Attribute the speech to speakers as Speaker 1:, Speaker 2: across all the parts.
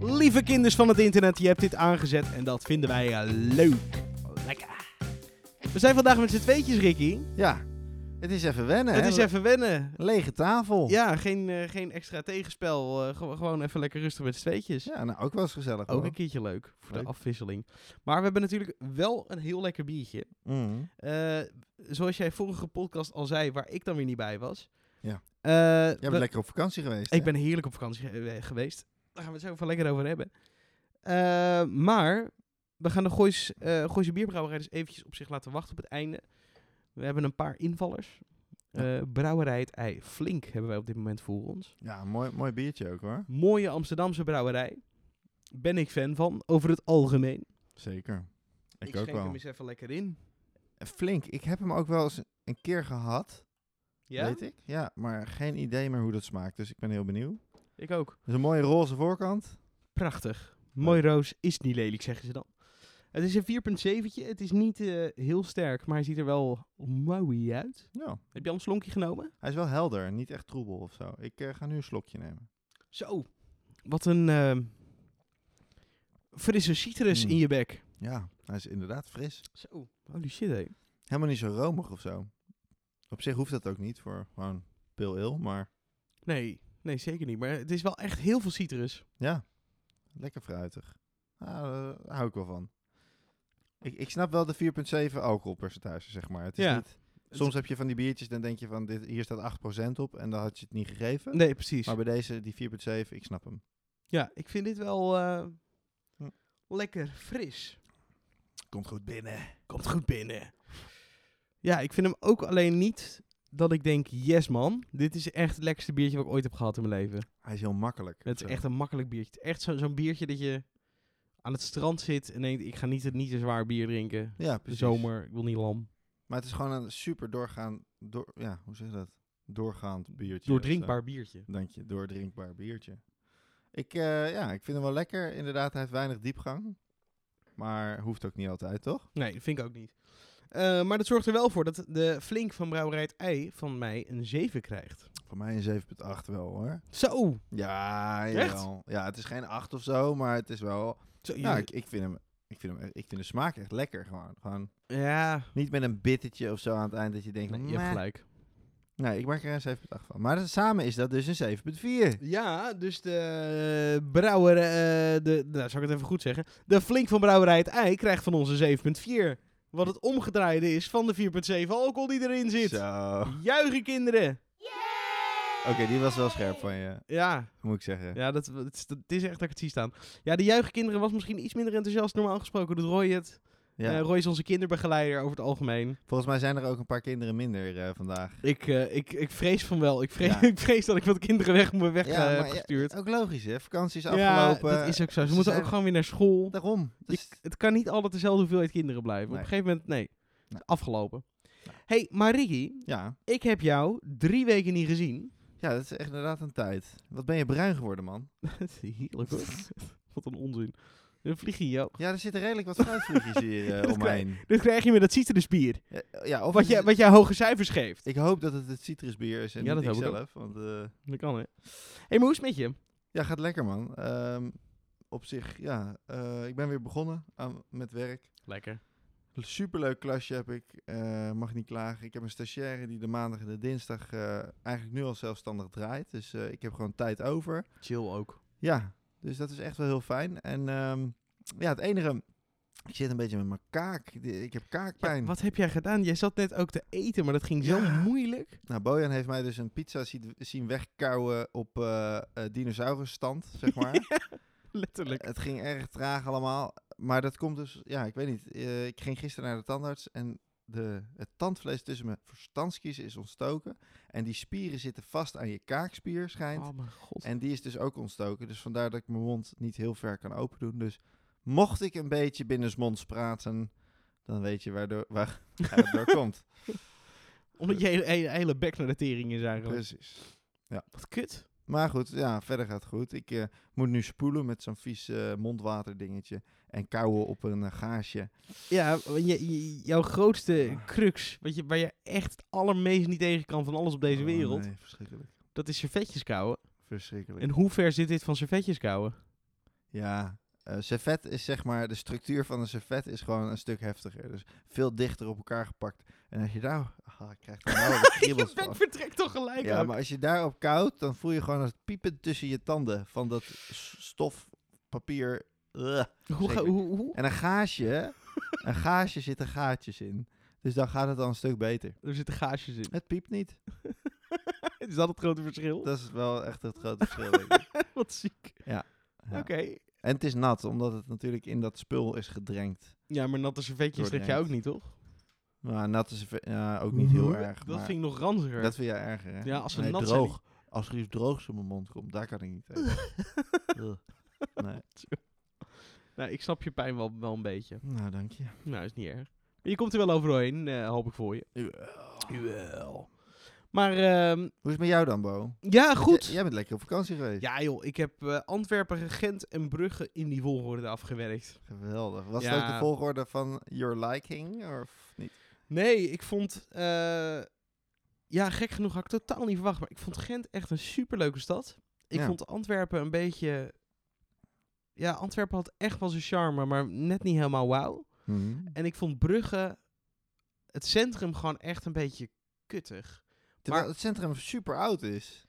Speaker 1: Lieve kinders van het internet, je hebt dit aangezet en dat vinden wij eh, leuk. Lekker. We zijn vandaag met z'n tweetjes, Ricky.
Speaker 2: Ja, het is even wennen.
Speaker 1: Het
Speaker 2: hè?
Speaker 1: is even wennen.
Speaker 2: Lege tafel.
Speaker 1: Ja, geen, eh, geen extra tegenspel. eh, gew- gewoon even lekker rustig met z'n tweetjes.
Speaker 2: Ja, nou, ook wel eens gezellig.
Speaker 1: Ook
Speaker 2: hoor.
Speaker 1: een keertje leuk voor
Speaker 2: Leuk.
Speaker 1: de afwisseling. Maar we hebben natuurlijk wel een heel lekker biertje.
Speaker 2: Mm.
Speaker 1: Eh, zoals jij vorige podcast al zei, waar ik dan weer niet bij was.
Speaker 2: Ja.
Speaker 1: Eh,
Speaker 2: Jij
Speaker 1: we-
Speaker 2: bent lekker op vakantie geweest.
Speaker 1: Ik ben heerlijk op vakantie ge- eh, geweest. Daar gaan we het zo even lekker over hebben. Eh, maar we gaan de Goois, eh Gooise Bierbrouwerij dus eventjes op zich laten wachten op het einde. We hebben een paar invallers. Eh, brouwerij Het Ei Flink hebben wij op dit moment voor ons.
Speaker 2: Ja, mooi, mooi biertje ook hoor.
Speaker 1: Mooie Amsterdamse brouwerij. Ben ik fan van, over het algemeen.
Speaker 2: Zeker. Ik, ook
Speaker 1: schenk
Speaker 2: wel.
Speaker 1: hem eens even lekker in.
Speaker 2: Flink. Ik heb hem ook wel eens een keer gehad,
Speaker 1: Ja,
Speaker 2: weet ik. Ja, maar geen idee meer hoe dat smaakt. Dus ik ben heel benieuwd.
Speaker 1: ik ook.
Speaker 2: Dus een mooie roze voorkant.
Speaker 1: Prachtig. Mooi roos is niet lelijk, zeggen ze dan. Het is een 4.7. Het is niet eh, heel sterk, maar hij ziet er wel mooi uit.
Speaker 2: Ja.
Speaker 1: Heb je al een slonkje genomen?
Speaker 2: Hij is wel helder, niet echt troebel of zo. Ik eh, ga nu een slokje nemen.
Speaker 1: Zo. Wat een ehm, frisse citrus
Speaker 2: Mm.
Speaker 1: in je bek.
Speaker 2: Ja, hij is inderdaad fris.
Speaker 1: Zo. Holy shit, hé.
Speaker 2: Helemaal niet zo romig of zo. Op zich hoeft dat ook niet voor gewoon pil il, maar
Speaker 1: Nee, nee, zeker niet. Maar het is wel echt heel veel citrus.
Speaker 2: Ja, lekker fruitig. Ah, eh, daar hou ik wel van. Ik, ik snap wel de 4,7 alcoholpercentage, zeg maar. Het is
Speaker 1: Ja.
Speaker 2: niet, soms heb je van die biertjes, dan denk je van, dit, hier staat 8% op en dan had je het niet gegeven.
Speaker 1: Nee, precies.
Speaker 2: Maar bij deze, die 4,7, ik snap hem.
Speaker 1: Ja, ik vind dit wel eh,
Speaker 2: Hm.
Speaker 1: lekker fris.
Speaker 2: Komt goed binnen.
Speaker 1: Komt goed binnen. Ja, ik vind hem ook alleen niet dat ik denk, yes man, dit is echt het lekkerste biertje wat ik ooit heb gehad in mijn leven.
Speaker 2: Hij is heel makkelijk.
Speaker 1: Het
Speaker 2: Zo.
Speaker 1: is echt een makkelijk biertje. Het is Echt zo- zo'n biertje dat je aan het strand zit en denkt, ik ga niet, niet een zwaar bier drinken.
Speaker 2: ja,
Speaker 1: De
Speaker 2: precies.
Speaker 1: zomer, ik wil niet lam.
Speaker 2: Maar het is gewoon een super doorgaan, door, ja, hoe zeg je dat? Doorgaand biertje.
Speaker 1: Doordrinkbaar biertje.
Speaker 2: of zo. Dank je, doordrinkbaar biertje. Ik, eh, ja, ik vind hem wel lekker. Inderdaad, hij heeft weinig diepgang. Maar hoeft ook niet altijd, toch?
Speaker 1: Nee, dat vind ik ook niet. Eh, maar dat zorgt er wel voor dat de flink van Brouwerij het Ei van mij een 7 krijgt.
Speaker 2: Voor mij een 7,8 wel hoor.
Speaker 1: Zo!
Speaker 2: Ja, jawel. Ja, het is geen 8 of zo, maar het is wel.
Speaker 1: Zo,
Speaker 2: Ja,
Speaker 1: ja,
Speaker 2: ik, ik, vind hem, ik, vind hem, echt- ik vind de smaak echt lekker gewoon. gewoon
Speaker 1: ja,
Speaker 2: niet met een bittertje of zo aan het eind dat je denkt.
Speaker 1: nee,
Speaker 2: van,
Speaker 1: je hebt
Speaker 2: "Meh."
Speaker 1: gelijk.
Speaker 2: Nee, ik maak er een 7,8 van. Maar dat- samen is dat dus een 7,4.
Speaker 1: Ja, dus de eh, brouwer, eh, de, nou zal ik het even goed zeggen. De flink van Brouwerij het Ei krijgt van onze 7.4. Wat het omgedraaide is van de 4.7 alcohol die erin zit.
Speaker 2: Zo. Oké,
Speaker 1: Juichen kinderen!
Speaker 2: die was wel scherp van je,
Speaker 1: Ja,
Speaker 2: moet ik zeggen.
Speaker 1: ja dat, het, is- het is echt dat ik het zie staan. Ja, de juichen kinderen was misschien iets minder enthousiast normaal gesproken. Doet Roy het.
Speaker 2: Ja.
Speaker 1: Eh, Roy is onze kinderbegeleider over het algemeen.
Speaker 2: Volgens mij zijn er ook een paar kinderen minder eh, vandaag.
Speaker 1: Ik, eh, ik, ik vrees van wel. Ik vrees,
Speaker 2: Ja.
Speaker 1: ik vrees dat ik wat kinderen weg, moet- weg
Speaker 2: Ja,
Speaker 1: eh,
Speaker 2: maar
Speaker 1: heb
Speaker 2: ja,
Speaker 1: gestuurd.
Speaker 2: Ook logisch, hè? Vakantie is
Speaker 1: Ja,
Speaker 2: afgelopen.
Speaker 1: dat is ook zo. Ze,
Speaker 2: ze
Speaker 1: moeten
Speaker 2: zijn-
Speaker 1: ook gewoon weer naar school.
Speaker 2: Daarom. Dus,
Speaker 1: Je- het kan niet altijd dezelfde hoeveelheid kinderen blijven. Op
Speaker 2: Nee.
Speaker 1: een gegeven moment, nee.
Speaker 2: Nee.
Speaker 1: Afgelopen.
Speaker 2: Nee.
Speaker 1: hey, maar Ricky,
Speaker 2: ja.
Speaker 1: ik heb jou drie weken niet gezien.
Speaker 2: ja, dat is echt inderdaad een tijd. Wat ben je bruin geworden, man?
Speaker 1: Dat is Heerlijk hoor. wat een onzin. Een vliegje, joh.
Speaker 2: Ja, er zitten redelijk wat fruitvliegjes hier eh,
Speaker 1: Dat
Speaker 2: omheen.
Speaker 1: Dit krijg je met dat citrusbier.
Speaker 2: Ja, eh, ja, of
Speaker 1: Wat
Speaker 2: het
Speaker 1: jij,
Speaker 2: is-
Speaker 1: wat jij hoge cijfers geeft.
Speaker 2: Ik hoop dat het het citrusbier is en
Speaker 1: Ja,
Speaker 2: niet
Speaker 1: dat
Speaker 2: ik
Speaker 1: hoop ik
Speaker 2: zelf. Want, eh,
Speaker 1: Dat kan, hè. hey, maar hoe is het met je?
Speaker 2: ja, gaat lekker man. Ehm, op zich, ja. eh, ik ben weer begonnen aan, met werk.
Speaker 1: Lekker.
Speaker 2: Superleuk klasje heb ik. eh, mag niet klagen. Ik heb een stagiaire die de maandag en de dinsdag eh, eigenlijk nu al zelfstandig draait. Dus eh, ik heb gewoon tijd over.
Speaker 1: Chill ook.
Speaker 2: Ja, dus dat is echt wel heel fijn. En ehm, ja, het enige... Ik zit een beetje met mijn kaak. De- Ik heb
Speaker 1: Ja,
Speaker 2: kaakpijn.
Speaker 1: wat heb jij gedaan? Jij zat net ook te eten, maar dat ging zo
Speaker 2: Ja.
Speaker 1: moeilijk.
Speaker 2: Nou, Bojan heeft mij dus een pizza zie- zien wegkouwen op eh eh, dinosaurusstand, zeg maar.
Speaker 1: Letterlijk.
Speaker 2: Het ging erg traag allemaal. Maar dat komt dus, ja, ik weet niet. Eh, ik ging gisteren naar de tandarts en de, het tandvlees tussen mijn verstandskies is ontstoken. En die spieren zitten vast aan je kaakspier, schijnt.
Speaker 1: Oh mijn god.
Speaker 2: En die is dus ook ontstoken. Dus vandaar dat ik mijn mond niet heel ver kan open doen. Dus mocht ik een beetje binnensmonds praten, dan weet je waardoor, waar, waar het door komt.
Speaker 1: Omdat je hele, hele, hele bek naar de tering is eigenlijk.
Speaker 2: Precies.
Speaker 1: Wat kut.
Speaker 2: Maar goed, ja, verder gaat het goed. Ik eh, moet nu spoelen met zo'n vies eh, mondwaterdingetje. En kouwen op een eh, gaasje.
Speaker 1: Ja, want je, je- jouw grootste crux, wat je, waar je echt het allermeest niet tegen kan van alles op deze
Speaker 2: Oh,
Speaker 1: wereld,
Speaker 2: nee, verschrikkelijk.
Speaker 1: dat is servetjes kouwen.
Speaker 2: Verschrikkelijk.
Speaker 1: En hoe ver zit dit van servetjes kouwen?
Speaker 2: Ja, eh servet is zeg maar, de structuur van een servet is gewoon een stuk heftiger. Dus veel dichter op elkaar gepakt. En als je daar, ah, ik krijg er nou weer kriebels
Speaker 1: je bek
Speaker 2: van.
Speaker 1: vertrekt toch gelijk
Speaker 2: Ja,
Speaker 1: ook.
Speaker 2: maar als je daarop koudt, dan voel je gewoon het piepen tussen je tanden van dat s- stof, papier. Ugh.
Speaker 1: hoe, ga-
Speaker 2: zeker.
Speaker 1: hoe, hoe?
Speaker 2: En een gaasje, een gaasje zitten gaatjes in. Dus dan gaat het al een stuk beter.
Speaker 1: Er zitten gaasjes in.
Speaker 2: Het piept niet.
Speaker 1: is dat het grote verschil?
Speaker 2: Dat is wel echt het grote verschil. denk ik.
Speaker 1: Wat ziek.
Speaker 2: Ja, ja.
Speaker 1: Oké.
Speaker 2: En het is nat, omdat het natuurlijk in dat spul is gedrenkt.
Speaker 1: Ja, maar natte servetjes leg jij
Speaker 2: Doordrenkt.
Speaker 1: ook niet, toch?
Speaker 2: Maar nat is ver- ja, ook niet heel erg.
Speaker 1: Mhm. Dat
Speaker 2: maar-
Speaker 1: vind ik nog ranziger.
Speaker 2: Dat vind jij erger, hè?
Speaker 1: Ja, als ze
Speaker 2: nee,
Speaker 1: nat zijn,
Speaker 2: droog. Als er iets droogs in mijn mond komt, daar kan ik niet tegen. Ugh. nee.
Speaker 1: Nou, ik snap je pijn wel, wel een beetje.
Speaker 2: Nou, dank je.
Speaker 1: Nou, is niet erg. Maar je komt er wel overheen, eh, hoop ik voor je. Jawel. Maar ehm,
Speaker 2: Hoe is het met jou dan, Bo?
Speaker 1: ja, goed.
Speaker 2: J- jij bent lekker op vakantie geweest.
Speaker 1: Ja joh, ik heb eh, Antwerpen, Gent en Brugge in die volgorde afgewerkt.
Speaker 2: Geweldig. Was het
Speaker 1: Ja.
Speaker 2: ook de volgorde van your liking, of niet?
Speaker 1: Nee, ik vond... eh, ja, gek genoeg had ik totaal niet verwacht. Maar ik vond Gent echt een superleuke stad. Ik
Speaker 2: Ja.
Speaker 1: vond Antwerpen een beetje... Ja, Antwerpen had echt wel zijn charme, maar net niet helemaal wauw. En ik vond Brugge, het centrum, gewoon echt een beetje kuttig.
Speaker 2: Terwijl
Speaker 1: Maar-
Speaker 2: het centrum super oud is.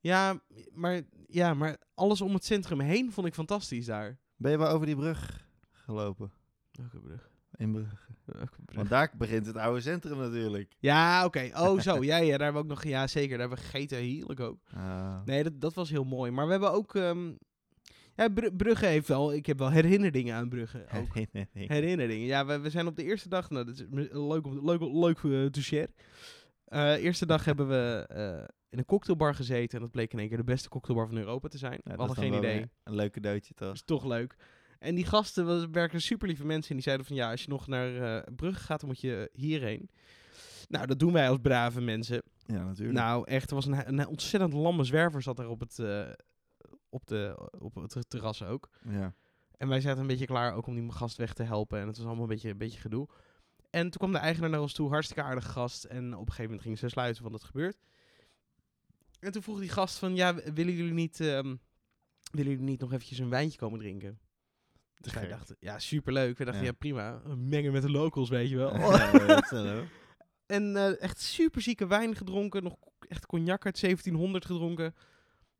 Speaker 1: Ja maar, ja, maar alles om het centrum heen vond ik fantastisch daar.
Speaker 2: Ben je wel over die brug gelopen?
Speaker 1: Welke brug?
Speaker 2: In Brugge.
Speaker 1: Welke brug?
Speaker 2: Want daar begint het oude centrum natuurlijk.
Speaker 1: Ja, oké. Oh, zo. Ja, ja, daar hebben we ook nog... Ja, zeker. Daar hebben we gegeten. Heerlijk ook.
Speaker 2: Ah.
Speaker 1: Nee, dat, dat was heel mooi. Maar we hebben ook... ehm, ja, Bru- Brugge heeft wel... Ik heb wel herinneringen aan Brugge. Ook.
Speaker 2: Nee, nee, nee.
Speaker 1: Herinneringen. Ja, we, we zijn op de eerste dag... Nou, dat is m- leuk, om- leuk, leuk eh, te share. Eh, eerste dag hebben we eh, in een cocktailbar gezeten. En dat bleek in één keer de beste cocktailbar van Europa te zijn. we
Speaker 2: Nou, dat is
Speaker 1: hadden
Speaker 2: dan
Speaker 1: geen
Speaker 2: wel
Speaker 1: idee.
Speaker 2: weer Een leuke doodje
Speaker 1: Dat
Speaker 2: toch?
Speaker 1: is toch leuk. En die gasten was, werken super lieve mensen. En die zeiden van ja, als je nog naar eh, Brugge gaat, dan moet je hierheen. Nou, dat doen wij als brave mensen.
Speaker 2: Ja, natuurlijk.
Speaker 1: Nou, echt, er was een, een ontzettend lamme zwerver zat daar op het, eh, op, de, op het terras ook.
Speaker 2: ja.
Speaker 1: En wij zaten een beetje klaar ook om die gast weg te helpen. En het was allemaal een beetje, een beetje gedoe. En toen kwam de eigenaar naar ons toe, hartstikke aardige gast. En op een gegeven moment gingen ze sluiten, want dat gebeurt. En toen vroeg die gast van, ja, w- willen jullie niet, ehm, willen jullie niet nog eventjes een wijntje komen drinken? Dus wij
Speaker 2: gek.
Speaker 1: dachten, ja, superleuk. Wij dachten,
Speaker 2: Ja.
Speaker 1: ja, prima. Mengen met de locals, weet je wel.
Speaker 2: Ja, dat is wel hoor.
Speaker 1: En eh, echt super zieke wijn gedronken. Nog k- echt cognac uit 1700 gedronken.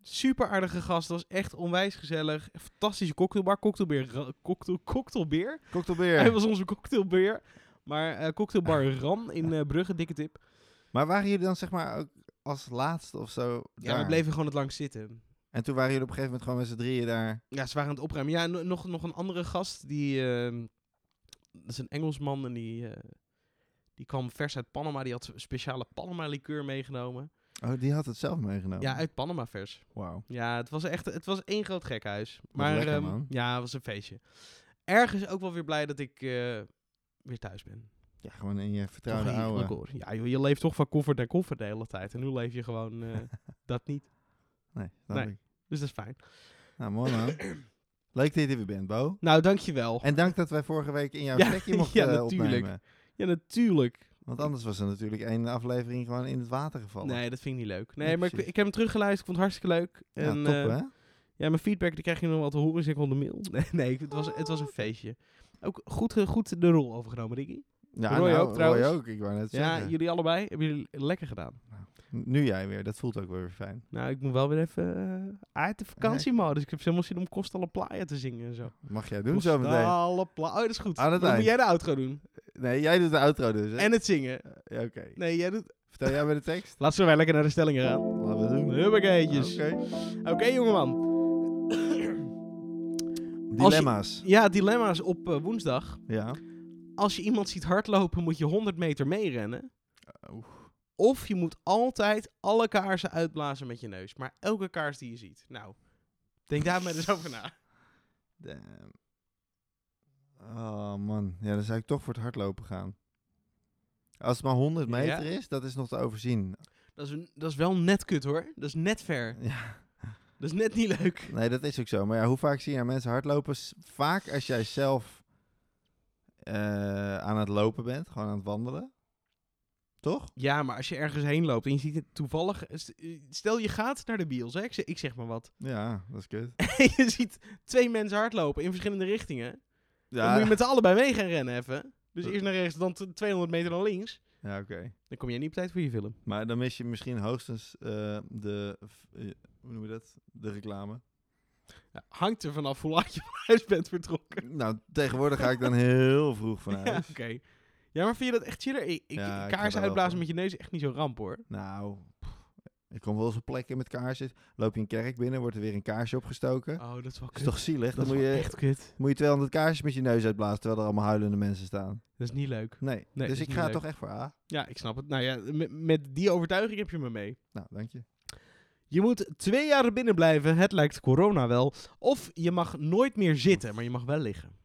Speaker 1: Super aardige gast. Dat was echt onwijs gezellig. Fantastische cocktailbar. Cocktailbeer. ra- Cocktail, cocktailbeer.
Speaker 2: Cocktailbeer.
Speaker 1: Hij was onze cocktailbeer. Maar eh, cocktailbar Ram in eh, Brugge, dikke tip.
Speaker 2: Maar waren jullie dan zeg maar ook als laatste of zo
Speaker 1: Ja, we
Speaker 2: daar?
Speaker 1: bleven gewoon het lang zitten.
Speaker 2: En toen waren jullie op een gegeven moment gewoon met z'n drieën daar.
Speaker 1: Ja, ze waren aan het opruimen. Ja, no- nog, nog een andere gast. Die, ehm, dat is een Engelsman en die, eh, die kwam vers uit Panama. Die had speciale Panama liqueur meegenomen.
Speaker 2: Oh, die had het zelf meegenomen.
Speaker 1: Ja, uit Panama vers.
Speaker 2: Wauw.
Speaker 1: Ja, het was echt het was één groot gekhuis. Maar
Speaker 2: lekker,
Speaker 1: ehm,
Speaker 2: man.
Speaker 1: ja, het was een feestje. Ergens ook wel weer blij dat ik eh, weer thuis ben.
Speaker 2: Ja, gewoon in je
Speaker 1: Toch
Speaker 2: vertrouwde
Speaker 1: heerlijk,
Speaker 2: oude.
Speaker 1: hoor. Ja, joh, je leeft toch van koffer naar koffer de hele tijd. En nu leef je gewoon eh, dat niet.
Speaker 2: Nee, snap
Speaker 1: Nee.
Speaker 2: ik.
Speaker 1: Dus dat is fijn.
Speaker 2: Nou, mooi man. Leuk dat je er weer bent, Bo.
Speaker 1: Nou, dankjewel.
Speaker 2: En dank dat wij vorige week in jouw
Speaker 1: Ja,
Speaker 2: plekje mochten
Speaker 1: ja,
Speaker 2: eh,
Speaker 1: natuurlijk.
Speaker 2: opnemen.
Speaker 1: Ja, natuurlijk.
Speaker 2: Want anders was er natuurlijk één aflevering gewoon in het water gevallen.
Speaker 1: Nee, dat vind ik niet leuk. Nee,
Speaker 2: Nee,
Speaker 1: maar ik,
Speaker 2: precies.
Speaker 1: ik heb hem teruggeluisterd. Ik vond het hartstikke leuk.
Speaker 2: ja,
Speaker 1: en,
Speaker 2: top
Speaker 1: eh,
Speaker 2: hè?
Speaker 1: Ja, mijn feedback die krijg je nog wel te horen. Zeg ik de mail. Nee, nee ik- het, was, het
Speaker 2: Oh.
Speaker 1: was een feestje. Ook goed, eh, goed de rol overgenomen, Ricky.
Speaker 2: Ja,
Speaker 1: Roy
Speaker 2: nou,
Speaker 1: ook trouwens.
Speaker 2: Roy ook, ik wou net
Speaker 1: Ja,
Speaker 2: zeggen.
Speaker 1: jullie allebei hebben jullie lekker gedaan.
Speaker 2: Nu jij weer, dat voelt ook wel weer fijn.
Speaker 1: Nou, ik moet wel weer even eh, uit de vakantiemodus. Ik heb helemaal zin om Costa La Playa te zingen en zo.
Speaker 2: Mag jij doen zo meteen?
Speaker 1: Costa La Playa. Oh, dat is goed.
Speaker 2: Aan het
Speaker 1: Dan moet
Speaker 2: eind.
Speaker 1: jij de outro doen.
Speaker 2: Nee, jij doet de outro dus. Hè?
Speaker 1: En het zingen.
Speaker 2: Ja, Oké.
Speaker 1: Nee, jij doet...
Speaker 2: Vertel jij bij de tekst?
Speaker 1: Laten we wij lekker naar de stellingen gaan.
Speaker 2: Laten we doen.
Speaker 1: Huppakeetjes. Oké,
Speaker 2: Oké.
Speaker 1: jongeman.
Speaker 2: Dilemma's.
Speaker 1: Ja, dilemma's op eh, woensdag.
Speaker 2: Ja.
Speaker 1: Als je iemand ziet hardlopen, moet je 100 meter meerennen.
Speaker 2: Oeh.
Speaker 1: Of je moet altijd alle kaarsen uitblazen met je neus. Maar elke kaars die je ziet. Nou, denk daar maar eens over na.
Speaker 2: Damn. Oh man, ja, dan zou ik toch voor het hardlopen gaan. Als het maar 100
Speaker 1: Ja.
Speaker 2: meter is, dat is nog te overzien.
Speaker 1: Dat is, een- dat is wel net kut hoor. Dat is net ver.
Speaker 2: Ja.
Speaker 1: Dat is net niet leuk.
Speaker 2: Nee, dat is ook zo. Maar ja, hoe vaak zie je mensen hardlopen? S- Vaak als jij zelf eh, aan het lopen bent, gewoon aan het wandelen, Toch?
Speaker 1: Ja, maar als je ergens heen loopt en je ziet het toevallig... st- Stel, je gaat naar de bios, hè? Ik zeg, ik zeg maar wat.
Speaker 2: Ja, dat is kut.
Speaker 1: En je ziet twee mensen hardlopen in verschillende richtingen. Dan moet
Speaker 2: Ja,
Speaker 1: je met z'n allebei mee gaan rennen even. Dus
Speaker 2: Dat-
Speaker 1: eerst naar rechts, dan t- 200 meter naar links.
Speaker 2: ja oké.
Speaker 1: Dan kom je niet op tijd voor je film.
Speaker 2: Maar dan mis je misschien hoogstens eh, de, eh, hoe noem je dat? De reclame.
Speaker 1: Ja, hangt er vanaf hoe laat je van huis bent vertrokken.
Speaker 2: Nou, tegenwoordig ga ik dan heel vroeg van
Speaker 1: Ja,
Speaker 2: huis.
Speaker 1: oké. Ja, maar vind je dat echt chiller? Ik, ik,
Speaker 2: Ja, ik ga daar
Speaker 1: kaars
Speaker 2: wel
Speaker 1: uitblazen
Speaker 2: voor.
Speaker 1: met je neus is echt niet zo ramp, hoor.
Speaker 2: Nou, pff, ik kom wel eens op plekken met kaarsjes. Loop je een kerk binnen, wordt er weer een kaarsje opgestoken.
Speaker 1: Oh, dat is wel
Speaker 2: Dat is
Speaker 1: kut.
Speaker 2: toch zielig? Dan
Speaker 1: dat is
Speaker 2: moet
Speaker 1: wel
Speaker 2: je,
Speaker 1: echt kut.
Speaker 2: moet je 200 kaarsjes met je neus uitblazen terwijl er allemaal huilende mensen staan.
Speaker 1: Dat is niet leuk.
Speaker 2: Nee,
Speaker 1: dat is
Speaker 2: dus ik
Speaker 1: niet
Speaker 2: ga
Speaker 1: leuk.
Speaker 2: toch echt voor A.
Speaker 1: Ja, ik snap het. Nou ja, met, met die overtuiging heb je me mee.
Speaker 2: Nou, dank je.
Speaker 1: Je moet twee jaar binnen blijven, het lijkt corona wel. Of je mag nooit meer zitten, maar je mag wel liggen.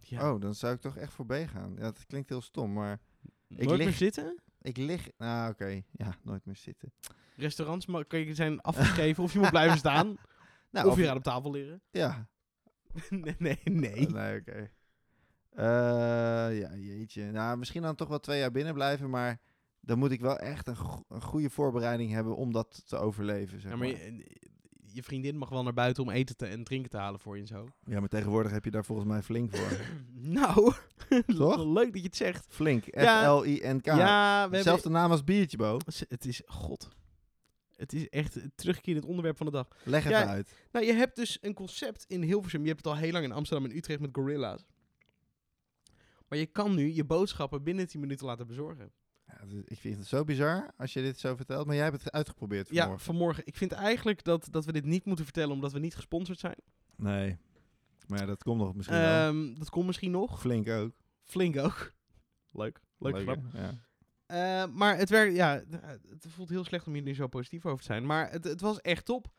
Speaker 1: Ja,
Speaker 2: Oh, dan zou ik toch echt voor B gaan. Ja, dat klinkt heel stom, maar
Speaker 1: nooit
Speaker 2: lig-
Speaker 1: meer zitten?
Speaker 2: ik lig... Nou, oké. Ja, nooit meer zitten.
Speaker 1: Restaurants ma- kan je zijn afgegeven of je moet blijven staan.
Speaker 2: Nou,
Speaker 1: of je gaat op tafel liggen.
Speaker 2: Ja.
Speaker 1: nee, nee, nee.
Speaker 2: Eh, nee, oké. Eh, ja, jeetje. Nou, misschien dan toch wel twee jaar binnen blijven, maar dan moet ik wel echt een, go- een goede voorbereiding hebben om dat te overleven, zeg
Speaker 1: Ja,
Speaker 2: maar.
Speaker 1: maar je, je vriendin mag wel naar buiten om eten te, en drinken te halen voor je en zo.
Speaker 2: Ja, maar tegenwoordig heb je daar volgens mij flink voor.
Speaker 1: Nou,
Speaker 2: Toch?
Speaker 1: leuk dat je het zegt.
Speaker 2: flink.
Speaker 1: Ja.
Speaker 2: F-L-I-N-K.
Speaker 1: Ja, we hebben...
Speaker 2: Zelfde naam als biertje, Bo.
Speaker 1: Z- Het is, god. Het is echt het terugkerend onderwerp van de dag.
Speaker 2: Leg
Speaker 1: Ja.
Speaker 2: even uit.
Speaker 1: Nou, je hebt dus een concept in Hilversum. Je hebt het al heel lang in Amsterdam en Utrecht met gorilla's. Maar je kan nu je boodschappen binnen 10 minuten laten bezorgen.
Speaker 2: Ja, het is- ik vind het zo bizar als je dit zo vertelt, maar jij hebt het uitgeprobeerd
Speaker 1: Ja,
Speaker 2: vanmorgen.
Speaker 1: vanmorgen. Ik vind eigenlijk dat, dat we dit niet moeten vertellen omdat we niet gesponsord zijn.
Speaker 2: Nee. Maar ja, dat komt nog misschien wel.
Speaker 1: Ehm, dat komt misschien nog.
Speaker 2: Flink ook.
Speaker 1: Flink ook. Leuk. Leuk grap.
Speaker 2: hè? Ja.
Speaker 1: Eh, maar het werkt, ja, eh, het voelt heel slecht om hier nu zo positief over te zijn. Maar het, het was echt top.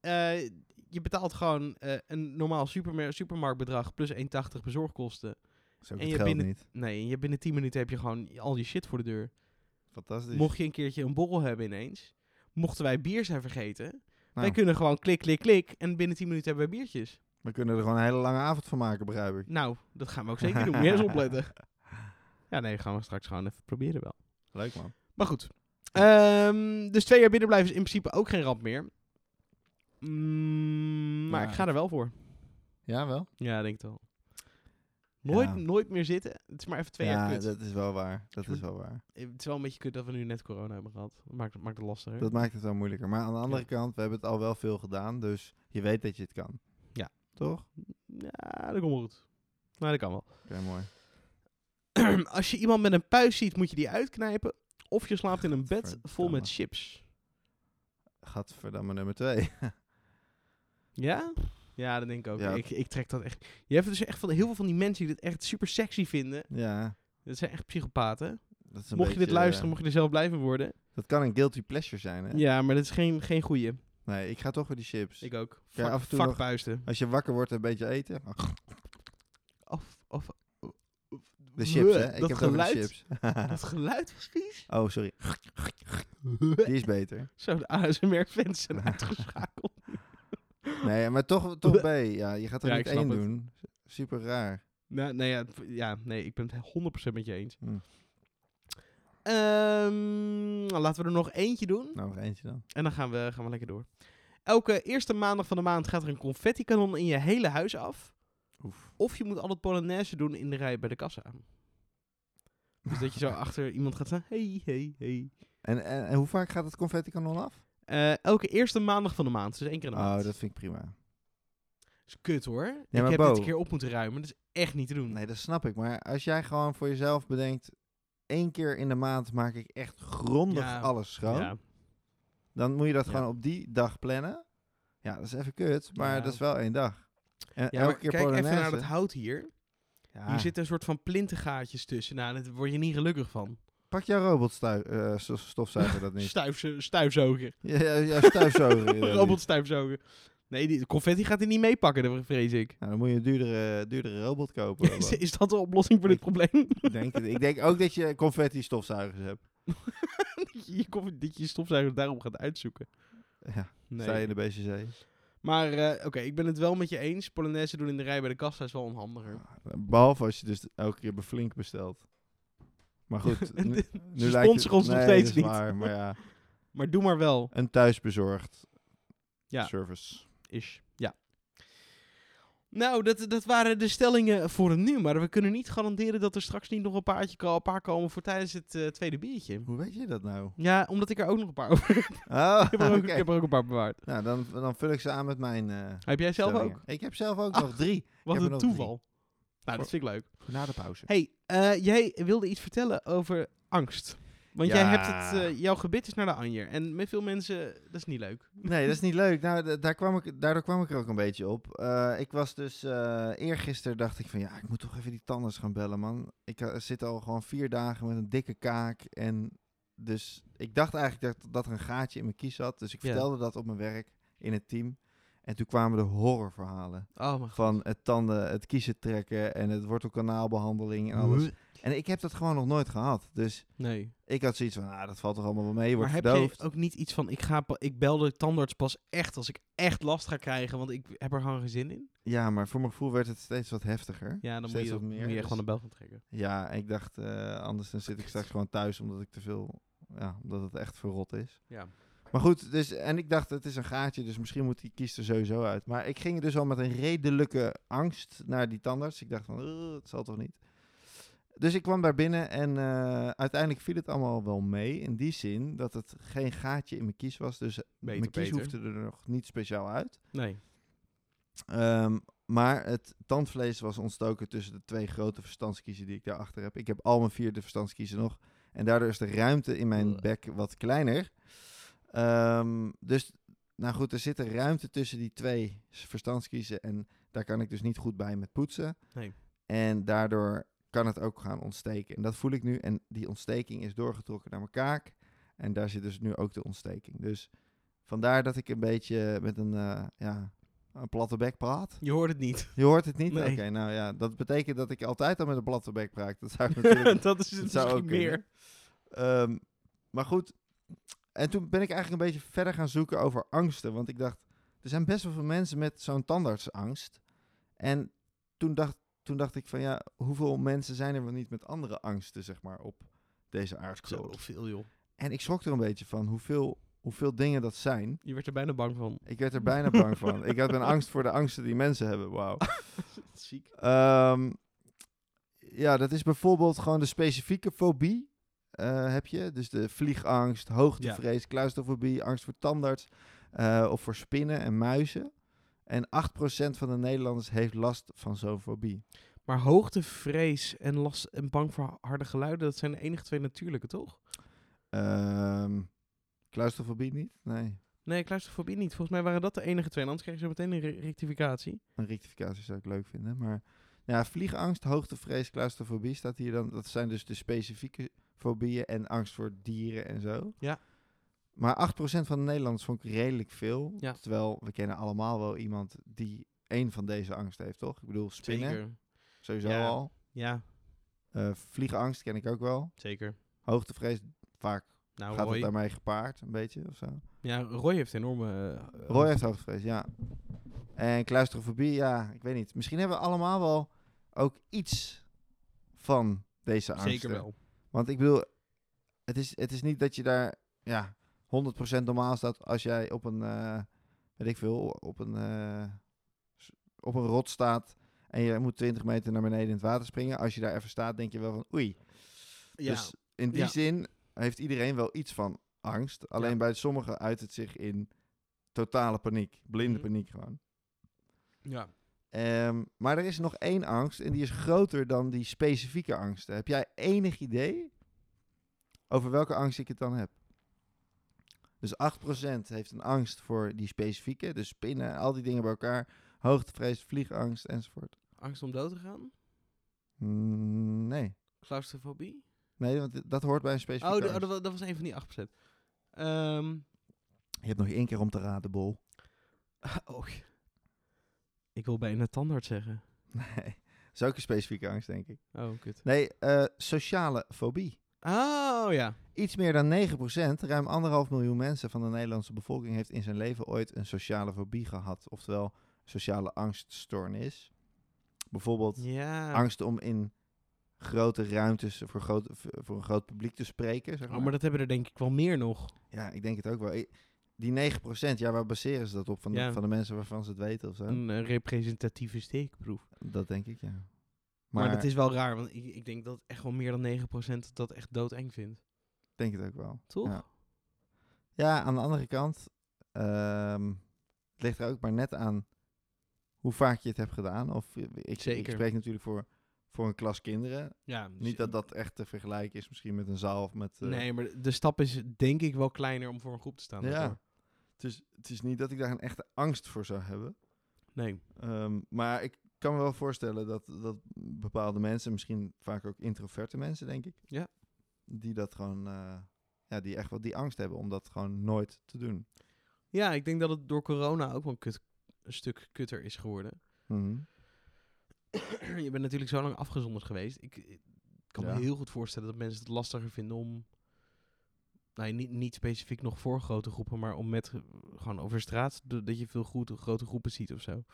Speaker 1: Eh, je betaalt gewoon eh, een normaal supermer- supermarktbedrag plus 1,80 bezorgkosten.
Speaker 2: Zo
Speaker 1: En
Speaker 2: het
Speaker 1: je
Speaker 2: geld
Speaker 1: binnen-
Speaker 2: niet.
Speaker 1: Nee, en je binnen 10 minuten heb je gewoon al je shit voor de deur.
Speaker 2: Fantastisch.
Speaker 1: Mocht je een keertje een borrel hebben ineens, mochten wij bier zijn vergeten, wij
Speaker 2: Nou.
Speaker 1: kunnen gewoon klik, klik, klik en binnen 10 minuten hebben wij biertjes.
Speaker 2: We kunnen er gewoon een hele lange avond van maken, begrijp ik.
Speaker 1: Nou, dat gaan we ook zeker doen. Moet je eens opletten. Ja, nee, gaan we straks gewoon even proberen wel.
Speaker 2: Leuk man.
Speaker 1: Maar goed. Ehm, dus twee jaar binnen blijven is in principe ook geen ramp meer. Mm, maar
Speaker 2: Ja.
Speaker 1: ik ga er wel voor.
Speaker 2: Ja, wel.
Speaker 1: Ja, ik denk het wel. Nooit,
Speaker 2: Ja.
Speaker 1: nooit meer zitten. Het is maar even twee
Speaker 2: ja,
Speaker 1: jaar kut.
Speaker 2: dat is wel waar. Dat
Speaker 1: Je
Speaker 2: is
Speaker 1: moet-
Speaker 2: wel waar.
Speaker 1: Eh, Het is wel een beetje kut dat we nu net corona hebben gehad. Dat maakt, dat maakt het lastiger.
Speaker 2: Dat maakt het wel moeilijker. Maar aan de andere kant, we hebben het al wel veel gedaan, dus je weet dat je het kan.
Speaker 1: Ja.
Speaker 2: Toch?
Speaker 1: Ja, dat komt wel goed. Nou, dat kan wel.
Speaker 2: Oké, mooi.
Speaker 1: Als je iemand met een puis ziet, moet je die uitknijpen. Of je slaapt in een bed vol
Speaker 2: Gadverdamme.
Speaker 1: met chips.
Speaker 2: Gadverdamme nummer twee.
Speaker 1: Ja? Ja, dat denk ik ook.
Speaker 2: Ja.
Speaker 1: Ik, ik trek dat echt. Je hebt dus echt van heel veel van die mensen die dit echt super sexy vinden.
Speaker 2: ja.
Speaker 1: Dat zijn echt psychopaten.
Speaker 2: Dat is een
Speaker 1: mocht je dit
Speaker 2: beetje,
Speaker 1: luisteren,
Speaker 2: eh,
Speaker 1: mocht je er zelf blij van worden.
Speaker 2: dat kan een guilty pleasure zijn, hè?
Speaker 1: Ja, maar dat is geen, geen goeie.
Speaker 2: Nee, ik ga toch voor die chips.
Speaker 1: Ik ook.
Speaker 2: Ja,
Speaker 1: Vak,
Speaker 2: af en toe
Speaker 1: vak
Speaker 2: nog-
Speaker 1: vuisten.
Speaker 2: Als je wakker wordt en een beetje eten. Oh,
Speaker 1: Of, of,
Speaker 2: De chips, hè?
Speaker 1: Dat
Speaker 2: Ik heb het over
Speaker 1: geluid.
Speaker 2: de chips.
Speaker 1: dat geluid was vies.
Speaker 2: Oh, sorry. Die is beter.
Speaker 1: Zo, de ASMR-fans zijn uitgeschakeld.
Speaker 2: Nee, maar toch, toch B. Ja, je gaat er
Speaker 1: Ja,
Speaker 2: niet
Speaker 1: ik snap
Speaker 2: één
Speaker 1: het.
Speaker 2: doen. Super raar.
Speaker 1: Nou, nee, ja, v- ja, nee, ik ben het 100% met je eens.
Speaker 2: Hm.
Speaker 1: Ehm, laten we er nog eentje doen.
Speaker 2: Nou, nog eentje dan.
Speaker 1: En dan gaan we, gaan we lekker door. Elke eerste maandag van de maand gaat er een confetti-kanon in je hele huis af.
Speaker 2: Oef.
Speaker 1: Of je moet altijd Polonaise doen in de rij bij de kassa. Dus dat je zo achter iemand gaat staan. Hey, hey, hey.
Speaker 2: En, en, en hoe vaak gaat het confetti kanon af?
Speaker 1: Eh, elke eerste maandag van de maand. Dus één keer in de
Speaker 2: Oh,
Speaker 1: maand.
Speaker 2: dat vind ik prima.
Speaker 1: is kut hoor.
Speaker 2: maar
Speaker 1: ik heb
Speaker 2: Bo-
Speaker 1: dit een keer op moeten ruimen. Dat is echt niet te doen.
Speaker 2: Nee, dat snap ik. Maar als jij gewoon voor jezelf bedenkt... één keer in de maand maak ik echt grondig
Speaker 1: Ja.
Speaker 2: alles schoon...
Speaker 1: Ja.
Speaker 2: dan moet je dat
Speaker 1: Ja.
Speaker 2: gewoon op die dag plannen. Ja, dat is even kut, maar
Speaker 1: Ja.
Speaker 2: dat is wel één dag. En
Speaker 1: Ja, maar
Speaker 2: elke keer
Speaker 1: kijk
Speaker 2: Polonaise... Ah.
Speaker 1: even naar dat hout hier.
Speaker 2: Ja.
Speaker 1: Hier zitten een soort van plintengaatjes tussen. Nou, daar word je niet gelukkig van.
Speaker 2: Pak jouw robotstofzuiger dat niet.
Speaker 1: Stuifzo- Stuifzoger.
Speaker 2: Ja, ja, jouw stuifzuiger. eh,
Speaker 1: Robot stuifzoger. Nee, die, de confetti gaat hij niet meepakken, dat vrees ik.
Speaker 2: niet. Nou, dan moet je een duurdere, duurdere robot kopen.
Speaker 1: Is,
Speaker 2: Robert.
Speaker 1: is dat de oplossing voor dit probleem?
Speaker 2: ik, denk het. ik denk ook dat je confetti stofzuigers hebt.
Speaker 1: dat je je koffie- dat je je stofzuiger daarom gaat uitzoeken.
Speaker 2: Ja, sta je in de BCC.
Speaker 1: Maar eh, oké, ik ben het wel met je eens. Polonaise doen in de rij bij de kassa is wel onhandiger.
Speaker 2: Behalve als je dus elke keer bij Flink bestelt. Maar goed, nu,
Speaker 1: Ze
Speaker 2: nu lijkt
Speaker 1: sponsoren
Speaker 2: het-
Speaker 1: ons nog
Speaker 2: nee,
Speaker 1: steeds
Speaker 2: dat is
Speaker 1: niet.
Speaker 2: waar, maar ja,
Speaker 1: Maar doe maar wel.
Speaker 2: een thuisbezorgd
Speaker 1: Ja.
Speaker 2: service.
Speaker 1: Is. Ja. Nou, dat, dat waren de stellingen voor nu. Maar we kunnen niet garanderen dat er straks niet nog een, paardje, ko- een paar komen voor tijdens het eh, tweede biertje.
Speaker 2: Hoe weet je dat nou?
Speaker 1: Ja, omdat ik er ook nog een paar over heb.
Speaker 2: Oh,
Speaker 1: Ik heb er ook,
Speaker 2: oké.
Speaker 1: ik heb er ook een paar bewaard.
Speaker 2: Nou, dan, dan vul ik ze aan met mijn. eh,
Speaker 1: Heb jij zelf
Speaker 2: stellingen.
Speaker 1: ook?
Speaker 2: Ik heb zelf ook
Speaker 1: Ah.
Speaker 2: nog drie.
Speaker 1: Wat
Speaker 2: heb er
Speaker 1: een
Speaker 2: nog drie.
Speaker 1: toeval. Nou, dat vind ik leuk.
Speaker 2: Voor na de pauze.
Speaker 1: hey, eh, jij wilde iets vertellen over angst. Want jij
Speaker 2: Ja.
Speaker 1: hebt het, eh, jouw gebit is naar de anjer. En met veel mensen, dat is niet leuk.
Speaker 2: Nee, dat is niet leuk. Nou, da- daar kwam ik, daardoor kwam ik er ook een beetje op. Eh, ik was dus eh eergisteren dacht ik van ja, ik moet toch even die tandarts gaan bellen, man. Ik eh, zit al gewoon vier dagen met een dikke kaak. En dus ik dacht eigenlijk dat, dat er een gaatje in mijn kies zat. Dus ik
Speaker 1: Ja.
Speaker 2: vertelde dat op mijn werk in het team. En toen kwamen de horrorverhalen
Speaker 1: Oh, mijn
Speaker 2: van het tanden, het kiezen trekken en het wortelkanaalbehandeling en alles. En ik heb dat gewoon nog nooit gehad. Dus
Speaker 1: Nee.
Speaker 2: ik had zoiets van, ah, dat valt toch allemaal wel mee, je
Speaker 1: Maar
Speaker 2: wordt
Speaker 1: heb
Speaker 2: verdoofd.
Speaker 1: je ook niet iets van, ik, ga, pa- ik bel de tandarts pas echt als ik echt last ga krijgen, want ik heb er gewoon geen zin in?
Speaker 2: Ja, maar voor mijn gevoel werd het steeds wat heftiger.
Speaker 1: Ja, dan moet
Speaker 2: Steeds
Speaker 1: je,
Speaker 2: wat
Speaker 1: meer,
Speaker 2: meer,
Speaker 1: moet je
Speaker 2: dus-
Speaker 1: gewoon een bel gaan trekken.
Speaker 2: Ja, ik dacht, eh, anders dan zit ik straks gewoon thuis omdat ik te veel, ja, omdat het echt verrot is.
Speaker 1: Ja.
Speaker 2: Maar goed, dus, en ik dacht, het is een gaatje, dus misschien moet die kies er sowieso uit. Maar ik ging dus al met een redelijke angst naar die tandarts. Ik dacht van, "Eh, het zal toch niet. Dus ik kwam daar binnen en eh, uiteindelijk viel het allemaal wel mee. In die zin dat het geen gaatje in mijn kies was. Dus
Speaker 1: Beter,
Speaker 2: mijn kies
Speaker 1: beter.
Speaker 2: hoefde er nog niet speciaal uit.
Speaker 1: Nee.
Speaker 2: Ehm, maar het tandvlees was ontstoken tussen de twee grote verstandskiezen die ik daarachter heb. Ik heb al mijn vierde verstandskiezen nog. En daardoor is de ruimte in mijn
Speaker 1: Ugh.
Speaker 2: bek wat kleiner. Ehm, dus, nou goed, er zit een ruimte tussen die twee s- verstandskiezen. En daar kan ik dus niet goed bij met poetsen.
Speaker 1: Nee.
Speaker 2: En daardoor kan het ook gaan ontsteken. En dat voel ik nu. En die ontsteking is doorgetrokken naar mijn kaak. En daar zit dus nu ook de ontsteking. Dus vandaar dat ik een beetje met een, eh, ja, een platte bek praat.
Speaker 1: Je hoort het niet.
Speaker 2: Je hoort het niet?
Speaker 1: Nee.
Speaker 2: Oké, nou ja, dat betekent dat ik altijd al met een platte bek praat. Dat zou ik natuurlijk...
Speaker 1: dat is het
Speaker 2: dat
Speaker 1: misschien
Speaker 2: zou ook kunnen.
Speaker 1: meer.
Speaker 2: Ehm, maar goed, en toen ben ik eigenlijk een beetje verder gaan zoeken over angsten. Want ik dacht, er zijn best wel veel mensen met zo'n tandartsangst. En toen dacht, toen dacht ik van ja, hoeveel mensen zijn er wel niet met andere angsten, zeg maar, op deze
Speaker 1: Zo
Speaker 2: aardkloot.
Speaker 1: veel, joh.
Speaker 2: En ik schrok er een beetje van hoeveel, hoeveel dingen dat zijn.
Speaker 1: Je werd er bijna bang van.
Speaker 2: Ik werd er bijna bang van. Ik had een angst voor de angsten die mensen hebben, wauw.
Speaker 1: Ziek.
Speaker 2: Ehm, ja, dat is bijvoorbeeld gewoon de specifieke fobie. eh, heb je dus de vliegangst, hoogtevrees, claustrofobie, angst voor tandarts eh, of voor spinnen en muizen. En 8% van de Nederlanders heeft last van zo'n fobie.
Speaker 1: Maar hoogtevrees en last en bang voor harde geluiden, dat zijn de enige twee natuurlijke, toch?
Speaker 2: Ehm claustrofobie niet? Nee,
Speaker 1: Nee, claustrofobie niet. Volgens mij waren dat de enige twee. En anders kreeg je zo meteen een re- rectificatie.
Speaker 2: een rectificatie zou ik leuk vinden. Maar nou ja, vliegangst, hoogtevrees, claustrofobie staat hier dan. Dat zijn dus de specifieke fobieën en angst voor dieren en zo.
Speaker 1: Ja.
Speaker 2: Maar 8% van de Nederlanders vond ik redelijk veel.
Speaker 1: Ja.
Speaker 2: Terwijl we kennen allemaal wel iemand die één van deze angsten heeft, toch? Ik bedoel, spinnen
Speaker 1: Zeker.
Speaker 2: sowieso
Speaker 1: Ja.
Speaker 2: al.
Speaker 1: Ja,
Speaker 2: Eh, vliegangst ken ik ook wel.
Speaker 1: zeker.
Speaker 2: Hoogtevrees, vaak
Speaker 1: Nou,
Speaker 2: gaat het
Speaker 1: Roy.
Speaker 2: daarmee gepaard, een beetje of zo.
Speaker 1: Ja, Roy heeft enorme... eh,
Speaker 2: Roy heeft hoogtevrees, ja. En claustrofobie, ja, ik weet niet. Misschien hebben we allemaal wel ook iets van deze angsten.
Speaker 1: Zeker wel.
Speaker 2: Want ik bedoel, het is, het is niet dat je daar ja, 100% normaal staat als jij op een, eh, weet ik veel, op een, eh, s- op een rot staat en je moet 20 meter naar beneden in het water springen. Als je daar even staat, denk je wel van oei.
Speaker 1: Ja.
Speaker 2: Dus in die
Speaker 1: Ja.
Speaker 2: zin heeft iedereen wel iets van angst. Alleen
Speaker 1: Ja.
Speaker 2: bij sommigen uit het zich in totale paniek, blinde
Speaker 1: Mhm.
Speaker 2: paniek gewoon.
Speaker 1: ja.
Speaker 2: Ehm, maar er is nog één angst en die is groter dan die specifieke angsten. Heb jij enig idee over welke angst ik het dan heb? Dus 8% heeft een angst voor die specifieke, dus spinnen, en al die dingen bij elkaar. Hoogtevrees, vliegangst enzovoort.
Speaker 1: Angst om dood te gaan?
Speaker 2: Mm, nee.
Speaker 1: Claustrofobie?
Speaker 2: nee, want dat hoort bij een
Speaker 1: Oh,
Speaker 2: specifieke
Speaker 1: de-
Speaker 2: angst.
Speaker 1: oh, dat wa- dat was een van die 8%. Ehm
Speaker 2: Je hebt nog één keer om te raden, Bol.
Speaker 1: oh. Ik wil bijna tandarts zeggen.
Speaker 2: Nee, dat is ook een specifieke angst, denk ik.
Speaker 1: Oh, kut.
Speaker 2: Nee, eh, sociale fobie.
Speaker 1: Oh, ja.
Speaker 2: Iets meer dan 9%, ruim anderhalf miljoen mensen van de Nederlandse bevolking heeft in zijn leven ooit een sociale fobie gehad, oftewel sociale angststoornis. Bijvoorbeeld
Speaker 1: Ja.
Speaker 2: angst om in grote ruimtes voor, groot, voor een groot publiek te spreken. Zeg maar.
Speaker 1: Oh, maar dat hebben er denk ik wel meer nog.
Speaker 2: Ja, ik denk het ook wel. Ik- Die 9%, ja, waar baseren ze dat op? Van de,
Speaker 1: Ja.
Speaker 2: van de mensen waarvan ze het weten of zo?
Speaker 1: Een eh, representatieve steekproef.
Speaker 2: Dat denk ik, ja. Maar,
Speaker 1: Maar, dat is wel raar, want ik, ik denk dat echt wel meer dan 9% dat echt doodeng vindt.
Speaker 2: ik denk het ook wel.
Speaker 1: Toch?
Speaker 2: Ja. Ja, aan de andere kant, ehm, het ligt er ook maar net aan hoe vaak je het hebt gedaan. Of, eh, ik, ik
Speaker 1: Zeker.
Speaker 2: spreek natuurlijk voor, voor een klas kinderen.
Speaker 1: Ja, dus-
Speaker 2: Niet dat dat echt te vergelijken is misschien met een zaal of met... eh,
Speaker 1: Nee, maar de stap is denk ik wel kleiner om voor een groep te staan.
Speaker 2: ja.
Speaker 1: daardoor.
Speaker 2: Het is, het is niet dat ik daar een echte angst voor zou hebben.
Speaker 1: Nee.
Speaker 2: Ehm, maar ik kan me wel voorstellen dat, dat bepaalde mensen, misschien vaak ook introverte mensen, denk ik.
Speaker 1: Ja.
Speaker 2: Die dat gewoon... eh, ja, die echt wel die angst hebben om dat gewoon nooit te doen.
Speaker 1: Ja, ik denk dat het door corona ook wel een, kut, een stuk kutter is geworden.
Speaker 2: Mhm.
Speaker 1: je bent natuurlijk zo lang afgezonderd geweest. Ik, ik kan
Speaker 2: Ja.
Speaker 1: me heel goed voorstellen dat mensen het lastiger vinden om... Nou, niet, niet specifiek nog voor grote groepen, maar om met eh, gewoon over straat... do- dat je veel grote, grote groepen ziet of zo.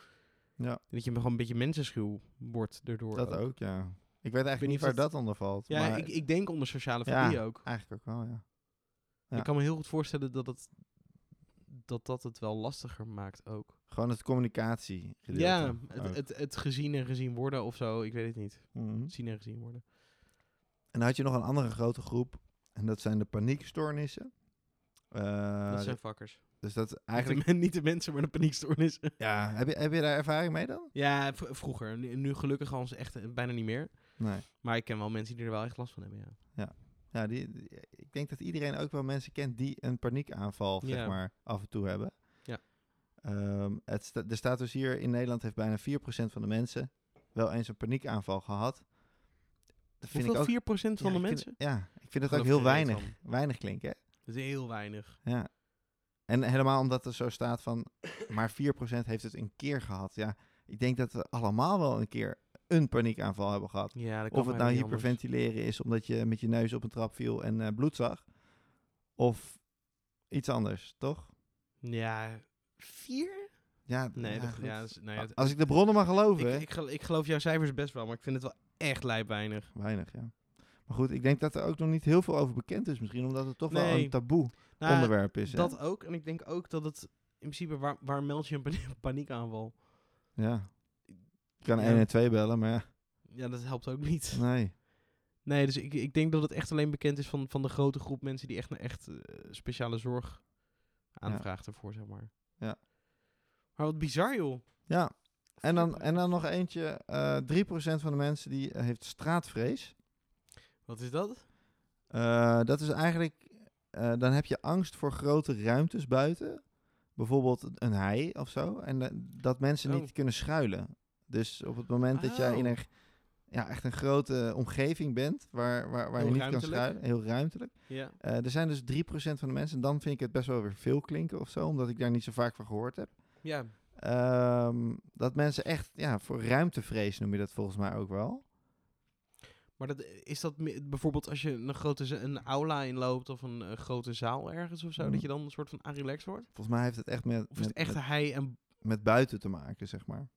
Speaker 2: Ja.
Speaker 1: En dat je gewoon een beetje mensenschuw wordt daardoor.
Speaker 2: Dat ook, ja. Ik weet eigenlijk
Speaker 1: weet
Speaker 2: niet
Speaker 1: niet of
Speaker 2: waar
Speaker 1: dat-
Speaker 2: dat onder valt.
Speaker 1: Ja,
Speaker 2: maar
Speaker 1: ik, ik denk onder sociale
Speaker 2: Ja.
Speaker 1: fobie ook.
Speaker 2: eigenlijk ook wel, ja. Ja.
Speaker 1: Ik kan me heel goed voorstellen dat het, dat, dat het wel lastiger maakt ook.
Speaker 2: Gewoon het communicatie
Speaker 1: Ja, het, het, het gezien en gezien worden of zo, ik weet het niet. Zien en gezien worden.
Speaker 2: Mhm. En dan had je nog een andere grote groep. En dat zijn de paniekstoornissen. Eh,
Speaker 1: dat zijn vakkers.
Speaker 2: Dus dat is
Speaker 1: Eigenlijk
Speaker 2: eigenlijk...
Speaker 1: niet de, mensen, maar de paniekstoornissen.
Speaker 2: Ja, heb je, heb je daar ervaring mee dan?
Speaker 1: ja, v- vroeger. Nu, nu gelukkig al echt eh, bijna niet meer.
Speaker 2: Nee.
Speaker 1: Maar ik ken wel mensen die er wel echt last van hebben, ja.
Speaker 2: Ja, die, die- ik denk dat iedereen ook wel mensen kent die een paniekaanval, zeg
Speaker 1: Ja.
Speaker 2: maar, af en toe hebben.
Speaker 1: Ja.
Speaker 2: Ehm, het sta- er staat dus hier, in Nederland heeft bijna 4% van de mensen wel eens een paniekaanval gehad. Dat vind ik
Speaker 1: Hoeveel?
Speaker 2: ook
Speaker 1: 4% van
Speaker 2: Ja,
Speaker 1: de
Speaker 2: ik vind-
Speaker 1: mensen?
Speaker 2: ja, ik vind
Speaker 1: Geloof
Speaker 2: het ook
Speaker 1: ik
Speaker 2: heel
Speaker 1: geen reet
Speaker 2: weinig. Weinig klinken, hè?
Speaker 1: Dat is heel weinig.
Speaker 2: Ja. En helemaal omdat er zo staat van... maar 4% heeft het een keer gehad. Ja, ik denk dat we allemaal wel een keer een paniekaanval hebben gehad.
Speaker 1: Ja, dat kan
Speaker 2: Of het
Speaker 1: bijna
Speaker 2: nou
Speaker 1: niet anders.
Speaker 2: hyperventileren is omdat je met je neus op een trap viel en eh, bloed zag. Of iets anders, toch?
Speaker 1: Ja, 4?
Speaker 2: Ja,
Speaker 1: Nee,
Speaker 2: ja,
Speaker 1: dat,
Speaker 2: goed.
Speaker 1: ja, dat is- nou ja,
Speaker 2: A-
Speaker 1: het-
Speaker 2: Als ik de bronnen mag geloven, hè?
Speaker 1: ik, ik, gel- ik geloof jouw cijfers best wel, maar ik vind het wel echt lijp weinig.
Speaker 2: Weinig, ja. Maar goed, ik denk dat er ook nog niet heel veel over bekend is misschien. Omdat het toch wel
Speaker 1: Nee.
Speaker 2: een taboe
Speaker 1: Nou,
Speaker 2: onderwerp is. hè?
Speaker 1: Dat ook. En ik denk ook dat het in principe, waar, waar meld je een pani- paniekaanval?
Speaker 2: Ja. Ik kan
Speaker 1: Ja.
Speaker 2: 1 en 2 bellen, maar ja,
Speaker 1: Ja, dat helpt ook niet.
Speaker 2: nee.
Speaker 1: Nee, dus ik, ik denk dat het echt alleen bekend is van, van de grote groep mensen die echt, echt eh, speciale zorg aanvraagt ervoor, zeg maar.
Speaker 2: Ja.
Speaker 1: Maar wat bizar, joh.
Speaker 2: Ja, en dan, en dan nog eentje. eh 3% van de mensen die eh, heeft straatvrees.
Speaker 1: Wat is dat?
Speaker 2: Eh, dat is eigenlijk... eh, dan heb je angst voor grote ruimtes buiten. Bijvoorbeeld een hei of zo. En eh, dat mensen
Speaker 1: Oh.
Speaker 2: niet kunnen schuilen. Dus op het moment dat jij in
Speaker 1: Oh.
Speaker 2: een, ja, echt een grote omgeving bent... waar, waar, waar je
Speaker 1: Heel
Speaker 2: niet kan
Speaker 1: ruimtelijk.
Speaker 2: schuilen, heel ruimtelijk...
Speaker 1: Ja.
Speaker 2: Eh, er zijn dus 3% van de mensen... en dan vind ik het best wel weer veel klinken of zo... omdat ik daar niet zo vaak van gehoord heb.
Speaker 1: Ja.
Speaker 2: Ehm, dat mensen echt, ja, voor ruimtevrees noem je dat volgens mij ook wel.
Speaker 1: Maar dat, is dat me- bijvoorbeeld als je een grote za- een aula inloopt of een eh, grote zaal ergens of zo,
Speaker 2: Mhm.
Speaker 1: dat je dan een soort van relaxed wordt?
Speaker 2: Volgens mij heeft het echt met,
Speaker 1: Of is het
Speaker 2: met,
Speaker 1: echt
Speaker 2: met,
Speaker 1: hij en...
Speaker 2: met buiten te maken, zeg maar.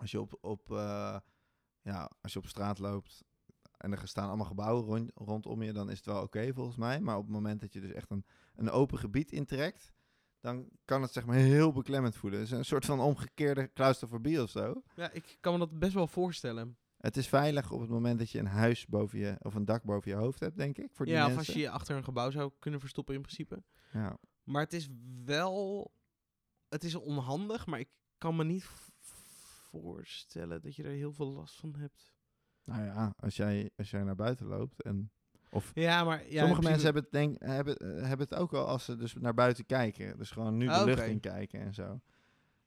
Speaker 2: Als je op, op, eh, ja, als je op straat loopt en er staan allemaal gebouwen rond, rondom je, dan is het wel oké volgens mij. Maar op het moment dat je dus echt een, een open gebied intrekt, dan kan het zeg maar heel beklemmend voelen. Het is een soort van omgekeerde claustrofobie of zo.
Speaker 1: Ja, ik kan me dat best wel voorstellen.
Speaker 2: Het is veilig op het moment dat je een huis boven je, of een dak boven je hoofd hebt, denk ik, voor die
Speaker 1: Ja, of als
Speaker 2: mensen.
Speaker 1: je je achter een gebouw zou kunnen verstoppen in principe.
Speaker 2: Ja.
Speaker 1: Maar het is wel. Het is onhandig, maar ik kan me niet v- voorstellen dat je er heel veel last van hebt.
Speaker 2: Nou ja, als jij, als jij naar buiten loopt. En of
Speaker 1: Ja, maar. Ja,
Speaker 2: sommige mensen hebben het, denk, hebben, eh, hebben het ook al als ze dus naar buiten kijken. Dus gewoon nu de
Speaker 1: Ah,
Speaker 2: lucht
Speaker 1: oké.
Speaker 2: in kijken en zo.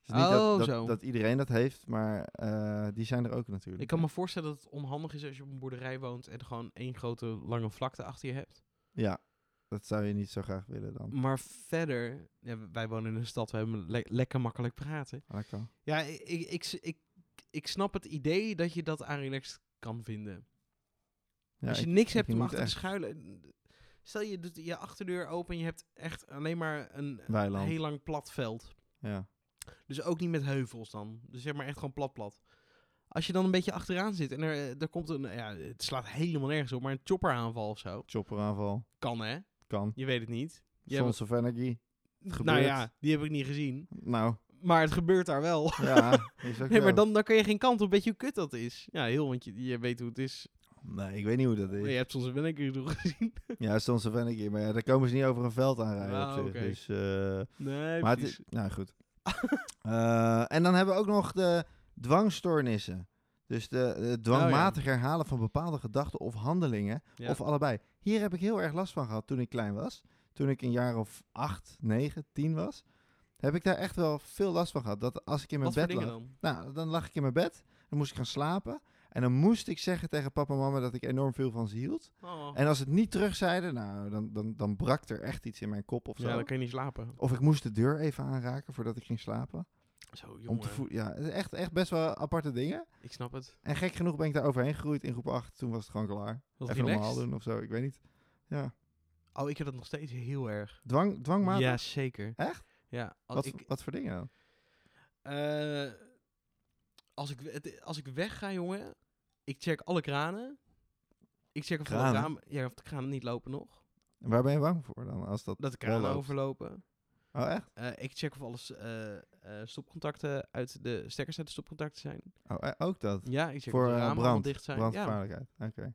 Speaker 2: Het is niet dat,
Speaker 1: Oh,
Speaker 2: dat,
Speaker 1: zo.
Speaker 2: dat iedereen dat heeft, maar eh, die zijn er ook natuurlijk.
Speaker 1: Ik kan me voorstellen dat het onhandig is als je op een boerderij woont en gewoon één grote lange vlakte achter je hebt.
Speaker 2: Ja, dat zou je niet zo graag willen dan.
Speaker 1: Maar verder, ja, w- wij wonen in een stad, we hebben le- lekker makkelijk praten.
Speaker 2: Lekker.
Speaker 1: Ja, ik, ik, ik, s- ik, ik snap het idee dat je dat aan relaxed kan vinden.
Speaker 2: Ja,
Speaker 1: als je
Speaker 2: ik-
Speaker 1: niks
Speaker 2: heb
Speaker 1: hebt om
Speaker 2: niet
Speaker 1: achter te
Speaker 2: echt.
Speaker 1: schuilen. Stel je doet je achterdeur open en je hebt echt alleen maar een
Speaker 2: Weiland.
Speaker 1: heel lang plat veld.
Speaker 2: ja.
Speaker 1: Dus ook niet met heuvels dan. Dus zeg maar echt gewoon plat plat. Als je dan een beetje achteraan zit en er, eh, er komt een... Ja, het slaat helemaal nergens op, maar een chopperaanval of zo.
Speaker 2: Chopperaanval.
Speaker 1: Kan hè?
Speaker 2: Kan.
Speaker 1: Je weet het niet. Je
Speaker 2: Sons of Energy.
Speaker 1: hebt, nou
Speaker 2: gebeurt.
Speaker 1: ja, die heb ik niet gezien.
Speaker 2: Nou,
Speaker 1: Maar het gebeurt daar wel.
Speaker 2: ja. is ook
Speaker 1: Nee,
Speaker 2: zo.
Speaker 1: maar dan, dan kun je geen kant op. Weet je hoe kut dat is? Ja, heel, want je, je weet hoe het is.
Speaker 2: Nee, ik weet niet hoe dat
Speaker 1: Je
Speaker 2: is.
Speaker 1: hebt soms wel een keer nog gezien.
Speaker 2: Ja, Sons of Energy. Maar ja, daar komen ze niet over een veld aanrijden
Speaker 1: Ah,
Speaker 2: op zich.
Speaker 1: oké.
Speaker 2: Dus, eh,
Speaker 1: Nee,
Speaker 2: maar het
Speaker 1: precies.
Speaker 2: is... Nou, goed. Eh, en dan hebben we ook nog de dwangstoornissen. Dus de,
Speaker 1: Oh,
Speaker 2: de dwangmatig herhalen van bepaalde gedachten of handelingen.
Speaker 1: Ja.
Speaker 2: Of allebei. Hier heb ik heel erg last van gehad toen ik klein was. Toen ik een jaar of acht, negen, tien was. Heb ik daar echt wel veel last van gehad. Dat als ik in mijn
Speaker 1: Wat voor
Speaker 2: bed
Speaker 1: dingen
Speaker 2: lag.
Speaker 1: dan?
Speaker 2: Nou, dan lag ik in mijn bed. Dan moest ik gaan slapen. En dan moest ik zeggen tegen papa en mama dat ik enorm veel van ze hield.
Speaker 1: Oh.
Speaker 2: En als ze het niet terugzeiden, nou, dan, dan, dan brak er echt iets in mijn kop of zo.
Speaker 1: Ja, dan kan je niet slapen.
Speaker 2: Of ik moest de deur even aanraken voordat ik ging slapen.
Speaker 1: Zo,
Speaker 2: Om te
Speaker 1: jongen.
Speaker 2: voelen. Ja, het is echt, echt best wel aparte dingen.
Speaker 1: ik snap het.
Speaker 2: En gek genoeg ben ik daar overheen gegroeid in groep 8. Toen was het gewoon klaar.
Speaker 1: Wat
Speaker 2: even normaal
Speaker 1: relaxed.
Speaker 2: doen of zo, ik weet niet. Ja.
Speaker 1: Oh, ik heb dat nog steeds heel erg.
Speaker 2: Dwang, dwangmatig?
Speaker 1: Ja, zeker.
Speaker 2: Echt?
Speaker 1: Ja, als
Speaker 2: Wat,
Speaker 1: ik,
Speaker 2: wat voor dingen dan?
Speaker 1: eh, als, ik, het- als ik wegga, jongen, ik check alle kranen. Ik check of de
Speaker 2: Kranen?
Speaker 1: ramen, ja, of de kranen niet lopen nog.
Speaker 2: En waar ben je bang voor dan? Als dat...
Speaker 1: Dat de kranen
Speaker 2: loopt.
Speaker 1: overlopen.
Speaker 2: Oh, echt?
Speaker 1: Eh, ik check of alles eh, eh, stopcontacten uit de stekkers uit de stopcontacten zijn.
Speaker 2: Oh, eh, ook dat?
Speaker 1: Ja, ik check
Speaker 2: Voor,
Speaker 1: of de
Speaker 2: eh,
Speaker 1: ramen allemaal
Speaker 2: brand.
Speaker 1: dicht zijn. Ja.
Speaker 2: Brandgevaarlijkheid. Oké.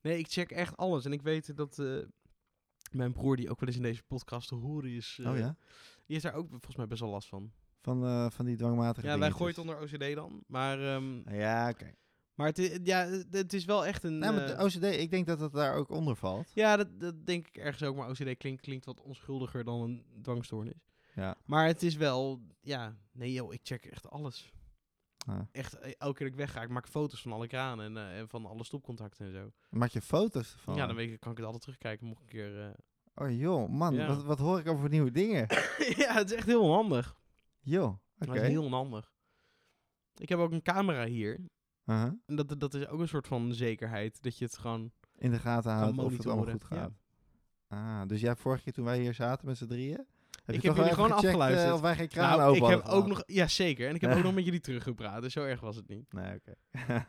Speaker 1: Nee, ik check echt alles. En ik weet dat eh, mijn broer, die ook wel eens in deze podcast te horen is, eh,
Speaker 2: oh ja?
Speaker 1: die heeft daar ook volgens mij best wel last van.
Speaker 2: Van, eh, van die dwangmatige
Speaker 1: Ja, wij
Speaker 2: dingetjes. Ah,
Speaker 1: gooien het onder OCD dan. Maar, ehm,
Speaker 2: Ja, oké.
Speaker 1: maar het, i- ja, het- het is wel echt een...
Speaker 2: Nou, maar
Speaker 1: eh,
Speaker 2: de OCD, ik denk dat dat daar ook onder valt.
Speaker 1: ja, dat, dat denk ik ergens ook. Maar OCD klinkt, klinkt wat onschuldiger dan een dwangstoornis.
Speaker 2: Ja.
Speaker 1: Maar het is wel... Ja, nee joh, ik check echt alles.
Speaker 2: Ja.
Speaker 1: Echt, eh, elke keer dat ik wegga, ik maak foto's van alle kranen en, eh, en van alle stopcontacten en zo.
Speaker 2: Maak je foto's van?
Speaker 1: Ja, dan weet ik, kan ik het altijd terugkijken, mocht ik een keer... eh,
Speaker 2: Oh joh, man,
Speaker 1: Ja.
Speaker 2: wat, wat hoor ik over nieuwe dingen?
Speaker 1: ja, het is echt heel onhandig.
Speaker 2: joh, oké.
Speaker 1: Het is heel onhandig. Ik heb ook een camera hier.
Speaker 2: Aha.
Speaker 1: En dat, dat is ook een soort van zekerheid. Dat je het gewoon
Speaker 2: In de gaten
Speaker 1: kan
Speaker 2: houden of het allemaal
Speaker 1: monitoren.
Speaker 2: goed
Speaker 1: Ja.
Speaker 2: gaat. Ah, dus jij vorige keer toen wij hier zaten met z'n drieën... Heb
Speaker 1: Ik
Speaker 2: je
Speaker 1: heb
Speaker 2: toch wel
Speaker 1: jullie gewoon
Speaker 2: even gecheckt, eh,
Speaker 1: afgeluisterd.
Speaker 2: of wij geen kraan
Speaker 1: Nou, ik
Speaker 2: open
Speaker 1: heb
Speaker 2: hadden
Speaker 1: ook
Speaker 2: gehad?
Speaker 1: nog... Ja, zeker. En ik heb
Speaker 2: Ja.
Speaker 1: ook nog met jullie teruggepraat. Dus zo erg was het niet.
Speaker 2: Nee, oké.
Speaker 1: Nee,
Speaker 2: Ja,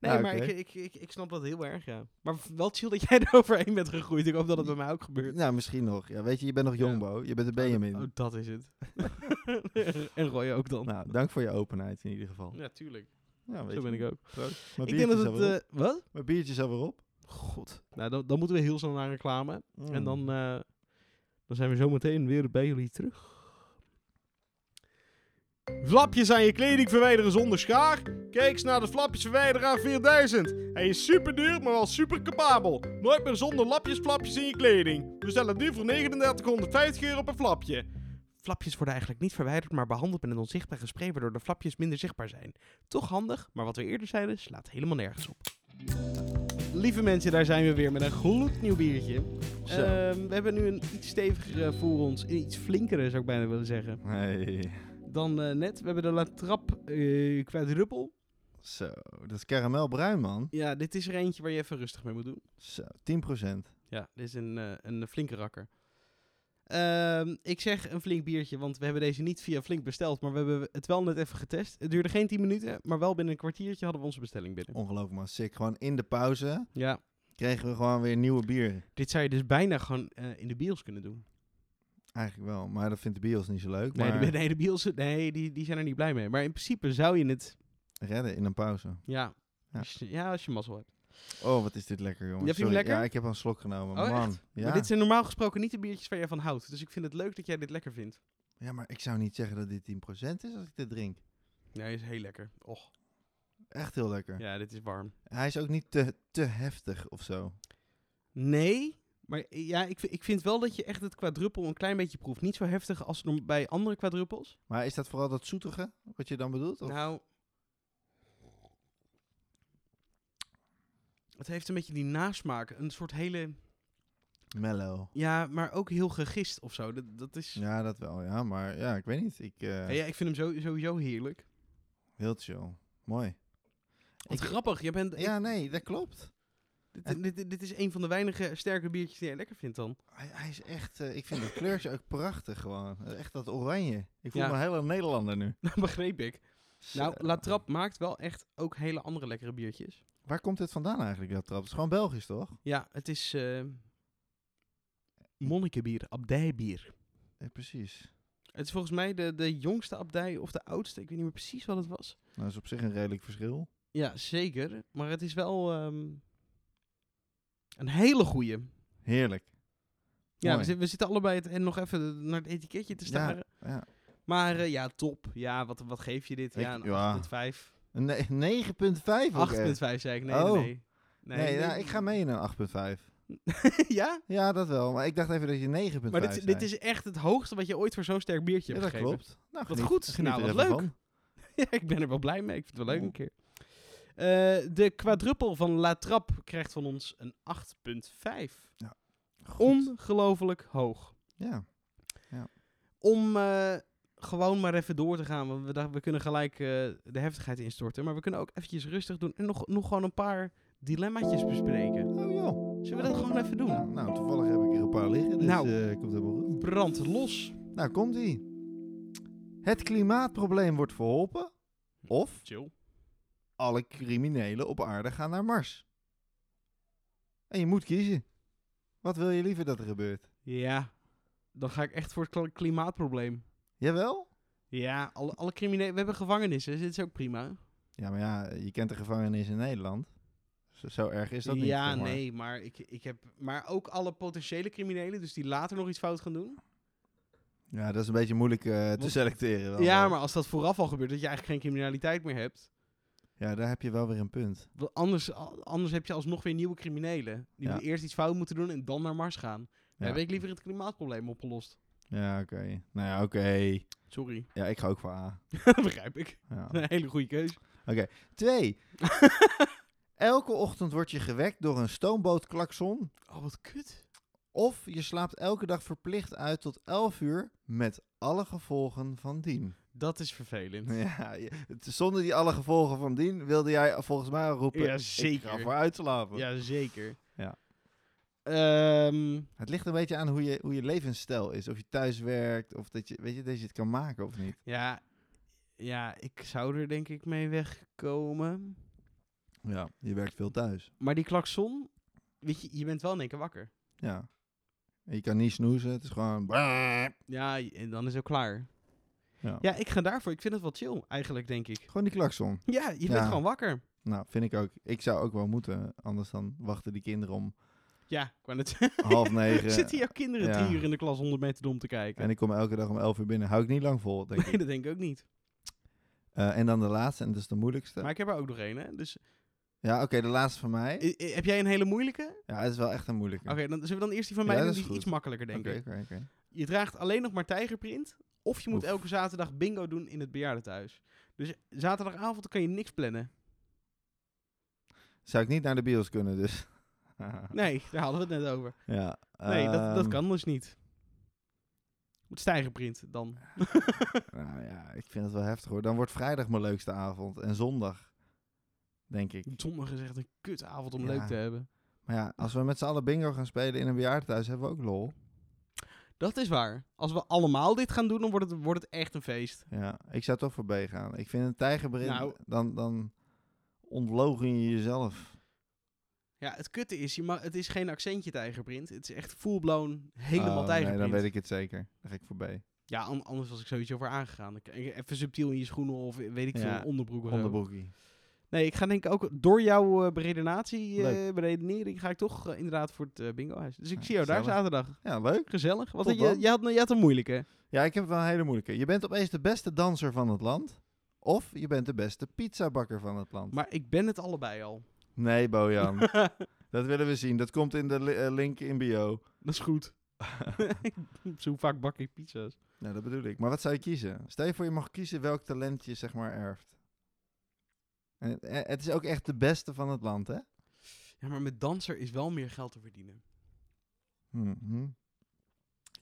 Speaker 1: maar
Speaker 2: Nou, oké.
Speaker 1: ik, ik, ik, ik snap dat heel erg, ja. Maar v- wel chill dat jij eroverheen bent gegroeid. Ik hoop dat het bij mij ook gebeurt.
Speaker 2: Nou, misschien nog. Ja, weet je, je bent nog
Speaker 1: Ja.
Speaker 2: jong, Bo. Je bent een Benjamin.
Speaker 1: Oh, dat is het. en Roy ook dan.
Speaker 2: Nou, dank voor je openheid in ieder geval.
Speaker 1: Ja, tuurlijk.
Speaker 2: Ja, Nou. weet
Speaker 1: Zo ben
Speaker 2: je.
Speaker 1: ik ook.
Speaker 2: Proost. Mijn
Speaker 1: Ik denk dat
Speaker 2: biertje is
Speaker 1: het...
Speaker 2: alweer op.
Speaker 1: eh, wat?
Speaker 2: Mijn biertje is alweer op.
Speaker 1: God. Nou, dan, dan moeten we heel snel naar reclame. En
Speaker 2: Mm.
Speaker 1: dan, eh, dan zijn we zo meteen weer bij jullie terug. Flapjes aan je kleding verwijderen zonder schaar? Kijk eens naar de flapjesverwijderaar 4000. Hij is super duur, maar wel super capabel. Nooit meer zonder lapjes flapjes in je kleding. We stellen nu voor 3950 euro per flapje. Flapjes worden eigenlijk niet verwijderd, maar behandeld met een onzichtbare spray waardoor de flapjes minder zichtbaar zijn. Toch handig, maar wat we eerder zeiden slaat helemaal nergens op. Lieve mensen, daar zijn we weer met een gloednieuw biertje.
Speaker 2: Zo.
Speaker 1: Ehm, we hebben nu een iets stevigere voor ons. Een iets flinkere zou ik bijna willen zeggen.
Speaker 2: Hey.
Speaker 1: Dan eh, net. We hebben de La Trap eh quadruple.
Speaker 2: Zo, dat is karamelbruin, man.
Speaker 1: Ja, dit is er eentje waar je even rustig mee moet doen.
Speaker 2: Zo, 10%.
Speaker 1: Ja, dit is een, eh, een flinke rakker. Ehm, ik zeg een flink biertje, want we hebben deze niet via flink besteld. Maar we hebben het wel net even getest. Het duurde geen 10 minuten, maar wel binnen een kwartiertje hadden we onze bestelling binnen.
Speaker 2: Ongelooflijk, man. Sick. Gewoon in de pauze
Speaker 1: Ja,
Speaker 2: kregen we gewoon weer nieuwe bier.
Speaker 1: dit zou je dus bijna gewoon eh, in de bios kunnen doen.
Speaker 2: Eigenlijk wel, maar dat vindt de bios niet zo leuk.
Speaker 1: Nee,
Speaker 2: maar
Speaker 1: de, nee, de bios nee, die, die zijn er niet blij mee. Maar in principe zou je het...
Speaker 2: redden in een pauze.
Speaker 1: Ja,
Speaker 2: Ja.
Speaker 1: als je, ja als je mazzel hebt.
Speaker 2: Oh, wat is dit lekker, jongen.
Speaker 1: Ja, vind je hem lekker?
Speaker 2: Ja, ik heb al een slok genomen.
Speaker 1: Oh,
Speaker 2: man.
Speaker 1: echt?
Speaker 2: Ja.
Speaker 1: Maar dit zijn normaal gesproken niet de biertjes waar jij van houdt. Dus ik vind het leuk dat jij dit lekker vindt.
Speaker 2: ja, maar ik zou niet zeggen dat dit 10% is als ik dit drink.
Speaker 1: Nee, is heel lekker. Och,
Speaker 2: Echt heel lekker.
Speaker 1: ja, dit is warm.
Speaker 2: Hij is ook niet te, te heftig of zo.
Speaker 1: Nee, maar ja, ik, vi- ik vind wel dat je echt het quadruppel een klein beetje proeft. Niet zo heftig als norm- bij andere quadruppels.
Speaker 2: Maar is dat vooral dat zoetige wat je dan bedoelt? Of?
Speaker 1: Nou, het heeft een beetje die nasmaak. Een soort hele,
Speaker 2: Mellow.
Speaker 1: ja, maar ook heel gegist of zo. Dat, dat is...
Speaker 2: Ja, dat wel, ja. Maar ja, ik weet niet. Ik, eh,
Speaker 1: Ja, ja, ik vind hem zo, sowieso heerlijk.
Speaker 2: Heel chill. Mooi.
Speaker 1: Wat
Speaker 2: Ik-
Speaker 1: grappig, je bent,
Speaker 2: Ja, nee, dat klopt.
Speaker 1: dit, dit- dit, dit is een van de weinige sterke biertjes die jij lekker vindt dan.
Speaker 2: Hij, hij is echt, eh, ik vind het kleurtje ook prachtig gewoon. Echt dat oranje. Ik voel
Speaker 1: Ja.
Speaker 2: me een hele Nederlander nu.
Speaker 1: Dat begreep ik. Nou,
Speaker 2: Zo.
Speaker 1: La Trappe maakt wel echt ook hele andere lekkere biertjes.
Speaker 2: Waar komt dit vandaan eigenlijk, dat trap? Het is gewoon Belgisch, toch?
Speaker 1: Ja, het is eh monnikenbier, abdijbier.
Speaker 2: Eh, precies.
Speaker 1: Het is volgens mij de, de jongste abdij of de oudste. Ik weet niet meer precies wat het was.
Speaker 2: Nou, dat is op zich een redelijk verschil.
Speaker 1: Ja, zeker. Maar het is wel ehm, een hele goeie.
Speaker 2: Heerlijk.
Speaker 1: Ja, we,
Speaker 2: Mooi.
Speaker 1: zi- we zitten allebei het, en nog even naar het etiketje te staren.
Speaker 2: Ja.
Speaker 1: Maar eh, ja, top. Ja, wat, wat geef je dit?
Speaker 2: Ik-
Speaker 1: Ja, een
Speaker 2: ja.
Speaker 1: 8.5. 8.5
Speaker 2: Een ne- 9,5 ook echt.
Speaker 1: zei ik. Nee,
Speaker 2: Oh.
Speaker 1: nee, nee.
Speaker 2: Nee, nou, ik ga mee in een 8,5.
Speaker 1: ja?
Speaker 2: Ja, dat wel. Maar ik dacht even dat je 9,5
Speaker 1: Maar dit,
Speaker 2: zei.
Speaker 1: dit is echt het hoogste wat je ooit voor zo'n sterk biertje
Speaker 2: Ja,
Speaker 1: hebt
Speaker 2: dat
Speaker 1: gegeven.
Speaker 2: klopt. Nou,
Speaker 1: Wat
Speaker 2: geniet-
Speaker 1: goed.
Speaker 2: geniet
Speaker 1: Nou,
Speaker 2: er
Speaker 1: wat
Speaker 2: even
Speaker 1: leuk.
Speaker 2: van.
Speaker 1: Ja, ik ben er wel blij mee. Ik vind het wel leuk
Speaker 2: Ja.
Speaker 1: een keer. Eh, de kwadruppel van La Trappe krijgt van ons een 8.5.
Speaker 2: Goed.
Speaker 1: Ongelooflijk hoog.
Speaker 2: Ja.
Speaker 1: Om eh, gewoon maar even door te gaan, want we, dachten, we kunnen gelijk eh, de heftigheid instorten. Maar we kunnen ook eventjes rustig doen en nog, nog gewoon een paar dilemmaatjes bespreken.
Speaker 2: Oh joh.
Speaker 1: Zullen we dat gewoon even doen?
Speaker 2: Nou, toevallig heb ik er een paar liggen, dus
Speaker 1: Nou.
Speaker 2: eh, komt helemaal goed.
Speaker 1: Brand los.
Speaker 2: Nou, komt ie. Het klimaatprobleem wordt verholpen. Of
Speaker 1: Chill.
Speaker 2: alle criminelen op aarde gaan naar Mars. En je moet kiezen. Wat wil je liever dat er gebeurt?
Speaker 1: Ja, dan ga ik echt voor het kla- klimaatprobleem.
Speaker 2: Jawel?
Speaker 1: Ja, alle, alle criminelen. We hebben gevangenissen, dus dit is ook prima.
Speaker 2: Ja, maar ja, je kent de gevangenis in Nederland. Zo, zo erg is dat niet.
Speaker 1: ja,
Speaker 2: zeg maar.
Speaker 1: nee, maar ik, ik heb. Maar ook alle potentiële criminelen, dus die later nog iets fout gaan doen.
Speaker 2: Ja, dat is een beetje moeilijk eh, te
Speaker 1: Want-
Speaker 2: selecteren. wel.
Speaker 1: ja, maar als dat vooraf al gebeurt, dat je eigenlijk geen criminaliteit meer hebt.
Speaker 2: Ja, daar heb je wel weer een punt.
Speaker 1: Want anders, a- anders heb je alsnog weer nieuwe criminelen. Die
Speaker 2: Ja.
Speaker 1: moeten eerst iets fout moeten doen en dan naar Mars gaan. Dan
Speaker 2: Ja.
Speaker 1: heb ik liever het klimaatprobleem opgelost.
Speaker 2: Ja, oké. Nou ja, oké.
Speaker 1: Sorry,
Speaker 2: Ja, ik ga ook voor A.
Speaker 1: begrijp ik.
Speaker 2: Ja.
Speaker 1: Een hele goede keus.
Speaker 2: Twee. Elke ochtend word je gewekt door een stoombootklakson.
Speaker 1: Oh, wat kut.
Speaker 2: Of je slaapt elke dag verplicht uit tot 11 uur met alle gevolgen van dien.
Speaker 1: Dat is vervelend.
Speaker 2: Ja, je- het- zonder die alle gevolgen van dien wilde jij volgens mij al roepen.
Speaker 1: Ja,
Speaker 2: Ik ga
Speaker 1: zeker.
Speaker 2: voor uitslapen.
Speaker 1: Ja, zeker.
Speaker 2: Ja.
Speaker 1: Ehm,
Speaker 2: Het ligt een beetje aan hoe je, hoe je levensstijl is. Of je thuis werkt, of dat je, weet je, dat je het kan maken of niet.
Speaker 1: ja, ja, ik zou er denk ik mee wegkomen.
Speaker 2: Ja, je werkt veel thuis.
Speaker 1: Maar die klakson, weet je, je bent wel in één keer wakker.
Speaker 2: Ja. En je kan niet snoezen, het is gewoon...
Speaker 1: Ja, j- en dan is het ook klaar.
Speaker 2: Ja.
Speaker 1: Ja, ik ga daarvoor. Ik vind het wel chill, eigenlijk, denk ik.
Speaker 2: Gewoon die klakson.
Speaker 1: Ja, je bent
Speaker 2: Ja.
Speaker 1: gewoon wakker.
Speaker 2: Nou, vind ik ook. Ik zou ook wel moeten, anders dan wachten die kinderen om
Speaker 1: Ja, ik wou net zeggen.
Speaker 2: half negen.
Speaker 1: Zitten jouw kinderen
Speaker 2: ja.
Speaker 1: drie uur in de klas 100 meter om te kijken?
Speaker 2: En ik kom elke dag om 11 uur binnen. Hou ik niet lang vol, denk ik.
Speaker 1: nee, dat denk ik ook niet.
Speaker 2: Eh, en dan de laatste, en dat is de moeilijkste.
Speaker 1: Maar ik heb er ook nog één, hè. Dus
Speaker 2: Ja, oké, de laatste van mij.
Speaker 1: i- i- heb jij een hele moeilijke?
Speaker 2: Ja, het is wel echt een moeilijke.
Speaker 1: Oké, dan zullen we dan eerst die van mij
Speaker 2: Ja,
Speaker 1: doen.
Speaker 2: dat
Speaker 1: Die
Speaker 2: is
Speaker 1: is
Speaker 2: goed.
Speaker 1: iets makkelijker, denk
Speaker 2: Oké,
Speaker 1: ik.
Speaker 2: oké, oké.
Speaker 1: Je draagt alleen nog maar tijgerprint. Of je moet
Speaker 2: Oef.
Speaker 1: elke zaterdag bingo doen in het bejaardentehuis. Dus zaterdagavond kan je niks plannen.
Speaker 2: Zou ik niet naar de bios kunnen, dus.
Speaker 1: Nee, daar hadden we het net over.
Speaker 2: Ja,
Speaker 1: Nee, dat, dat
Speaker 2: ehm,
Speaker 1: kan dus niet. Moet stijgerprint dan.
Speaker 2: Nou ja, ik vind het wel heftig hoor. Dan wordt vrijdag mijn leukste avond en zondag, denk ik.
Speaker 1: Zondag is echt een kutavond om
Speaker 2: Ja.
Speaker 1: leuk te hebben.
Speaker 2: Maar ja, als we met z'n allen bingo gaan spelen in een bejaardentehuis, hebben we ook lol.
Speaker 1: Dat is waar. Als we allemaal dit gaan doen, dan wordt het, wordt het echt een feest.
Speaker 2: Ja, ik zou toch voor B gaan. Ik vind een tijgerberin,
Speaker 1: Nou.
Speaker 2: dan, dan ontlogen je jezelf.
Speaker 1: Ja, het kutte is, je ma- het is geen accentje tijgerprint. Het is echt full-blown helemaal
Speaker 2: Oh, Nee,
Speaker 1: tijgerprint.
Speaker 2: dan weet ik het zeker. Dan ga ik voor B.
Speaker 1: Ja, an- anders was ik zoiets over aangegaan. Dan k- Even subtiel in je schoenen of weet ik
Speaker 2: Ja,
Speaker 1: veel, onderbroek of zo.
Speaker 2: Onderbroekie.
Speaker 1: Nee, ik ga denk ik ook door jouw eh, beredenatie, eh
Speaker 2: Leuk.
Speaker 1: beredenering, ga ik toch eh, inderdaad voor het eh, bingohuis. Dus ik
Speaker 2: Ja,
Speaker 1: zie jou daar
Speaker 2: gezellig.
Speaker 1: zaterdag.
Speaker 2: Ja, leuk.
Speaker 1: Gezellig. Wat
Speaker 2: Top,
Speaker 1: had je,
Speaker 2: man.
Speaker 1: je, had, je had een moeilijke.
Speaker 2: Ja, ik heb wel een hele moeilijke. Je bent opeens de beste danser van het land. Of je bent de beste pizzabakker van het land.
Speaker 1: Maar ik ben het allebei al.
Speaker 2: Nee, Bojan. dat willen we zien. Dat komt in de li- eh, link in bio.
Speaker 1: Dat is goed. Zo vaak bak ik pizza's.
Speaker 2: Nou, dat bedoel ik. Maar wat zou je kiezen? Stel je voor je mag kiezen welk talent je zeg maar erft. En, eh, het is ook echt de beste van het land, hè?
Speaker 1: Ja, maar met danser is wel meer geld te verdienen.
Speaker 2: Mhm.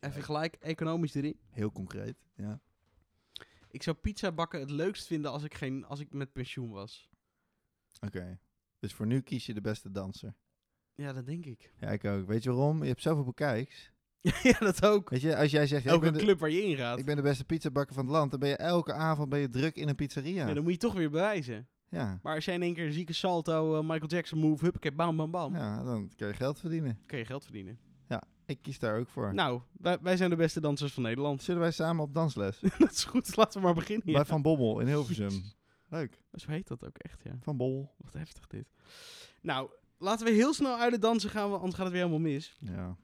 Speaker 1: Even gelijk economisch erin.
Speaker 2: Heel concreet, ja.
Speaker 1: Ik zou pizza bakken het leukst vinden als ik, geen, als ik met pensioen was.
Speaker 2: Oké. Dus voor nu kies je de beste danser.
Speaker 1: Ja, dat denk ik.
Speaker 2: Ja, ik ook. Weet je waarom? Je hebt zoveel bekijks.
Speaker 1: ja, dat ook.
Speaker 2: Weet je, als jij zegt, ja, ik,
Speaker 1: Elke
Speaker 2: ben de,
Speaker 1: club waar je in gaat.
Speaker 2: ik ben de beste pizzabakker van het land, dan ben je elke avond ben je druk in een
Speaker 1: Ja,
Speaker 2: pizzeria.
Speaker 1: dan moet je toch weer bewijzen.
Speaker 2: Ja,
Speaker 1: Maar als jij in één keer een zieke salto, eh, Michael Jackson move, huppakee, bam, bam, bam.
Speaker 2: ja, dan kan je geld verdienen.
Speaker 1: kun je geld verdienen.
Speaker 2: Ik kies daar ook voor.
Speaker 1: Nou, wij, wij zijn de beste dansers van Nederland.
Speaker 2: Zullen wij samen op dansles?
Speaker 1: dat is goed, laten we maar beginnen. Ja.
Speaker 2: Bij Van Bommel in Hilversum. Leuk.
Speaker 1: Zo heet dat ook echt, ja.
Speaker 2: Van Bommel.
Speaker 1: Wat heftig dit. Nou, laten we heel snel uit de dansen gaan, want anders gaat het weer helemaal mis.
Speaker 2: Ja,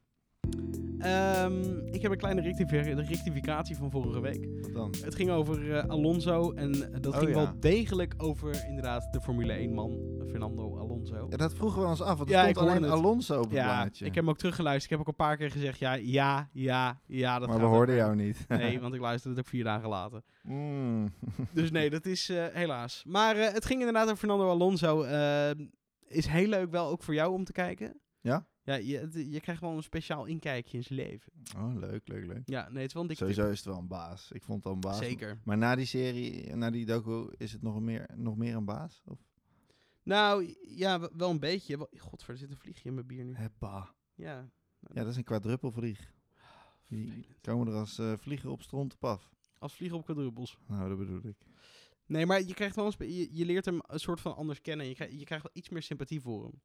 Speaker 1: Ehm, ik heb een kleine rectifi- rectificatie van vorige week.
Speaker 2: wat dan?
Speaker 1: Het ging over eh, Alonso en eh, dat
Speaker 2: Oh,
Speaker 1: ging
Speaker 2: ja.
Speaker 1: wel degelijk over inderdaad de Formule 1 man, Fernando Alonso.
Speaker 2: Ja, dat vroegen we ons af, want er
Speaker 1: Ja, ik
Speaker 2: stond
Speaker 1: hoorde
Speaker 2: alleen
Speaker 1: het.
Speaker 2: Alonso op het
Speaker 1: Ja, ik
Speaker 2: blaadje.
Speaker 1: heb hem ook teruggeluisterd. Ik heb ook een paar keer gezegd, ja, ja, ja, ja. Dat
Speaker 2: maar we
Speaker 1: gaat
Speaker 2: hoorden
Speaker 1: over.
Speaker 2: jou niet.
Speaker 1: Nee, want ik luisterde het ook vier dagen later.
Speaker 2: Mm.
Speaker 1: Dus nee, dat is eh, helaas. Maar eh, het ging inderdaad over Fernando Alonso. Eh, is heel leuk wel ook voor jou om te kijken.
Speaker 2: Ja?
Speaker 1: Ja, je, het- je krijgt wel een speciaal inkijkje in zijn leven.
Speaker 2: Oh, leuk, leuk, leuk.
Speaker 1: Ja, nee, het is wel een dikke
Speaker 2: Sowieso is het wel een baas. Ik vond het al een
Speaker 1: tip.
Speaker 2: baas.
Speaker 1: Zeker.
Speaker 2: Maar na die serie, na die docu, is het nog meer, nog meer een baas? Of?
Speaker 1: Nou, ja, w- wel een beetje. Wel- Godver, er zit een vliegje in mijn bier nu.
Speaker 2: Hebba.
Speaker 1: Ja.
Speaker 2: Ja, dat is een kwadruppelvlieg. Die
Speaker 1: vervelend.
Speaker 2: komen er als eh vliegen op stront op af.
Speaker 1: Als vliegen op quadruppels.
Speaker 2: Nou, dat bedoel ik.
Speaker 1: Nee, maar je krijgt wel een spe- je, je leert hem een soort van anders kennen. Je krijgt, je krijgt wel iets meer sympathie voor hem.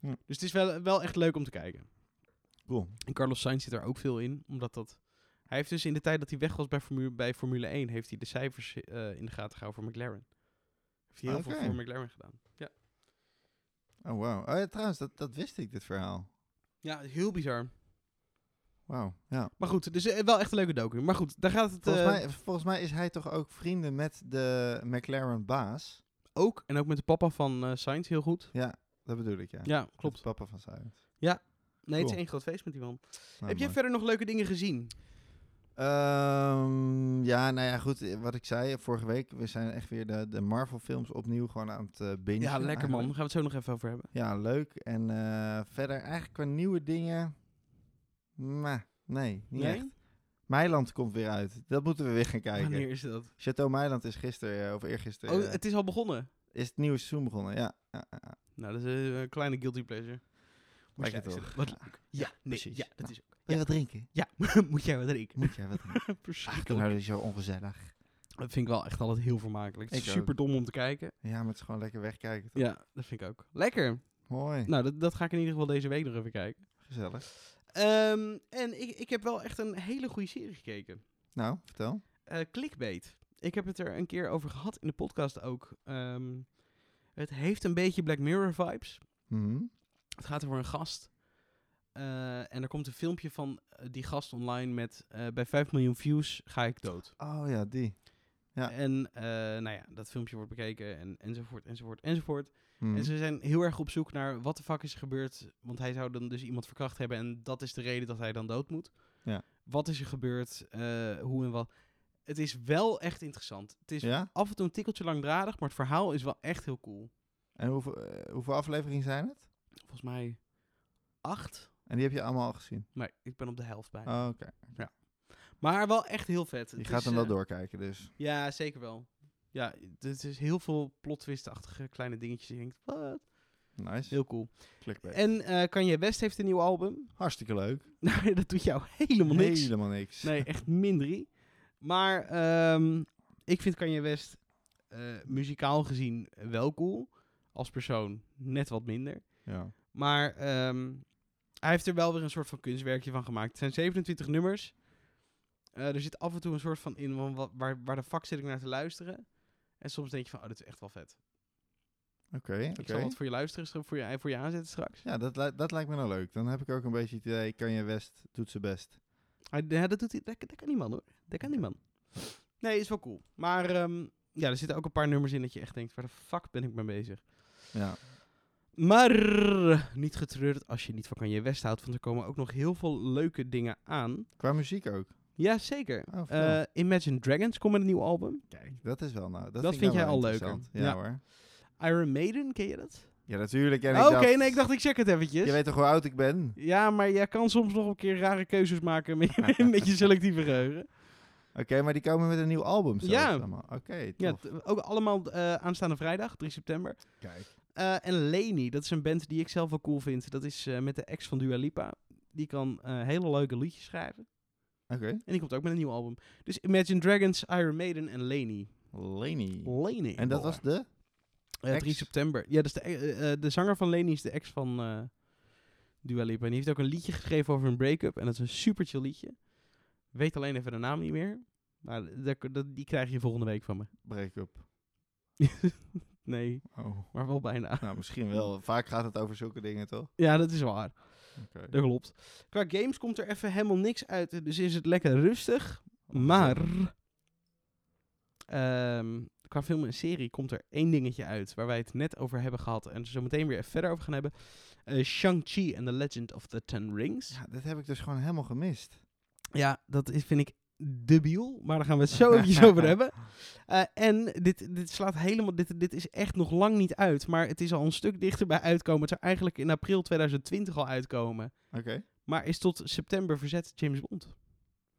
Speaker 2: Ja.
Speaker 1: Dus het is wel, wel echt leuk om te kijken.
Speaker 2: Cool.
Speaker 1: En Carlos Sainz zit er ook veel in, omdat dat... Hij heeft dus in de tijd dat hij weg was bij Formule, bij Formule 1, heeft hij de cijfers eh, in de gaten gehouden voor McLaren. Heeft hij heel
Speaker 2: Oké.
Speaker 1: veel voor McLaren gedaan. Ja,
Speaker 2: Oh, wauw. Oh, ja, trouwens, dat, dat wist ik, dit verhaal.
Speaker 1: ja heel bizar.
Speaker 2: Wauw, ja.
Speaker 1: Maar goed, dus eh, wel echt een leuke docu. Maar goed, daar gaat het
Speaker 2: Volgens,
Speaker 1: eh,
Speaker 2: mij, volgens mij is hij toch ook vrienden met de McLaren-baas?
Speaker 1: ook, en ook met de papa van eh Sainz, heel goed.
Speaker 2: Ja, dat bedoel ik, ja.
Speaker 1: Ja,
Speaker 2: Met de
Speaker 1: klopt.
Speaker 2: Papa van Zuid.
Speaker 1: Nee, het is
Speaker 2: Cool.
Speaker 1: één groot feest met die man.
Speaker 2: Nou,
Speaker 1: Heb jij
Speaker 2: mooi.
Speaker 1: verder nog leuke dingen gezien?
Speaker 2: Ehm, ja, nou ja, goed. eh, Wat ik zei eh, vorige week, we zijn echt weer de, de Marvel-films opnieuw gewoon aan het eh bingen.
Speaker 1: Ja, lekker man.
Speaker 2: eigenlijk.
Speaker 1: Daar gaan we het zo nog even over hebben.
Speaker 2: Ja, leuk. En eh, verder eigenlijk qua nieuwe dingen. Meh, nee, niet
Speaker 1: Nee?
Speaker 2: echt. Meiland komt weer uit. Dat moeten we weer gaan kijken.
Speaker 1: Wanneer is dat?
Speaker 2: Chateau Meiland is gisteren eh, of eergisteren
Speaker 1: Oh,
Speaker 2: eh,
Speaker 1: het is al begonnen.
Speaker 2: is het nieuwe seizoen begonnen. Ja, ja, ja, ja.
Speaker 1: Nou, dat is eh, een kleine guilty pleasure. Moest
Speaker 2: Lijkt het
Speaker 1: jij-
Speaker 2: toch?
Speaker 1: Wat
Speaker 2: Ja.
Speaker 1: leuk. Ja, nee,
Speaker 2: precies.
Speaker 1: ja, dat
Speaker 2: Nou.
Speaker 1: is ook.
Speaker 2: Wil je wat drinken?
Speaker 1: Ja, moet jij wat drinken?
Speaker 2: Moet jij wat drinken? Ach,
Speaker 1: Precies.
Speaker 2: toen houden zo ongezellig.
Speaker 1: Dat eh, vind ik wel echt altijd heel vermakelijk. Het is
Speaker 2: Ik
Speaker 1: super dom om te kijken.
Speaker 2: Ja, maar het is gewoon lekker wegkijken. Toch?
Speaker 1: Ja, dat vind ik ook. Lekker.
Speaker 2: Mooi,
Speaker 1: Nou, dat, dat ga ik in ieder geval deze week nog even kijken.
Speaker 2: gezellig.
Speaker 1: Ehm, en ik, ik heb wel echt een hele goede serie gekeken.
Speaker 2: Nou, vertel.
Speaker 1: Eh Clickbait. Ik heb het er een keer over gehad in de podcast ook. Ehm, het heeft een beetje Black Mirror vibes.
Speaker 2: Mhm.
Speaker 1: Het gaat over een gast. Eh, en er komt een filmpje van eh, die gast online met... eh, bij 5 miljoen views ga ik dood.
Speaker 2: Oh ja, die. Ja.
Speaker 1: En eh, nou ja, dat filmpje wordt bekeken en, enzovoort, enzovoort, enzovoort.
Speaker 2: Mhm.
Speaker 1: En ze Dus zijn heel erg op zoek naar wat de fuck is er gebeurd. Want hij zou dan dus iemand verkracht hebben en dat is de reden dat hij dan dood moet.
Speaker 2: Ja.
Speaker 1: Wat is er gebeurd? eh, hoe en wat? Het is wel echt interessant. Het is
Speaker 2: Ja?
Speaker 1: af en toe een tikkeltje langdradig, maar het verhaal is wel echt heel cool.
Speaker 2: En hoeveel, eh, hoeveel afleveringen zijn het?
Speaker 1: Volgens mij acht.
Speaker 2: En die heb je allemaal al gezien?
Speaker 1: Maar ik ben op de helft bij.
Speaker 2: Oh, Oké.
Speaker 1: Maar wel echt heel vet.
Speaker 2: Je
Speaker 1: Het
Speaker 2: gaat
Speaker 1: is,
Speaker 2: dan
Speaker 1: eh,
Speaker 2: wel doorkijken, dus.
Speaker 1: Ja, zeker wel. Ja, het is heel veel plotwistachtige kleine dingetjes. Je denkt, wat?
Speaker 2: Nice.
Speaker 1: Heel cool.
Speaker 2: Clickbait.
Speaker 1: En eh, Kanye West heeft een nieuw album.
Speaker 2: Hartstikke leuk.
Speaker 1: Nou, dat doet jou helemaal niks.
Speaker 2: Helemaal niks.
Speaker 1: Nee, echt min drie. Maar ehm, ik vind Kanye West eh, muzikaal gezien wel cool. Als persoon net wat minder.
Speaker 2: Ja.
Speaker 1: Maar ehm, hij heeft er wel weer een soort van kunstwerkje van gemaakt. Het zijn 27 nummers. Eh, er zit af en toe een soort van in van wat, waar, waar de fuck zit ik naar te luisteren. En soms denk je van, oh, dit is echt wel vet.
Speaker 2: Oké, oké.
Speaker 1: Ik zal wat voor je luisteren, stra- voor je, voor je aanzetten straks.
Speaker 2: Ja, dat, li- dat lijkt me nou leuk. Dan heb ik ook een beetje het idee, Kanye West doet zijn best.
Speaker 1: Hij- ja, dat, doet hij, dat, dat kan niemand hoor. Dat kan niemand. Nee, is wel cool. Maar ehm, ja, er zitten ook een paar nummers in dat je echt denkt, waar de fuck ben ik mee bezig?
Speaker 2: Ja.
Speaker 1: Maar niet getreurd als je niet van Kanye West houdt, want er komen ook nog heel veel leuke dingen aan.
Speaker 2: Qua muziek ook.
Speaker 1: Jazeker.
Speaker 2: Oh,
Speaker 1: Eh,
Speaker 2: vertel.
Speaker 1: Imagine Dragons komt met een nieuw album.
Speaker 2: Kijk, dat is wel nou. Dat,
Speaker 1: Dat
Speaker 2: ik
Speaker 1: vind
Speaker 2: nou
Speaker 1: jij
Speaker 2: wel
Speaker 1: al leuker.
Speaker 2: interessant. Ja,
Speaker 1: Ja.
Speaker 2: hoor.
Speaker 1: Iron Maiden, ken je dat?
Speaker 2: Ja, natuurlijk. En
Speaker 1: Oh,
Speaker 2: ik
Speaker 1: Oké,
Speaker 2: dacht,
Speaker 1: nee, ik dacht ik check het eventjes.
Speaker 2: Je weet toch hoe oud ik ben?
Speaker 1: Ja, maar jij kan soms nog een keer rare keuzes maken met, met je selectieve geheugen.
Speaker 2: Oké, maar die komen met een nieuw album zelfs
Speaker 1: Ja.
Speaker 2: allemaal. Oké,
Speaker 1: Ja,
Speaker 2: tof.
Speaker 1: t- ook allemaal eh, aanstaande vrijdag, 3 september.
Speaker 2: Kijk.
Speaker 1: Eh, en Leni, dat is een band die ik zelf wel cool vind. Dat is eh, met de ex van Dua Lipa. Die kan eh, hele leuke liedjes schrijven.
Speaker 2: Oké.
Speaker 1: En die komt ook met een nieuw album. Dus Imagine Dragons, Iron Maiden en Laney.
Speaker 2: Leni.
Speaker 1: Laney.
Speaker 2: En dat
Speaker 1: boy.
Speaker 2: was de?
Speaker 1: Eh,
Speaker 2: ex?
Speaker 1: 3 september. Ja, dat is de, eh, eh, de zanger van Laney is de ex van eh Dua Lipa. En die heeft ook een liedje geschreven over een break-up. En dat is een super chill liedje. Weet alleen even de naam niet meer. Maar dat- dat- die krijg je volgende week van me.
Speaker 2: Break-up.
Speaker 1: Nee,
Speaker 2: Oh.
Speaker 1: maar wel bijna.
Speaker 2: Nou, misschien wel. Vaak gaat het over zulke dingen, toch?
Speaker 1: Ja, dat is waar.
Speaker 2: Oké.
Speaker 1: Dat klopt. Qua games komt er even helemaal niks uit. Dus is het lekker rustig. Maar. ehm, qua film en serie komt er één dingetje uit. Waar wij het net over hebben gehad. En zo meteen weer even verder over gaan hebben. Eh, Shang-Chi and the Legend of the Ten Rings. Ja,
Speaker 2: Ja, dat heb ik dus gewoon helemaal gemist.
Speaker 1: dat is, vind ik debiel. Maar daar gaan we het zo eventjes over hebben. Eh, en dit, dit slaat helemaal. Dit, dit is echt nog lang niet uit. Maar het is al een stuk dichterbij uitkomen. Het zou eigenlijk in april 2020 al uitkomen.
Speaker 2: Oké.
Speaker 1: Maar is tot september verzet James Bond.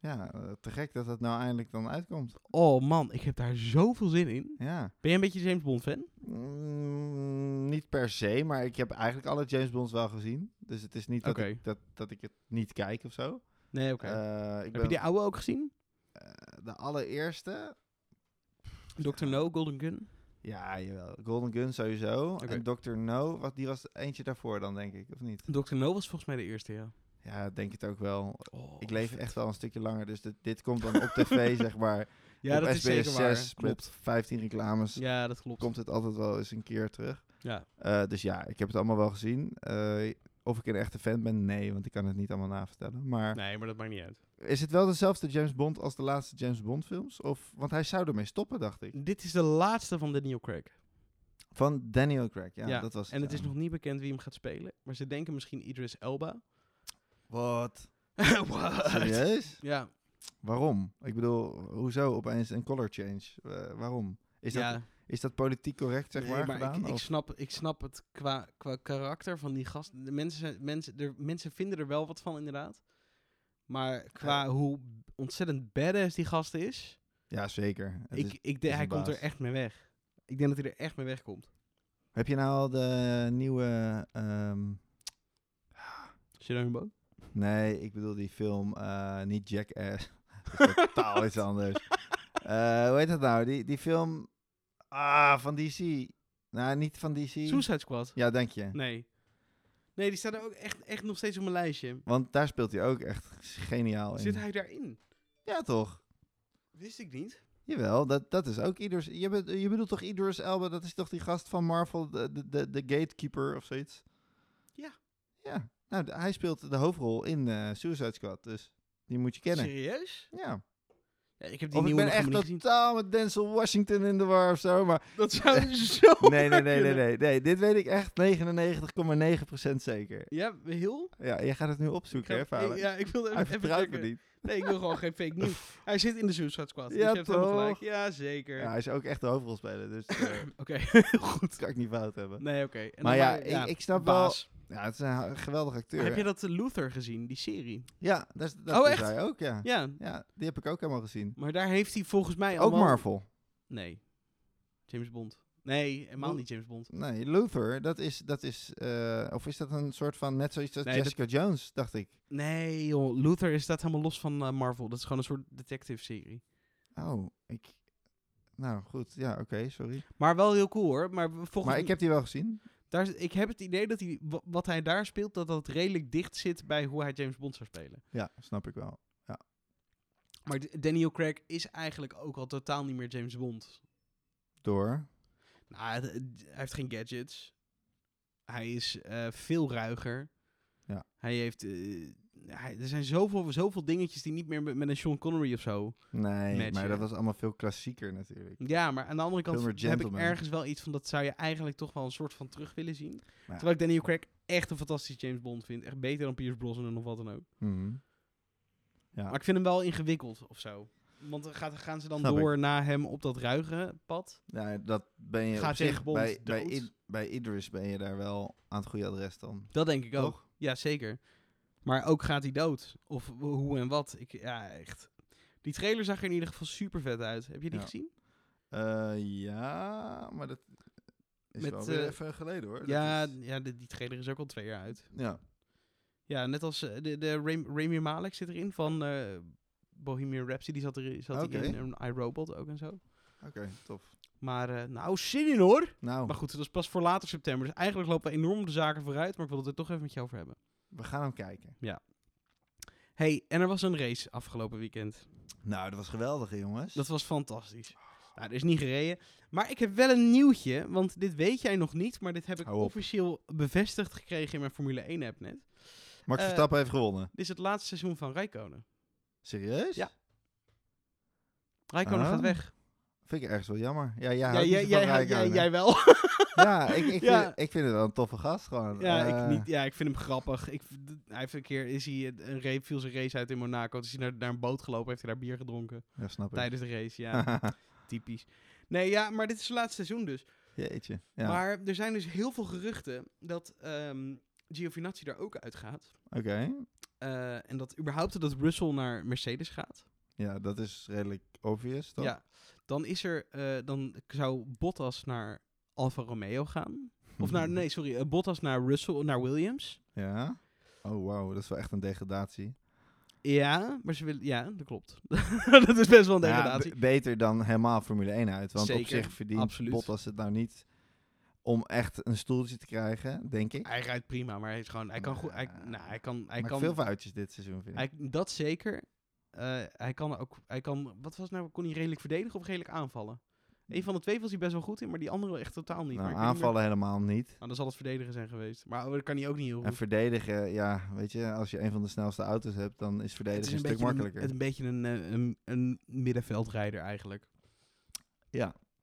Speaker 2: Ja, eh, te gek dat het nou eindelijk dan uitkomt.
Speaker 1: Oh man, ik heb daar zoveel zin in.
Speaker 2: Ja.
Speaker 1: Ben jij een beetje James Bond fan?
Speaker 2: Mm, niet per se, maar ik heb eigenlijk alle James Bonds wel gezien. Dus het is niet dat,
Speaker 1: Oké.
Speaker 2: ik, dat, dat ik het niet kijk of zo.
Speaker 1: Nee,
Speaker 2: Eh, ik
Speaker 1: heb je
Speaker 2: ben
Speaker 1: die oude ook gezien?
Speaker 2: eh, de allereerste.
Speaker 1: Dr. No, Golden Gun?
Speaker 2: Ja, jawel. Golden Gun sowieso.
Speaker 1: Oké.
Speaker 2: En Dr. No, wat, die was eentje daarvoor dan, denk ik, of niet?
Speaker 1: Dr. No was volgens mij de eerste, ja.
Speaker 2: Ja, denk het ook wel.
Speaker 1: Oh,
Speaker 2: Ik leef
Speaker 1: vet.
Speaker 2: echt al een stukje langer, dus dit, dit komt dan op tv, zeg maar.
Speaker 1: Ja,
Speaker 2: op
Speaker 1: dat is
Speaker 2: SBS
Speaker 1: zeker waar.
Speaker 2: 6
Speaker 1: Klopt.
Speaker 2: met 15 reclames
Speaker 1: Ja, dat klopt.
Speaker 2: komt het altijd wel eens een keer terug.
Speaker 1: Ja.
Speaker 2: Eh, dus ja, ik heb het allemaal wel gezien. Eh, of ik een echte fan ben, nee, want ik kan het niet allemaal navertellen. Maar
Speaker 1: Nee, maar dat maakt niet uit.
Speaker 2: is het wel dezelfde James Bond als de laatste James Bond films? Of, want hij zou ermee stoppen, dacht ik.
Speaker 1: Dit is de laatste van Daniel Craig.
Speaker 2: Van Daniel Craig, ja, dat was
Speaker 1: En het
Speaker 2: ja.
Speaker 1: is nog niet bekend wie hem gaat spelen. Maar ze denken misschien Idris Elba.
Speaker 2: Wat?
Speaker 1: What?
Speaker 2: Serieus?
Speaker 1: Ja.
Speaker 2: Waarom? Ik bedoel, hoezo opeens een color change? Eh, waarom? Is dat,
Speaker 1: ja.
Speaker 2: is dat politiek correct, zeg
Speaker 1: Nee,
Speaker 2: maar,
Speaker 1: maar
Speaker 2: gedaan?
Speaker 1: ik, ik,
Speaker 2: Of-
Speaker 1: snap, ik snap het qua, qua karakter van die gast. De mensen, zijn- mensen, er, mensen vinden er wel wat van, inderdaad. Maar qua hoe ontzettend badass die gast is,
Speaker 2: Ja, zeker. Het
Speaker 1: ik,
Speaker 2: is-
Speaker 1: ik
Speaker 2: is
Speaker 1: denk, hij
Speaker 2: een
Speaker 1: komt er
Speaker 2: baas.
Speaker 1: echt mee weg. Ik denk dat hij er echt mee wegkomt.
Speaker 2: Heb je nou al de nieuwe... ehm,
Speaker 1: Shadow
Speaker 2: Nee, ik bedoel die film, eh, niet Jackass. Dat is totaal iets anders. Eh, hoe heet dat nou? Die, die film ah, van DC. Nou, niet van DC.
Speaker 1: Suicide Squad?
Speaker 2: Ja, denk je.
Speaker 1: Nee. Nee, die staat er ook echt, echt nog steeds op mijn lijstje.
Speaker 2: Want daar speelt hij ook echt geniaal in.
Speaker 1: Zit hij daarin?
Speaker 2: Ja, toch?
Speaker 1: Wist ik niet.
Speaker 2: Jawel, dat, dat is ook Idris. Je, bed- je bedoelt toch Idris Elba? Dat is toch die gast van Marvel, de, de, de, de gatekeeper of zoiets?
Speaker 1: Ja.
Speaker 2: Ja. Nou, d- hij speelt de hoofdrol in eh, Suicide Squad, dus die moet je kennen.
Speaker 1: Serieus?
Speaker 2: Ja.
Speaker 1: Ja, ik heb die
Speaker 2: Of ik
Speaker 1: nieuwe
Speaker 2: ben
Speaker 1: nog
Speaker 2: echt
Speaker 1: helemaal niet gezien.
Speaker 2: totaal met Denzel Washington in de war of zo, maar
Speaker 1: Dat zou zo
Speaker 2: Nee, nee,
Speaker 1: maar
Speaker 2: nee, nee,
Speaker 1: kunnen.
Speaker 2: nee, nee. Dit weet ik echt 99,9% zeker.
Speaker 1: Ja, heel?
Speaker 2: Ja, jij gaat het nu opzoeken, hè, Falen?
Speaker 1: ja, ik wilde
Speaker 2: Hij
Speaker 1: even, even
Speaker 2: vertrouwt me
Speaker 1: checken.
Speaker 2: niet.
Speaker 1: Nee, ik wil gewoon geen fake news. Hij zit in de Suicide Squad. dus
Speaker 2: Ja,
Speaker 1: je hebt helemaal
Speaker 2: toch?
Speaker 1: gelijk. Ja, zeker.
Speaker 2: Ja, hij is ook echt de hoofdrolspeler, dus eh,
Speaker 1: Oké, heel goed.
Speaker 2: dat kan ik niet fout hebben.
Speaker 1: Nee, oké. En
Speaker 2: Maar
Speaker 1: dan
Speaker 2: ja,
Speaker 1: maar-
Speaker 2: ik, ik snap
Speaker 1: baas.
Speaker 2: wel... Ja, het is een ha- geweldige acteur.
Speaker 1: Maar heb je dat eh, Luther gezien, die serie?
Speaker 2: Ja, dat, is- dat
Speaker 1: Oh,
Speaker 2: is
Speaker 1: echt?
Speaker 2: hij ook, ja.
Speaker 1: Ja.
Speaker 2: Ja, die heb ik ook helemaal gezien.
Speaker 1: Maar daar heeft hij volgens mij
Speaker 2: Ook
Speaker 1: allemaal...
Speaker 2: Marvel.
Speaker 1: Nee. James Bond. Nee, helemaal
Speaker 2: Lu-
Speaker 1: niet James Bond.
Speaker 2: Nee, Luther, dat is... Dat is eh, of is dat een soort van... Net zoiets als
Speaker 1: Nee, dat-
Speaker 2: Jessica Jones, dacht ik.
Speaker 1: Nee, joh. Luther is dat helemaal los van eh, Marvel. Dat is gewoon een soort detective-serie.
Speaker 2: Oh, ik... Nou, goed. Ja, oké, sorry.
Speaker 1: Maar wel heel cool, hoor. Maar volgens
Speaker 2: Maar ik heb die wel gezien.
Speaker 1: daar, is- ik heb het idee dat hij, wa- wat hij daar speelt, dat dat redelijk dicht zit bij hoe hij James Bond zou spelen.
Speaker 2: Ja, snap ik wel.
Speaker 1: Maar D- Daniel Craig is eigenlijk ook al totaal niet meer James Bond.
Speaker 2: Door...
Speaker 1: Nou, d- d- hij heeft geen gadgets. Hij is eh, veel ruiger.
Speaker 2: Ja.
Speaker 1: Hij heeft... eh, hij, er zijn zoveel, zoveel dingetjes die niet meer met, met een Sean Connery of zo...
Speaker 2: Nee,
Speaker 1: matchen.
Speaker 2: maar dat was allemaal veel klassieker natuurlijk.
Speaker 1: Ja, maar aan de andere
Speaker 2: Veel
Speaker 1: kant
Speaker 2: meer
Speaker 1: heb ik
Speaker 2: gentleman.
Speaker 1: ergens wel iets van... dat zou je eigenlijk toch wel een soort van terug willen zien.
Speaker 2: ja.
Speaker 1: Terwijl ik Daniel Craig echt een fantastische James Bond vind. Echt beter dan Pierce Brosnan of wat dan ook.
Speaker 2: Mhm. Ja.
Speaker 1: Maar ik vind hem wel ingewikkeld of zo. Want dan gaat, gaan ze dan
Speaker 2: Snap ik.
Speaker 1: door na hem op dat ruige pad?
Speaker 2: Ja, dat ben je
Speaker 1: Gaat
Speaker 2: op
Speaker 1: tegen
Speaker 2: zich
Speaker 1: Bond
Speaker 2: bij, bij,
Speaker 1: dood?
Speaker 2: Id- bij Idris ben je daar wel aan het goede adres dan.
Speaker 1: Dat denk ik ook.
Speaker 2: Toch?
Speaker 1: Ja, zeker. Maar ook gaat hij dood? Of w- hoe en wat? Ik, ja, echt. Die trailer zag er in ieder geval super vet uit. Heb je die
Speaker 2: Ja.
Speaker 1: gezien?
Speaker 2: Eh, ja, maar dat is
Speaker 1: Met,
Speaker 2: wel weer
Speaker 1: eh,
Speaker 2: even geleden hoor. Dat
Speaker 1: Ja,
Speaker 2: is-
Speaker 1: ja de- die trailer is ook al twee jaar uit.
Speaker 2: ja.
Speaker 1: Ja, net als eh, de, de Ram- Rami Malek zit erin van eh, Bohemian Rhapsody zat, er, zat
Speaker 2: Oké.
Speaker 1: hij in. En iRobot ook en zo.
Speaker 2: Oké, tof.
Speaker 1: Maar eh, nou, zin in hoor.
Speaker 2: Nou,
Speaker 1: Maar goed, dat is pas voor later september. Dus eigenlijk lopen we enorm de zaken vooruit. Maar ik wil het er toch even met jou over hebben.
Speaker 2: we gaan hem kijken.
Speaker 1: hey, en er was een race afgelopen weekend.
Speaker 2: Nou, dat was geweldig, hè, jongens.
Speaker 1: Dat was fantastisch. Nou, er is niet gereden. Maar ik heb wel een nieuwtje, want dit weet jij nog niet, maar dit heb ik
Speaker 2: Hou op.
Speaker 1: officieel bevestigd gekregen in mijn Formule 1 app net.
Speaker 2: Max
Speaker 1: eh,
Speaker 2: Verstappen heeft gewonnen.
Speaker 1: Dit is het laatste seizoen van Rijkonen.
Speaker 2: Serieus?
Speaker 1: Ja. Rijkonen
Speaker 2: Ah.
Speaker 1: gaat weg.
Speaker 2: Vind ik ergens wel jammer. Ja, jij
Speaker 1: Ja,
Speaker 2: houdt
Speaker 1: jij,
Speaker 2: niet zo
Speaker 1: jij,
Speaker 2: van
Speaker 1: jij,
Speaker 2: Räikkönen.
Speaker 1: jij wel.
Speaker 2: Ja, ik, ik,
Speaker 1: Ja.
Speaker 2: Vind, ik vind het wel een toffe gast gewoon.
Speaker 1: Ja,
Speaker 2: Eh,
Speaker 1: ik niet, ja, ik vind hem grappig. Ik, v- d- hij heeft een keer is hij eh, een een race, viel zijn race uit in Monaco. Toen is hij naar, naar een boot gelopen, heeft hij daar bier gedronken.
Speaker 2: Ja, snap ik.
Speaker 1: Tijdens de race, ja. typisch. Nee, ja, maar dit is zijn laatste seizoen dus.
Speaker 2: Jeetje. Ja,
Speaker 1: Maar er zijn dus heel veel geruchten dat ehm Giovinazzi daar ook uitgaat.
Speaker 2: oké.
Speaker 1: Eh, en dat überhaupt dat Russell naar Mercedes gaat.
Speaker 2: Ja, dat is redelijk obvious, toch?
Speaker 1: Ja. Dan is er, eh, dan zou Bottas naar Alfa Romeo gaan. Of naar, nee, sorry, eh, Bottas naar Russell, naar Williams.
Speaker 2: Ja? Oh, wauw. Dat is wel echt een degradatie.
Speaker 1: Ja, maar ze willen, ja, dat klopt. dat is best wel een
Speaker 2: Nou ja,
Speaker 1: degradatie.
Speaker 2: be- beter dan helemaal Formule 1 uit. Want op
Speaker 1: Zeker,
Speaker 2: zich verdient
Speaker 1: absoluut.
Speaker 2: Bottas het nou niet om echt een stoeltje te krijgen, denk ik.
Speaker 1: hij rijdt prima, maar hij is gewoon, hij kan goed, hij, nou, hij kan, hij
Speaker 2: Hij maakt
Speaker 1: kan,
Speaker 2: veel foutjes dit seizoen, vind ik.
Speaker 1: hij, dat zeker. Eh, hij kan ook, hij kan, wat was het nou, kon hij redelijk verdedigen of redelijk aanvallen? Een van de twee was hij best wel goed in, maar die andere echt totaal niet.
Speaker 2: nou,
Speaker 1: Maar ik weet niet meer-
Speaker 2: aanvallen helemaal niet.
Speaker 1: Nou, dan zal het verdedigen zijn geweest. Maar oh, dat kan hij ook niet heel
Speaker 2: En
Speaker 1: goed.
Speaker 2: verdedigen, ja, weet je, als je een van de snelste auto's hebt, dan is verdedigen een, stuk
Speaker 1: beetje
Speaker 2: makkelijker.
Speaker 1: Een, een beetje een, eh, een, een middenveldrijder eigenlijk.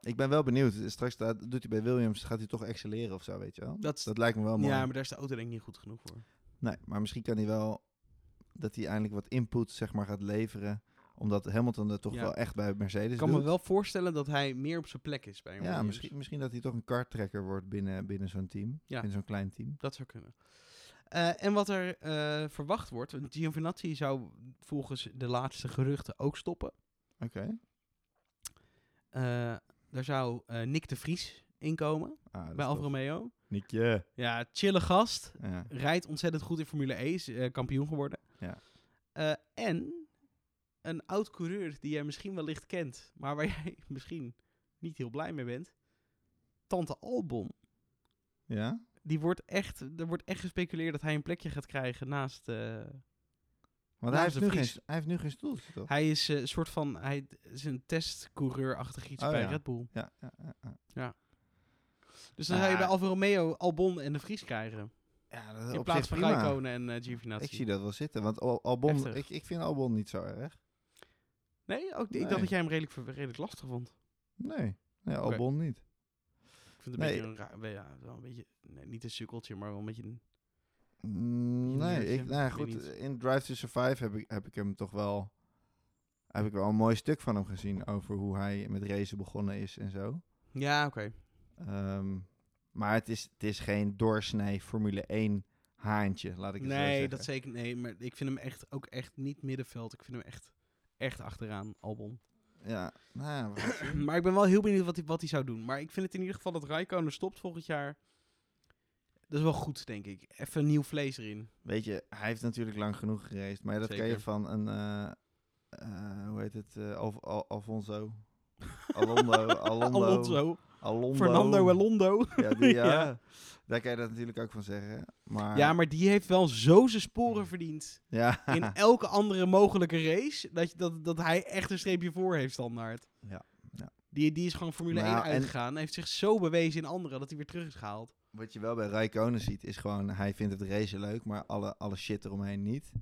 Speaker 2: Ik ben wel benieuwd. Straks staat- doet hij bij Williams, gaat hij toch excelleren of zo, weet je wel?
Speaker 1: Dat, is-
Speaker 2: Dat lijkt me wel mooi.
Speaker 1: ja, maar daar is de auto denk ik niet goed genoeg voor.
Speaker 2: Nee, maar misschien kan hij wel dat hij eindelijk wat input zeg maar, gaat leveren. Omdat Hamilton er toch
Speaker 1: Ja.
Speaker 2: wel echt bij Mercedes
Speaker 1: Ik kan me
Speaker 2: doet.
Speaker 1: wel voorstellen dat hij meer op zijn plek is bij
Speaker 2: ja,
Speaker 1: Williams.
Speaker 2: misschien, misschien dat hij toch een karttrekker wordt binnen, binnen zo'n team.
Speaker 1: Ja.
Speaker 2: Binnen zo'n klein team.
Speaker 1: Dat zou kunnen. Eh, en wat er eh, verwacht wordt, want Giovinazzi zou volgens de laatste geruchten ook stoppen.
Speaker 2: Oké.
Speaker 1: Eh, daar zou eh, Nick de Vries inkomen
Speaker 2: Ah, dat
Speaker 1: bij
Speaker 2: is
Speaker 1: Alfa
Speaker 2: tof.
Speaker 1: Romeo.
Speaker 2: Niekje.
Speaker 1: Ja, chille gast.
Speaker 2: Ja.
Speaker 1: rijdt ontzettend goed in Formule E, is eh, kampioen geworden.
Speaker 2: Ja.
Speaker 1: Eh, en een oud coureur die jij misschien wellicht kent, maar waar jij misschien niet heel blij mee bent. Tante Albon.
Speaker 2: ja?
Speaker 1: Die wordt echt, er wordt echt gespeculeerd dat hij een plekje gaat krijgen naast. eh,
Speaker 2: Want
Speaker 1: Nou,
Speaker 2: hij
Speaker 1: is
Speaker 2: heeft,
Speaker 1: de
Speaker 2: nu geen,
Speaker 1: Vries.
Speaker 2: st- hij heeft nu geen stoeltje, toch?
Speaker 1: hij is eh, een soort van. Hij is een testcoureur-achtig iets
Speaker 2: Oh,
Speaker 1: bij
Speaker 2: ja.
Speaker 1: Red Bull.
Speaker 2: Ja, ja, ja, ja.
Speaker 1: Dus dan zou je
Speaker 2: Ah.
Speaker 1: bij Alfa Romeo Albon en de Vries krijgen.
Speaker 2: ja dat is
Speaker 1: In
Speaker 2: op
Speaker 1: plaats
Speaker 2: zich
Speaker 1: van
Speaker 2: prima.
Speaker 1: Raikkonen en eh Giovinazzi.
Speaker 2: Ik zie dat wel zitten, want Al- Albon,
Speaker 1: Heftig.
Speaker 2: ik, ik vind Albon niet zo erg.
Speaker 1: Nee, ook, ik
Speaker 2: Nee.
Speaker 1: dacht dat jij hem redelijk, ver- redelijk lastig vond.
Speaker 2: Nee, nee
Speaker 1: Oké.
Speaker 2: Albon niet.
Speaker 1: Ik vind het een
Speaker 2: Nee.
Speaker 1: beetje een raar, wel ja, wel een beetje, nee, niet een sukkeltje, maar wel een beetje een...
Speaker 2: Mm, Nee,
Speaker 1: Leertje,
Speaker 2: ik, nou ja,
Speaker 1: ik weet
Speaker 2: goed,
Speaker 1: niet.
Speaker 2: in Drive to Survive heb ik, heb ik hem toch wel... Heb ik wel een mooi stuk van hem gezien over hoe hij met racen begonnen is en zo.
Speaker 1: Ja, oké.
Speaker 2: Ehm, maar het is, het is geen doorsnee Formule 1 haantje, laat ik het zo
Speaker 1: Nee,
Speaker 2: zeggen.
Speaker 1: dat zeker nee, maar ik vind hem echt ook echt niet middenveld. Ik vind hem echt, echt achteraan, Albon.
Speaker 2: Ja, nou ja, we gaan het zien.
Speaker 1: maar ik ben wel heel benieuwd wat hij, wat hij zou doen. Maar ik vind het in ieder geval dat Raikkonen stopt volgend jaar. Dat is wel goed, denk ik. Even nieuw vlees erin.
Speaker 2: Weet je, hij heeft natuurlijk lang genoeg gereisd. Maar dat kan je
Speaker 1: Zeker.
Speaker 2: van een... eh, eh, hoe heet het? eh, Al- Al- Alfonso. Alondo. Alondo.
Speaker 1: Alonso.
Speaker 2: Alondo.
Speaker 1: Fernando Alondo.
Speaker 2: Ja, die, ja.
Speaker 1: Ja.
Speaker 2: daar kan je dat natuurlijk ook van zeggen. Maar,
Speaker 1: Ja, maar die heeft wel zo zijn sporen verdiend.
Speaker 2: Ja.
Speaker 1: In elke andere mogelijke race. Dat, je- dat, dat hij echt een streepje voor heeft standaard.
Speaker 2: Ja, ja.
Speaker 1: Die, die is gewoon Formule
Speaker 2: Nou,
Speaker 1: 1
Speaker 2: en-
Speaker 1: uitgegaan. Heeft zich zo bewezen in anderen dat hij weer terug is gehaald.
Speaker 2: Wat je wel bij Raikkonen ziet, is gewoon... Hij vindt het racen leuk, maar alle, alle shit eromheen niet.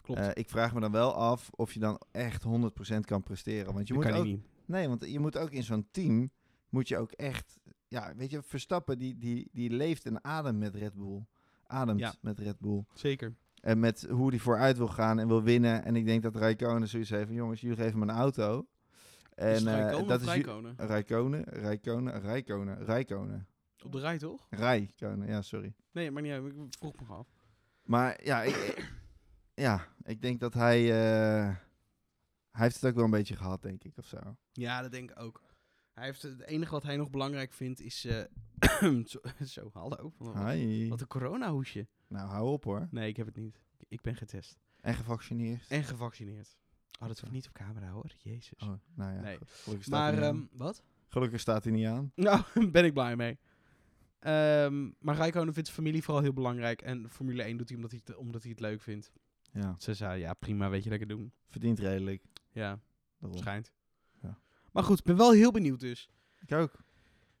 Speaker 1: Klopt.
Speaker 2: Eh, ik vraag me dan wel af of je dan echt 100% kan presteren. Want je moet ook,
Speaker 1: niet.
Speaker 2: Nee, want je moet ook in zo'n team... Moet je ook echt... Ja, weet je, Verstappen die, die, die leeft en ademt met Red Bull. Ademt
Speaker 1: Ja.
Speaker 2: met Red Bull.
Speaker 1: Zeker.
Speaker 2: En met hoe hij vooruit wil gaan en wil winnen. En ik denk dat Raikkonen zoiets heeft van... Jongens, jullie geven me een auto. En
Speaker 1: is het
Speaker 2: eh,
Speaker 1: Dus Raikkonen
Speaker 2: dat
Speaker 1: of
Speaker 2: is ju-
Speaker 1: Rijkonen?
Speaker 2: Rijkonen, Rijkonen, Rijkonen, Rijkonen.
Speaker 1: Op de rij, toch?
Speaker 2: Rijkonen, ja, sorry.
Speaker 1: Nee, maar niet uit. Ik vroeg me gewoon af.
Speaker 2: Maar ja, ik, ja, ik denk dat hij... eh, hij heeft het ook wel een beetje gehad, denk ik, of zo.
Speaker 1: Ja, dat denk ik ook. Hij heeft, het enige wat hij nog belangrijk vindt is... eh, zo, zo, hallo. Wat,
Speaker 2: Hi.
Speaker 1: wat een coronahoesje.
Speaker 2: Nou, hou op hoor.
Speaker 1: Nee, ik heb het niet. Ik ben getest.
Speaker 2: En gevaccineerd.
Speaker 1: En gevaccineerd. Oh, dat hoeft niet op camera hoor. Jezus.
Speaker 2: Oh, nou ja,
Speaker 1: Nee.
Speaker 2: goed. gelukkig staat,
Speaker 1: maar,
Speaker 2: hij niet
Speaker 1: ehm,
Speaker 2: aan.
Speaker 1: wat?
Speaker 2: gelukkig staat hij niet aan.
Speaker 1: Nou, ben ik blij mee. Ehm, maar Rijkonen vindt familie vooral heel belangrijk. En Formule 1 doet hij omdat hij het, omdat hij het leuk vindt.
Speaker 2: Ja,
Speaker 1: Ze zei, ja prima, weet je, lekker doen.
Speaker 2: verdient redelijk.
Speaker 1: Ja,
Speaker 2: Daarom.
Speaker 1: schijnt.
Speaker 2: Ja.
Speaker 1: Maar goed, ik ben wel heel benieuwd dus.
Speaker 2: Ik ook.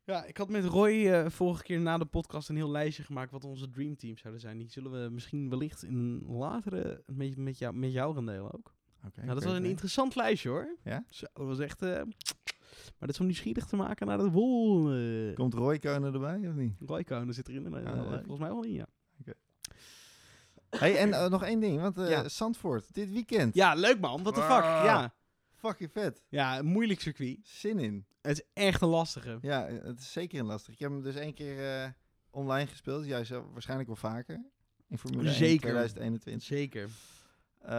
Speaker 1: Ja, ik had met Roy eh, vorige keer na de podcast een heel lijstje gemaakt wat onze dreamteams zouden zijn. Die zullen we misschien wellicht in een latere met, met, jou, met jou gaan delen ook.
Speaker 2: Oké,
Speaker 1: nou, dat
Speaker 2: oké,
Speaker 1: was een
Speaker 2: oké.
Speaker 1: interessant lijstje hoor.
Speaker 2: Ja?
Speaker 1: Zo, dat was echt... eh, maar dat is om nieuwsgierig te maken naar het wol. eh.
Speaker 2: Komt Roy Keunen erbij of niet?
Speaker 1: Rijkonen zit erin. eh,
Speaker 2: Ja, leuk.
Speaker 1: volgens mij wel in, ja.
Speaker 2: Hey, en eh, nog één ding, want eh
Speaker 1: Ja.
Speaker 2: Zandvoort, dit weekend.
Speaker 1: Ja, leuk man. What the fuck?
Speaker 2: Ah.
Speaker 1: Ja.
Speaker 2: Fucking vet.
Speaker 1: ja, een moeilijk circuit.
Speaker 2: Zin in.
Speaker 1: Het is echt een lastige.
Speaker 2: Ja, eh, het is zeker een lastig. Ik heb hem dus één keer eh, online gespeeld. Juist eh, waarschijnlijk wel vaker. In Formule 1
Speaker 1: Zeker.
Speaker 2: 2021.
Speaker 1: Zeker.
Speaker 2: Eh,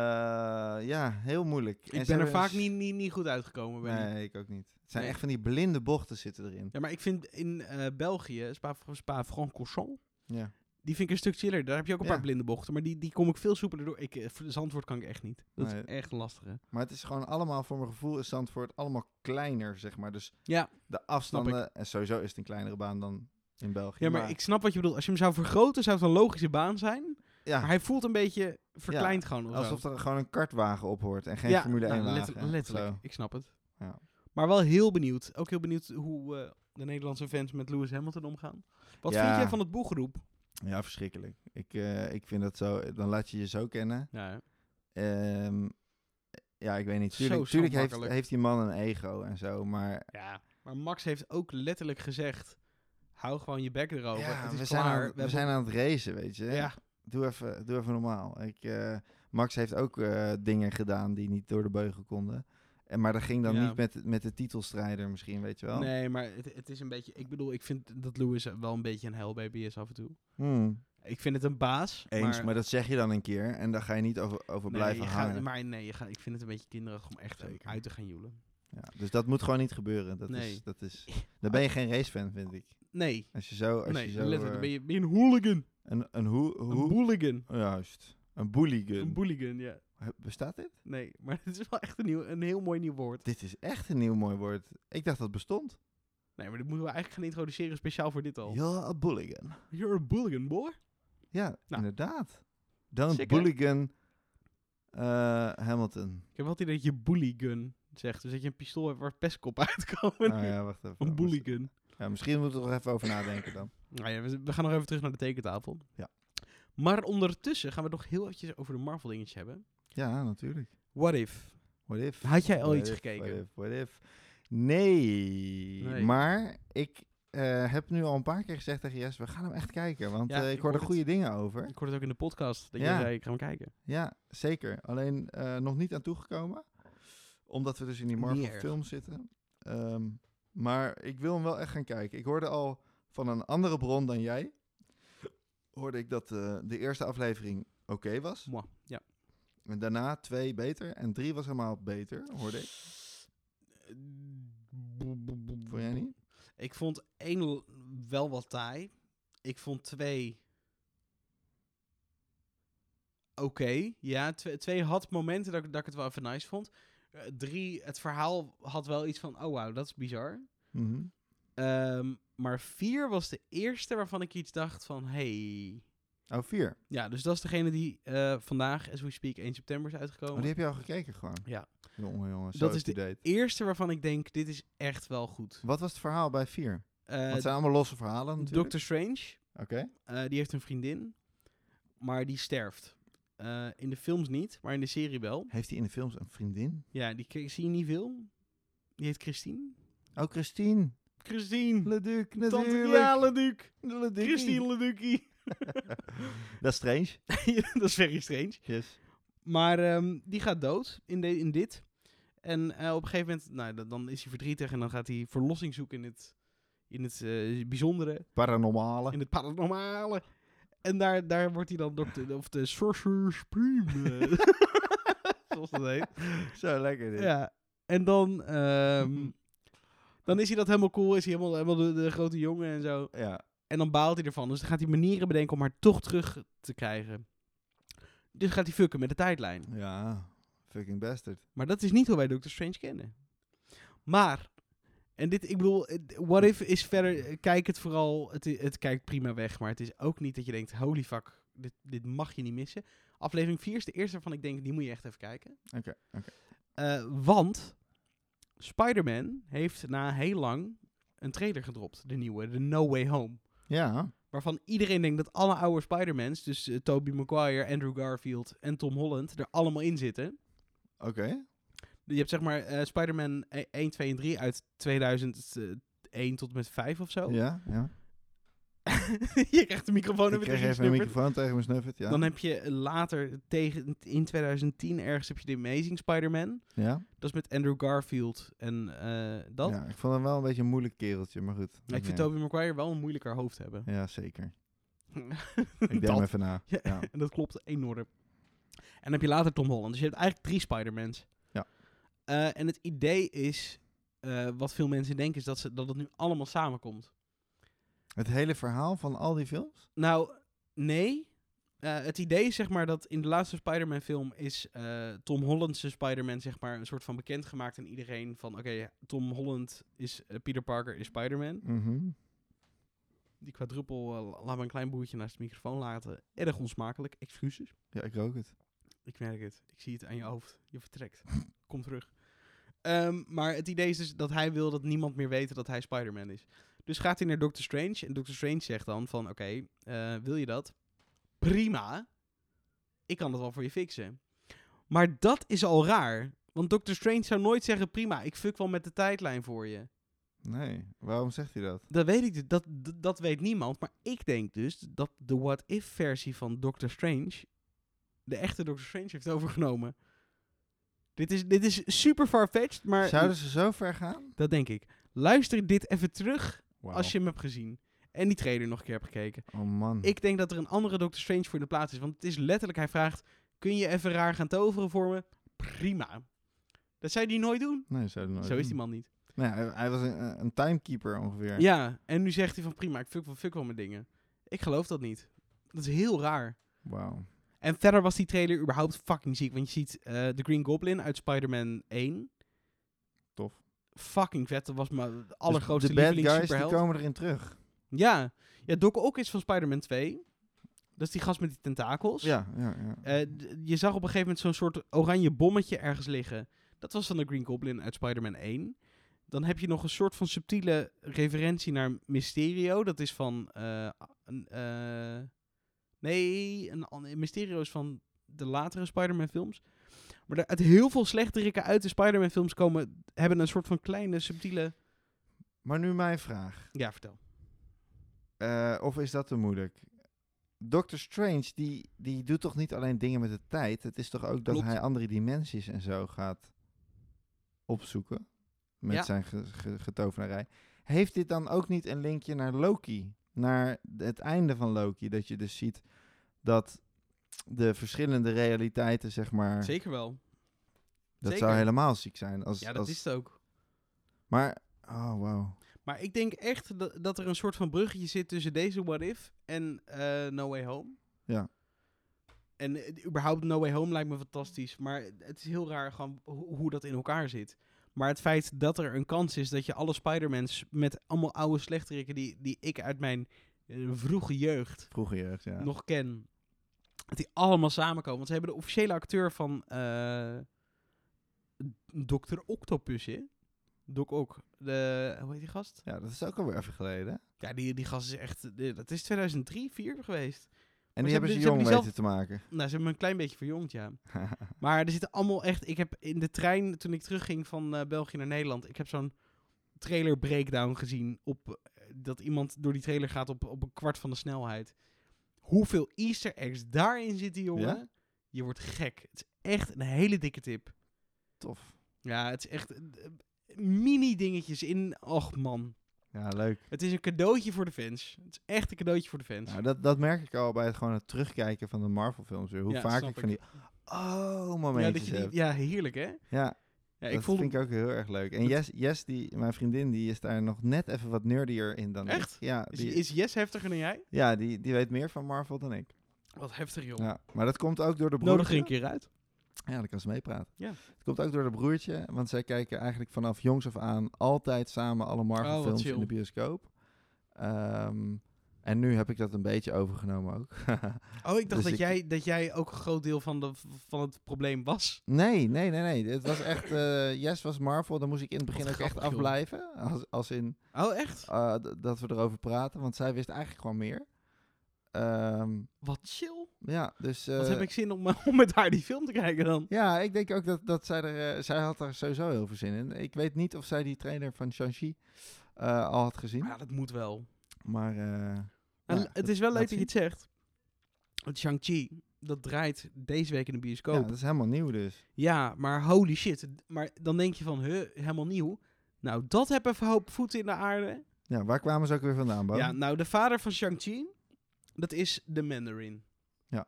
Speaker 2: ja, heel moeilijk. En
Speaker 1: Ik
Speaker 2: ze
Speaker 1: ben er
Speaker 2: hebben
Speaker 1: vaak
Speaker 2: een s-
Speaker 1: niet, niet, niet goed uitgekomen. Ben ik.
Speaker 2: Nee, ik ook niet. Het zijn
Speaker 1: Nee.
Speaker 2: echt van die blinde bochten zitten erin.
Speaker 1: Ja, maar ik vind in eh, België, Spa, Spa Francorchamps,
Speaker 2: Ja.
Speaker 1: die vind ik een stuk chiller. Daar heb je ook een
Speaker 2: Ja.
Speaker 1: paar blinde bochten, maar die, die kom ik veel soepeler door. Ik, eh, voor- Zandvoort kan ik echt niet. Dat
Speaker 2: Nee.
Speaker 1: is echt lastig, hè?
Speaker 2: Maar het is gewoon allemaal, voor mijn gevoel, is Zandvoort allemaal kleiner, zeg maar. Dus
Speaker 1: Ja.
Speaker 2: de afstanden, en sowieso is het een kleinere baan dan in België.
Speaker 1: Ja, maar, ik snap wat je bedoelt. Als je hem zou vergroten, zou het een logische baan zijn.
Speaker 2: Ja,
Speaker 1: Maar hij voelt een beetje verkleind gewoon. of zo.
Speaker 2: Ah. alsof er gewoon een kartwagen op hoort en geen
Speaker 1: Ja,
Speaker 2: Formule 1
Speaker 1: nou,
Speaker 2: wagen.
Speaker 1: letter- letterlijk. Ik snap het.
Speaker 2: Ja.
Speaker 1: Maar wel heel benieuwd. Ook heel benieuwd hoe eh, de Nederlandse fans met Lewis Hamilton omgaan. Wat
Speaker 2: Ja.
Speaker 1: vind jij van het boegeroep?
Speaker 2: Ja, verschrikkelijk. Ik, eh, ik vind dat zo, dan laat je je zo kennen.
Speaker 1: Ja, ja.
Speaker 2: Ehm, ja, ik weet niet.
Speaker 1: Zo,
Speaker 2: Tuurlijk,
Speaker 1: zo
Speaker 2: tuurlijk heeft,
Speaker 1: makkelijk.
Speaker 2: heeft die man een ego en zo, maar
Speaker 1: Maar Max heeft ook letterlijk gezegd... Hou gewoon je bek erover.
Speaker 2: ja,
Speaker 1: het is
Speaker 2: we, zijn
Speaker 1: klaar.
Speaker 2: aan, het- we zijn aan het racen, weet je.
Speaker 1: Ja,
Speaker 2: Doe, even, doe even normaal. Ik, eh, Max heeft ook eh, dingen gedaan die niet door de beugel konden. En, maar dat ging dan
Speaker 1: Ja.
Speaker 2: niet met, met de titelstrijder misschien, weet je wel.
Speaker 1: nee, maar het, het is een beetje... Ik bedoel, ik vind dat Lewis wel een beetje een hellbaby is af en toe.
Speaker 2: Hmm,
Speaker 1: Ik vind het een baas.
Speaker 2: Eens, maar,
Speaker 1: maar,
Speaker 2: dat zeg je dan een keer en daar ga je niet over, over
Speaker 1: nee,
Speaker 2: blijven
Speaker 1: je gaat-
Speaker 2: hangen.
Speaker 1: maar nee, je gaat, ik vind het een beetje kinderachtig om echt hem
Speaker 2: Zeker.
Speaker 1: uit te gaan joelen.
Speaker 2: Ja, dus dat moet gewoon niet gebeuren. Dat
Speaker 1: Nee.
Speaker 2: is, dat is, dan ben je geen racefan, vind ik.
Speaker 1: Nee,
Speaker 2: Als je zo, als
Speaker 1: nee
Speaker 2: je zo
Speaker 1: letterlijk.
Speaker 2: eh,
Speaker 1: Ben je, ben je een hooligan.
Speaker 2: een, een hoe,
Speaker 1: Een
Speaker 2: hoe
Speaker 1: boeligan.
Speaker 2: juist, een boeligan.
Speaker 1: Een boeligan, ja.
Speaker 2: He- Bestaat dit?
Speaker 1: Nee, maar het is wel echt een, nieuw, een heel mooi nieuw woord.
Speaker 2: Dit is echt een nieuw mooi woord. Ik dacht dat bestond.
Speaker 1: Nee, maar dit moeten we eigenlijk gaan introduceren speciaal voor dit al.
Speaker 2: Ja, een boeligan.
Speaker 1: You're a bullion, boy.
Speaker 2: Ja, inderdaad. Don't
Speaker 1: Nou. Sick, hè?
Speaker 2: boeligan eh, Hamilton.
Speaker 1: Ik heb altijd dat je boeligan zegt. Dus dat je een pistool hebt waar pestkop uitkomen.
Speaker 2: Nou ja, wacht even.
Speaker 1: Een boeligan.
Speaker 2: Ja, misschien moeten we er nog even over nadenken dan.
Speaker 1: Nou ja, we, we gaan nog even terug naar de tekentafel.
Speaker 2: Ja.
Speaker 1: Maar ondertussen gaan we het nog heel eventjes over de Marvel dingetje hebben.
Speaker 2: Ja, natuurlijk.
Speaker 1: What if?
Speaker 2: What if?
Speaker 1: Had jij al
Speaker 2: What
Speaker 1: iets
Speaker 2: if,
Speaker 1: gekeken?
Speaker 2: What if, what if? Nee.
Speaker 1: Nee.
Speaker 2: Maar ik eh, heb nu al een paar keer gezegd tegen Jess, we gaan hem echt kijken. Want
Speaker 1: Ja,
Speaker 2: eh, ik,
Speaker 1: ik
Speaker 2: hoor er
Speaker 1: hoor
Speaker 2: goede dingen over.
Speaker 1: Ik hoorde het ook in de podcast dat
Speaker 2: Ja.
Speaker 1: jij zei, ik ga hem kijken.
Speaker 2: Ja, zeker. Alleen eh, nog niet aan toegekomen. Omdat we dus in die
Speaker 1: Niet
Speaker 2: Marvel
Speaker 1: erg.
Speaker 2: film zitten. Ehm, maar ik wil hem wel echt gaan kijken. Ik hoorde al van een andere bron dan jij... hoorde ik dat eh, de eerste aflevering oké was.
Speaker 1: Mwah. Ja.
Speaker 2: En daarna twee beter. En drie was helemaal beter, hoorde ik.
Speaker 1: Eh,
Speaker 2: Vond jij niet?
Speaker 1: Ik vond één l- wel wat taai. Ik vond twee. Oké, ja. Twee, twee had momenten dat, ik- dat ik het wel even nice vond. Eh, drie, het verhaal had wel iets van: oh wauw, dat is bizar.
Speaker 2: Mhm.
Speaker 1: Ehm, maar vier was de eerste waarvan ik iets dacht van: hey.
Speaker 2: Oh, vier.
Speaker 1: Ja, dus dat is degene die eh, vandaag, as we speak, 1 september is uitgekomen.
Speaker 2: Oh, die heb je al gekeken gewoon?
Speaker 1: Ja.
Speaker 2: Jongen, jongen,
Speaker 1: Dat
Speaker 2: zo
Speaker 1: is
Speaker 2: is date.
Speaker 1: Eerste waarvan ik denk: dit is echt wel goed.
Speaker 2: Wat was het verhaal bij vier? Want
Speaker 1: Eh
Speaker 2: het zijn allemaal losse verhalen natuurlijk.
Speaker 1: Doctor Strange.
Speaker 2: Oké.
Speaker 1: Eh, die heeft een vriendin, maar die sterft. Eh, in de films niet, maar in de serie wel.
Speaker 2: Heeft hij in de films een vriendin?
Speaker 1: Ja, die k- zie je niet veel. Die heet Christine.
Speaker 2: Oh, Christine.
Speaker 1: Christine!
Speaker 2: Leduc,
Speaker 1: Tante
Speaker 2: natuurlijk.
Speaker 1: ja, Leduc!
Speaker 2: Leduc.
Speaker 1: Christine Leduckie!
Speaker 2: Dat is strange.
Speaker 1: dat is very strange.
Speaker 2: Yes.
Speaker 1: Maar ehm, die gaat dood in, de, in dit. En eh, op een gegeven moment, nou, dan- dan is hij verdrietig en dan gaat hij verlossing zoeken in het, in het eh, bijzondere,
Speaker 2: Paranormale.
Speaker 1: in het paranormale. En daar, daar wordt hij dan dokter, of de Sorcerer Supreme, eh, zoals dat heet.
Speaker 2: Zo lekker dit.
Speaker 1: Ja, en dan, ehm, dan is hij dat helemaal cool, is hij helemaal, helemaal de, de grote jongen en zo.
Speaker 2: Ja.
Speaker 1: En dan baalt hij ervan. Dus dan gaat hij manieren bedenken om haar toch terug te krijgen. Dus gaat hij fucken met de tijdlijn.
Speaker 2: Ja, fucking bastard.
Speaker 1: Maar dat is niet hoe wij Doctor Strange kennen. Maar, en dit, ik bedoel, eh, What If is verder, eh, kijk het vooral, het, i- het kijkt prima weg, maar het is ook niet dat je denkt, holy fuck, dit, dit mag je niet missen. Aflevering 4 is de eerste waarvan ik denk, die moet je echt even kijken.
Speaker 2: Oké, oké.
Speaker 1: Eh, want Spider-Man heeft na heel lang een trailer gedropt, de nieuwe, de No Way Home.
Speaker 2: Ja,
Speaker 1: Waarvan iedereen denkt dat alle oude Spider-Mans, dus eh, Tobey Maguire, Andrew Garfield en Tom Holland, er allemaal in zitten.
Speaker 2: oké.
Speaker 1: Je hebt zeg maar eh, Spider-Man e- 1, 2 en 3 uit 2001 tot en met 5 of zo.
Speaker 2: Ja, ja.
Speaker 1: Oh, je krijgt de microfoon
Speaker 2: Ik
Speaker 1: en
Speaker 2: kreeg even een microfoon tegen mijn snuffert, ja.
Speaker 1: Dan heb je later tegen, in 2010 ergens heb je de Amazing Spider-Man.
Speaker 2: ja.
Speaker 1: Dat is met Andrew Garfield en eh, dat.
Speaker 2: Ja, ik vond hem wel een beetje een moeilijk kereltje, maar goed.
Speaker 1: Maar Ik vind
Speaker 2: ja.
Speaker 1: Tobey Maguire wel een moeilijker hoofd hebben.
Speaker 2: Ja, zeker.
Speaker 1: Dat.
Speaker 2: Ik deed hem even na.
Speaker 1: Ja.
Speaker 2: Ja.
Speaker 1: En dat klopt enorm. En dan heb je later Tom Holland. Dus je hebt eigenlijk drie Spider-Mans.
Speaker 2: Ja.
Speaker 1: Eh, en het idee is, eh, wat veel mensen denken, is dat, ze, dat het nu allemaal samenkomt.
Speaker 2: Het hele verhaal van al die films?
Speaker 1: Nou, nee. Eh, het idee is zeg maar dat in de laatste Spider-Man film is eh, Tom Holland's Spider-Man zeg maar een soort van bekendgemaakt aan iedereen van oké, Tom Holland is eh, Peter Parker is Spider-Man.
Speaker 2: Mhm.
Speaker 1: Die quadruppel, eh, la- laat maar een klein boertje naast de microfoon laten. Erg onsmakelijk, excuses.
Speaker 2: Ja, ik rook het.
Speaker 1: Ik merk het. Ik zie het aan je hoofd. Je vertrekt. Kom terug. Ehm, maar het idee is dus dat hij wil dat niemand meer weet dat hij Spider-Man is. Dus gaat hij naar Doctor Strange. En Doctor Strange zegt dan van... Oké, eh, wil je dat? Prima. Ik kan dat wel voor je fixen. Maar dat is al raar. Want Doctor Strange zou nooit zeggen... Prima, ik fuck wel met de tijdlijn voor je.
Speaker 2: Nee, waarom zegt hij dat?
Speaker 1: Dat weet ik dus. Dat, dat, dat weet niemand. Maar ik denk dus dat de what-if-versie van Doctor Strange... de echte Doctor Strange heeft overgenomen. Dit is, dit is super far-fetched, maar
Speaker 2: Zouden ze zo ver gaan?
Speaker 1: dat denk ik. Luister dit even terug
Speaker 2: Wauw.
Speaker 1: als je hem hebt gezien. En die trailer nog een keer hebt gekeken.
Speaker 2: Oh man.
Speaker 1: Ik denk dat er een andere Doctor Strange voor in de plaats is. Want het is letterlijk, hij vraagt... Kun je even raar gaan toveren voor me? Prima. Dat zou die nooit doen.
Speaker 2: Nee, zouden nooit
Speaker 1: Zo is
Speaker 2: doen.
Speaker 1: die man niet.
Speaker 2: Nee, Nou hij, hij was een, een timekeeper ongeveer.
Speaker 1: Ja, en nu zegt hij van prima, ik fuck wel, fuck wel met dingen. Ik geloof dat niet. Dat is heel raar.
Speaker 2: Wauw. Dus
Speaker 1: En verder was die trailer überhaupt fucking ziek. Want je ziet eh, de Green Goblin uit Spider-Man 1.
Speaker 2: Tof.
Speaker 1: Fucking vet. Dat was mijn allergrootste
Speaker 2: dus de bad
Speaker 1: lieveling
Speaker 2: guys die
Speaker 1: superheld.
Speaker 2: komen erin terug.
Speaker 1: Ja. ja, Doc Ock is van Spider-Man 2. Dat is die gast met die tentakels.
Speaker 2: Ja, ja, ja.
Speaker 1: Eh, d- je zag op een gegeven moment zo'n soort oranje bommetje ergens liggen. Dat was dan de Green Goblin uit Spider-Man 1. Dan heb je nog een soort van subtiele referentie naar Mysterio. Dat is van. eh, een, eh, nee, een, an- Mysterio is van de latere Spider-Man films. Maar daar- uit heel veel slechterikken uit de Spider-Man films komen, hebben een soort van kleine subtiele.
Speaker 2: Maar nu mijn vraag.
Speaker 1: Ja, vertel.
Speaker 2: Eh, of is dat te moeilijk? Doctor Strange, die, die doet toch niet alleen dingen met de tijd? Het is toch ook dat
Speaker 1: Klopt.
Speaker 2: hij andere dimensies en zo gaat opzoeken? Met
Speaker 1: Ja.
Speaker 2: zijn ge- ge- getovenarij. Heeft dit dan ook niet een linkje naar Loki? Naar het einde van Loki? Dat je dus ziet dat de verschillende realiteiten, zeg maar...
Speaker 1: Zeker wel.
Speaker 2: Dat
Speaker 1: zeker.
Speaker 2: zou helemaal ziek zijn. Als,
Speaker 1: Ja, dat
Speaker 2: als,
Speaker 1: is het ook.
Speaker 2: Maar, oh wow.
Speaker 1: Maar ik denk echt dat, dat er een soort van bruggetje zit tussen deze What If en eh, No Way Home.
Speaker 2: Ja.
Speaker 1: En eh, überhaupt No Way Home lijkt me fantastisch. Maar het is heel raar gewoon ho- hoe dat in elkaar zit. Maar het feit dat er een kans is dat je alle Spider-Mans met allemaal oude slechterikken die, die ik uit mijn eh, vroege jeugd
Speaker 2: Vroeger jeugd, ja.
Speaker 1: nog ken. Dat die allemaal samenkomen. Want ze hebben de officiële acteur van eh Dr. Octopus in. Doc Ock. De, hoe heet die gast?
Speaker 2: Ja, dat is ook alweer even geleden. hè?
Speaker 1: Ja, die, die gast is echt... de- Dat is 2003, 4 geweest.
Speaker 2: En
Speaker 1: ze
Speaker 2: die hebben
Speaker 1: hebben-
Speaker 2: ze
Speaker 1: ze hebben
Speaker 2: jong
Speaker 1: die zelf-
Speaker 2: weten te maken.
Speaker 1: Nou, ze hebben me een klein beetje verjongd, ja. Maar er zitten allemaal echt... Ik heb in de trein, toen ik terugging van eh, België naar Nederland... Ik heb zo'n trailer breakdown gezien op... eh, Dat iemand door die trailer gaat op, op een kwart van de snelheid. Hoeveel easter eggs daarin zitten, jongen.
Speaker 2: Ja?
Speaker 1: Je wordt gek. Het is echt een hele dikke tip.
Speaker 2: Tof.
Speaker 1: Ja, het is echt... eh, mini dingetjes in... Och, man.
Speaker 2: Ja, leuk.
Speaker 1: Het is een cadeautje voor de fans. Het is echt een cadeautje voor de fans.
Speaker 2: Nou, dat, dat merk ik al bij het, gewoon het terugkijken van de Marvel films weer. Hoe
Speaker 1: Ja,
Speaker 2: vaak
Speaker 1: snap
Speaker 2: ik van die oh momentjes
Speaker 1: ja, dat je die-
Speaker 2: heb.
Speaker 1: ja, heerlijk hè?
Speaker 2: Ja,
Speaker 1: Ja,
Speaker 2: dat
Speaker 1: ik voelde
Speaker 2: vind ik ook heel erg leuk. En Jess, Jess die, mijn vriendin, die is daar nog net even wat nerdier in dan
Speaker 1: Echt?
Speaker 2: ik. Ja,
Speaker 1: Is,
Speaker 2: die,
Speaker 1: is Jess heftiger dan jij?
Speaker 2: ja die, die weet meer van Marvel dan ik.
Speaker 1: Wat heftig, jongen.
Speaker 2: Ja, maar dat komt ook door de Nou, broertje.
Speaker 1: Oh. Nodig er een keer uit.
Speaker 2: Ja, dan kan ze meepraten.
Speaker 1: Ja.
Speaker 2: Het komt ook door de broertje, want zij kijken eigenlijk vanaf jongs af aan altijd samen alle
Speaker 1: Oh, wat
Speaker 2: Marvel-films in
Speaker 1: chill.
Speaker 2: de bioscoop. Ehm, en nu heb ik dat een beetje overgenomen ook.
Speaker 1: Oh, ik dacht
Speaker 2: Dus
Speaker 1: dat,
Speaker 2: ik-
Speaker 1: jij, dat jij ook een groot deel van, de, van het probleem was.
Speaker 2: Nee, nee, nee, nee. Het was echt. eh yes was Marvel. Dan moest ik in het begin
Speaker 1: Wat
Speaker 2: ook echt
Speaker 1: grappig, joh.
Speaker 2: afblijven. Als, als in
Speaker 1: Oh, echt?
Speaker 2: eh, d- dat we erover praten. Want zij wist eigenlijk gewoon meer. Ehm,
Speaker 1: Wat chill.
Speaker 2: ja, dus.
Speaker 1: Wat
Speaker 2: eh,
Speaker 1: heb ik zin om, om met haar die film te kijken dan?
Speaker 2: Ja, ik denk ook dat, dat zij er. eh, zij had daar sowieso heel veel zin in. Ik weet niet of zij die trainer van Shang-Chi eh, al had gezien.
Speaker 1: Ja, dat moet wel.
Speaker 2: Maar. eh,
Speaker 1: En
Speaker 2: ja,
Speaker 1: het is wel
Speaker 2: laat
Speaker 1: leuk dat je
Speaker 2: zien.
Speaker 1: het zegt. Want Shang-Chi, dat draait deze week in de bioscoop.
Speaker 2: ja,
Speaker 1: Ja,
Speaker 2: dat is helemaal nieuw dus.
Speaker 1: maar holy shit. Maar dan denk je van, huh, helemaal nieuw. Nou, dat heb even hoop voeten in de aarde.
Speaker 2: Ja, waar kwamen ze ook weer vandaan, Bo?
Speaker 1: Ja, nou, de vader van Shang-Chi, dat is de Mandarin.
Speaker 2: Ja.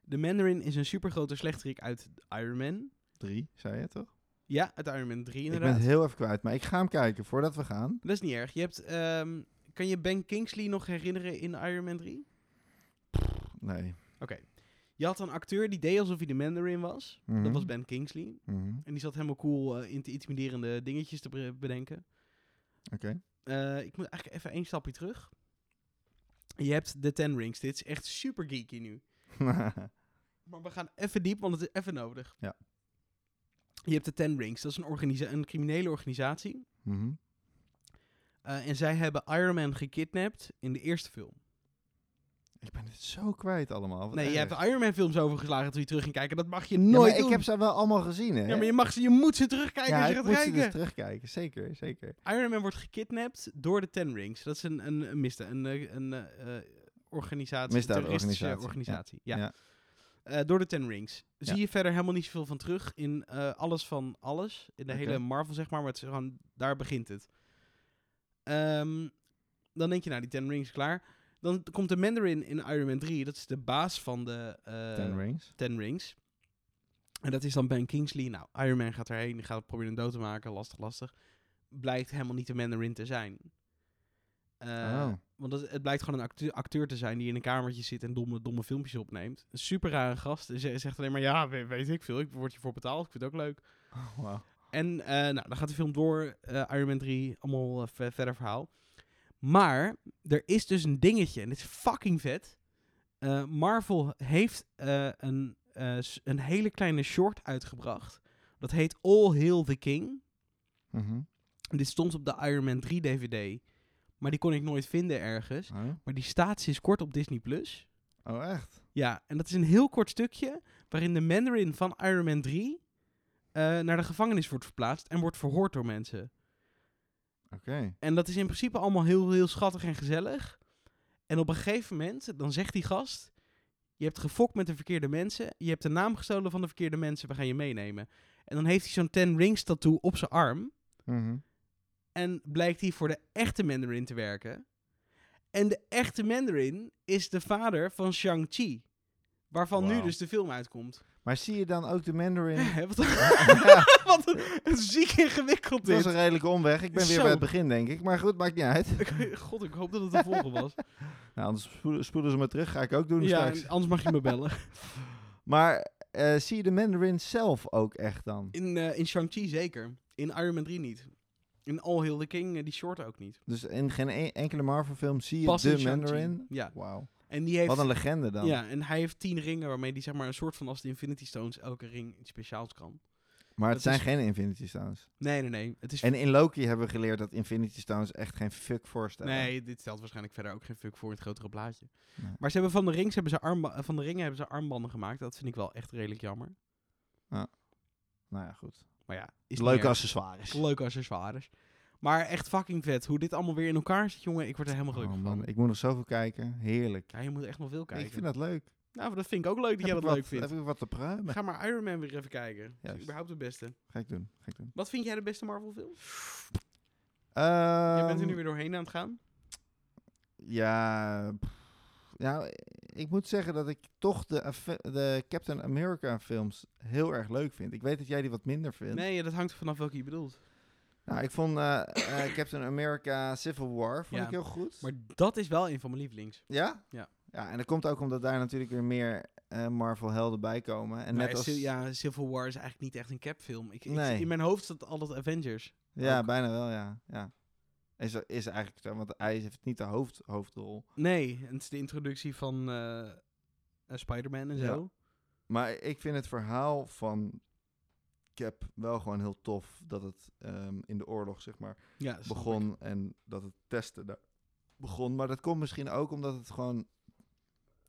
Speaker 1: De Mandarin is een supergrote slechterik uit Iron Man.
Speaker 2: Drie, zei je toch?
Speaker 1: Ja, uit Iron Man 3
Speaker 2: Ik
Speaker 1: inderdaad.
Speaker 2: ben het heel even kwijt, maar ik ga hem kijken voordat we gaan.
Speaker 1: Dat is niet erg. Je hebt, ehm, kan je Ben Kingsley nog herinneren in Iron Man 3?
Speaker 2: Nee.
Speaker 1: Je had een acteur die deed alsof hij de Mandarin was.
Speaker 2: Mhm.
Speaker 1: Dat was Ben Kingsley.
Speaker 2: Mhm.
Speaker 1: En die zat helemaal cool eh, in te intimiderende dingetjes te bre- bedenken.
Speaker 2: Oké.
Speaker 1: Eh, ik moet eigenlijk even één stapje terug. Je hebt de Ten Rings. Dit is echt super geeky nu. Maar we gaan even diep, want het is even nodig.
Speaker 2: Ja.
Speaker 1: Je hebt de Ten Rings. Dat is een, organisa- een criminele organisatie.
Speaker 2: Mhm.
Speaker 1: Eh, en zij hebben Iron Man gekidnapt in de eerste film.
Speaker 2: Ik ben het zo kwijt allemaal. wat
Speaker 1: nee, je
Speaker 2: erg.
Speaker 1: hebt de Iron Man films overgeslagen toen je terug ging kijken. Dat mag je
Speaker 2: Ja, maar
Speaker 1: nooit
Speaker 2: ik
Speaker 1: doen.
Speaker 2: heb ze wel allemaal gezien, hè?
Speaker 1: Ja, maar je, mag ze, je moet ze terugkijken
Speaker 2: Ja,
Speaker 1: als je
Speaker 2: ik
Speaker 1: gaat
Speaker 2: moet ze
Speaker 1: kijken.
Speaker 2: dus terugkijken. Zeker, zeker.
Speaker 1: Iron Man wordt gekidnapt door de Ten Rings. Dat is een, een, een mista, een, eh, een eh, eh, organisatie, een
Speaker 2: Misdaadorganisatie,
Speaker 1: terroristische organisatie. Ja.
Speaker 2: ja.
Speaker 1: Eh, door de Ten Rings. Zie
Speaker 2: Ja.
Speaker 1: je verder helemaal niet zoveel van terug in eh, alles van alles. In de
Speaker 2: Oké.
Speaker 1: hele Marvel, zeg maar. Maar het is gewoon, daar begint het. Ehm, dan denk je, nou, die Ten Rings is klaar. Dan komt de Mandarin in Iron Man 3. Dat is de baas van de eh,
Speaker 2: Ten Rings.
Speaker 1: Ten Rings. En dat is dan Ben Kingsley. Nou, Iron Man gaat erheen, die gaat proberen hem dood te maken. Lastig, lastig. Blijkt helemaal niet de Mandarin te zijn. Eh,
Speaker 2: Oh.
Speaker 1: Want het, het blijkt gewoon een acteur, acteur te zijn die in een kamertje zit en domme, domme filmpjes opneemt. Een super rare gast. En ze- zegt alleen maar, ja, we- weet, ik veel. Ik word hiervoor betaald. Ik vind het ook leuk.
Speaker 2: Oh, Wauw.
Speaker 1: En eh, nou, dan gaat de film door. eh, Iron Man 3, allemaal eh, ver- verder verhaal. Maar er is dus een dingetje. En dit is fucking vet. Eh, Marvel heeft eh, een, eh, s- een hele kleine short uitgebracht. Dat heet All Hail the King.
Speaker 2: Mhm.
Speaker 1: En dit stond op de Iron Man 3 DVD. Maar die kon ik nooit vinden ergens.
Speaker 2: Oh.
Speaker 1: Maar die staat sinds kort op Disney+. Plus.
Speaker 2: Oh, echt?
Speaker 1: Ja, en dat is een heel kort stukje waarin de Mandarin van Iron Man 3 eh, naar de gevangenis wordt verplaatst en wordt verhoord door mensen.
Speaker 2: Oké.
Speaker 1: En dat is in principe allemaal heel, heel schattig en gezellig. En op een gegeven moment, dan zegt die gast... Je hebt gefokt met de verkeerde mensen. Je hebt de naam gestolen van de verkeerde mensen. We gaan je meenemen. En dan heeft hij zo'n Ten Rings tattoo op zijn arm.
Speaker 2: Mhm.
Speaker 1: En blijkt hij voor de echte Mandarin te werken. En de echte Mandarin is de vader van Shang-Chi. Waarvan nu
Speaker 2: Wauw.
Speaker 1: dus de film uitkomt.
Speaker 2: Maar zie je dan ook de Mandarin?
Speaker 1: Hè, wat, een-
Speaker 2: ja,
Speaker 1: wat een, een ziek ingewikkeld
Speaker 2: het was
Speaker 1: dit.
Speaker 2: een redelijke omweg. Ik ben weer
Speaker 1: Zo.
Speaker 2: bij het begin, denk ik. Maar goed, maakt niet uit.
Speaker 1: God, ik hoop dat het de volgende was.
Speaker 2: Nou, anders spoelen, spoelen ze me terug. Ga ik ook doen
Speaker 1: Ja,
Speaker 2: straks.
Speaker 1: anders mag je me bellen.
Speaker 2: Maar eh, zie je de Mandarin zelf ook echt dan?
Speaker 1: In, eh, in Shang-Chi zeker. In Iron Man 3 niet. In All Hail the King, eh, die short ook niet.
Speaker 2: Dus in geen e- enkele Marvel-film zie je
Speaker 1: Pas in
Speaker 2: de
Speaker 1: Shang-Chi.
Speaker 2: Mandarin?
Speaker 1: Ja.
Speaker 2: Wauw.
Speaker 1: En die heeft...
Speaker 2: Wat een legende dan.
Speaker 1: ja, en hij heeft tien ringen waarmee hij zeg maar een soort van als de Infinity Stones elke ring iets speciaals kan.
Speaker 2: Maar het
Speaker 1: Dat
Speaker 2: zijn
Speaker 1: is-
Speaker 2: geen Infinity Stones.
Speaker 1: Nee, nee, nee. Het is...
Speaker 2: En in Loki hebben we geleerd dat Infinity Stones echt geen fuck voorstellen.
Speaker 1: nee, dit stelt waarschijnlijk verder ook geen fuck voor in het grotere plaatje.
Speaker 2: Nee.
Speaker 1: Maar ze hebben van de, rings hebben ze armba- eh, van de ringen hebben ze armbanden gemaakt. Dat vind ik wel echt redelijk jammer.
Speaker 2: Nou ja, goed.
Speaker 1: Maar ja, is
Speaker 2: Is
Speaker 1: niet
Speaker 2: Leuke
Speaker 1: erg.
Speaker 2: accessoires.
Speaker 1: Leuke accessoires. Maar echt fucking vet. Hoe dit allemaal weer in elkaar zit, jongen. Ik word er helemaal
Speaker 2: Oh
Speaker 1: gelukkig
Speaker 2: man,
Speaker 1: van.
Speaker 2: ik moet nog zoveel kijken. Heerlijk.
Speaker 1: Ja, je moet echt nog veel kijken.
Speaker 2: Ik vind dat leuk.
Speaker 1: Nou, maar dat vind ik ook leuk dat
Speaker 2: Heb
Speaker 1: jij
Speaker 2: ik
Speaker 1: dat
Speaker 2: wat,
Speaker 1: leuk vindt.
Speaker 2: Heb ik wat te pruimen?
Speaker 1: Ga maar Iron Man weer even kijken. Dat
Speaker 2: Juist.
Speaker 1: is überhaupt de beste.
Speaker 2: Ga ik doen. Ga ik doen.
Speaker 1: Wat vind jij de beste Marvel film?
Speaker 2: Ehm,
Speaker 1: jij bent er nu weer doorheen aan het gaan.
Speaker 2: Ja, pff, ja, ik moet zeggen dat ik toch de, affe- de Captain America films heel erg leuk vind. Ik weet dat jij die wat minder vindt.
Speaker 1: Nee, ja, dat hangt er vanaf welke je bedoelt.
Speaker 2: Nou, ik vond eh, eh, Captain America Civil War vond
Speaker 1: Ja.
Speaker 2: ik heel goed.
Speaker 1: Maar dat is wel een van mijn lievelings.
Speaker 2: Ja?
Speaker 1: Ja.
Speaker 2: Ja, en dat komt ook omdat daar natuurlijk weer meer eh, Marvel-helden bij komen. En
Speaker 1: Maar
Speaker 2: net als...
Speaker 1: Sil- Nou, ja, Civil War is eigenlijk niet echt een capfilm. Ik, ik-
Speaker 2: Nee.
Speaker 1: in mijn hoofd staat altijd Avengers.
Speaker 2: Ja,
Speaker 1: Ook.
Speaker 2: bijna wel, ja. ja. Is, is eigenlijk zo, want hij heeft niet de hoofd, hoofdrol.
Speaker 1: Nee, en het is de introductie van eh, eh, Spider-Man en
Speaker 2: Ja.
Speaker 1: zo.
Speaker 2: Maar ik vind het verhaal van Cap wel gewoon heel tof. Dat het ehm, in de oorlog, zeg maar,
Speaker 1: Ja, snap ik.
Speaker 2: begon. En dat het testen daar begon. Maar dat komt misschien ook omdat het gewoon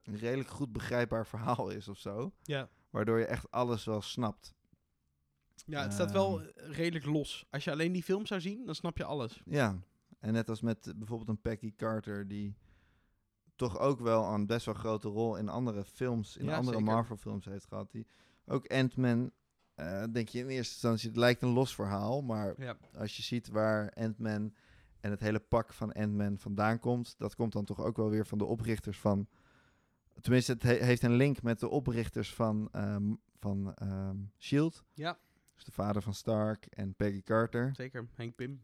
Speaker 2: een redelijk goed begrijpbaar verhaal is of zo.
Speaker 1: Ja.
Speaker 2: Waardoor je echt alles wel snapt.
Speaker 1: ja, het staat wel
Speaker 2: Ehm.
Speaker 1: eh, redelijk los. Als je alleen die film zou zien, dan snap je alles.
Speaker 2: Ja, en net als met eh, bijvoorbeeld een Peggy Carter, die toch ook wel een best wel grote rol in andere films, in
Speaker 1: Ja,
Speaker 2: andere
Speaker 1: zeker.
Speaker 2: Marvel-films heeft gehad. Die, ook Ant-Man, eh, denk je in eerste instantie, het lijkt een los verhaal, maar
Speaker 1: Ja.
Speaker 2: als je ziet waar Ant-Man en het hele pak van Ant-Man vandaan komt, dat komt dan toch ook wel weer van de oprichters van. Tenminste, het he- heeft een link met de oprichters van, ehm, van ehm, Shield.
Speaker 1: Ja.
Speaker 2: Dus de vader van Stark en Peggy Carter.
Speaker 1: Zeker, Henk Pim.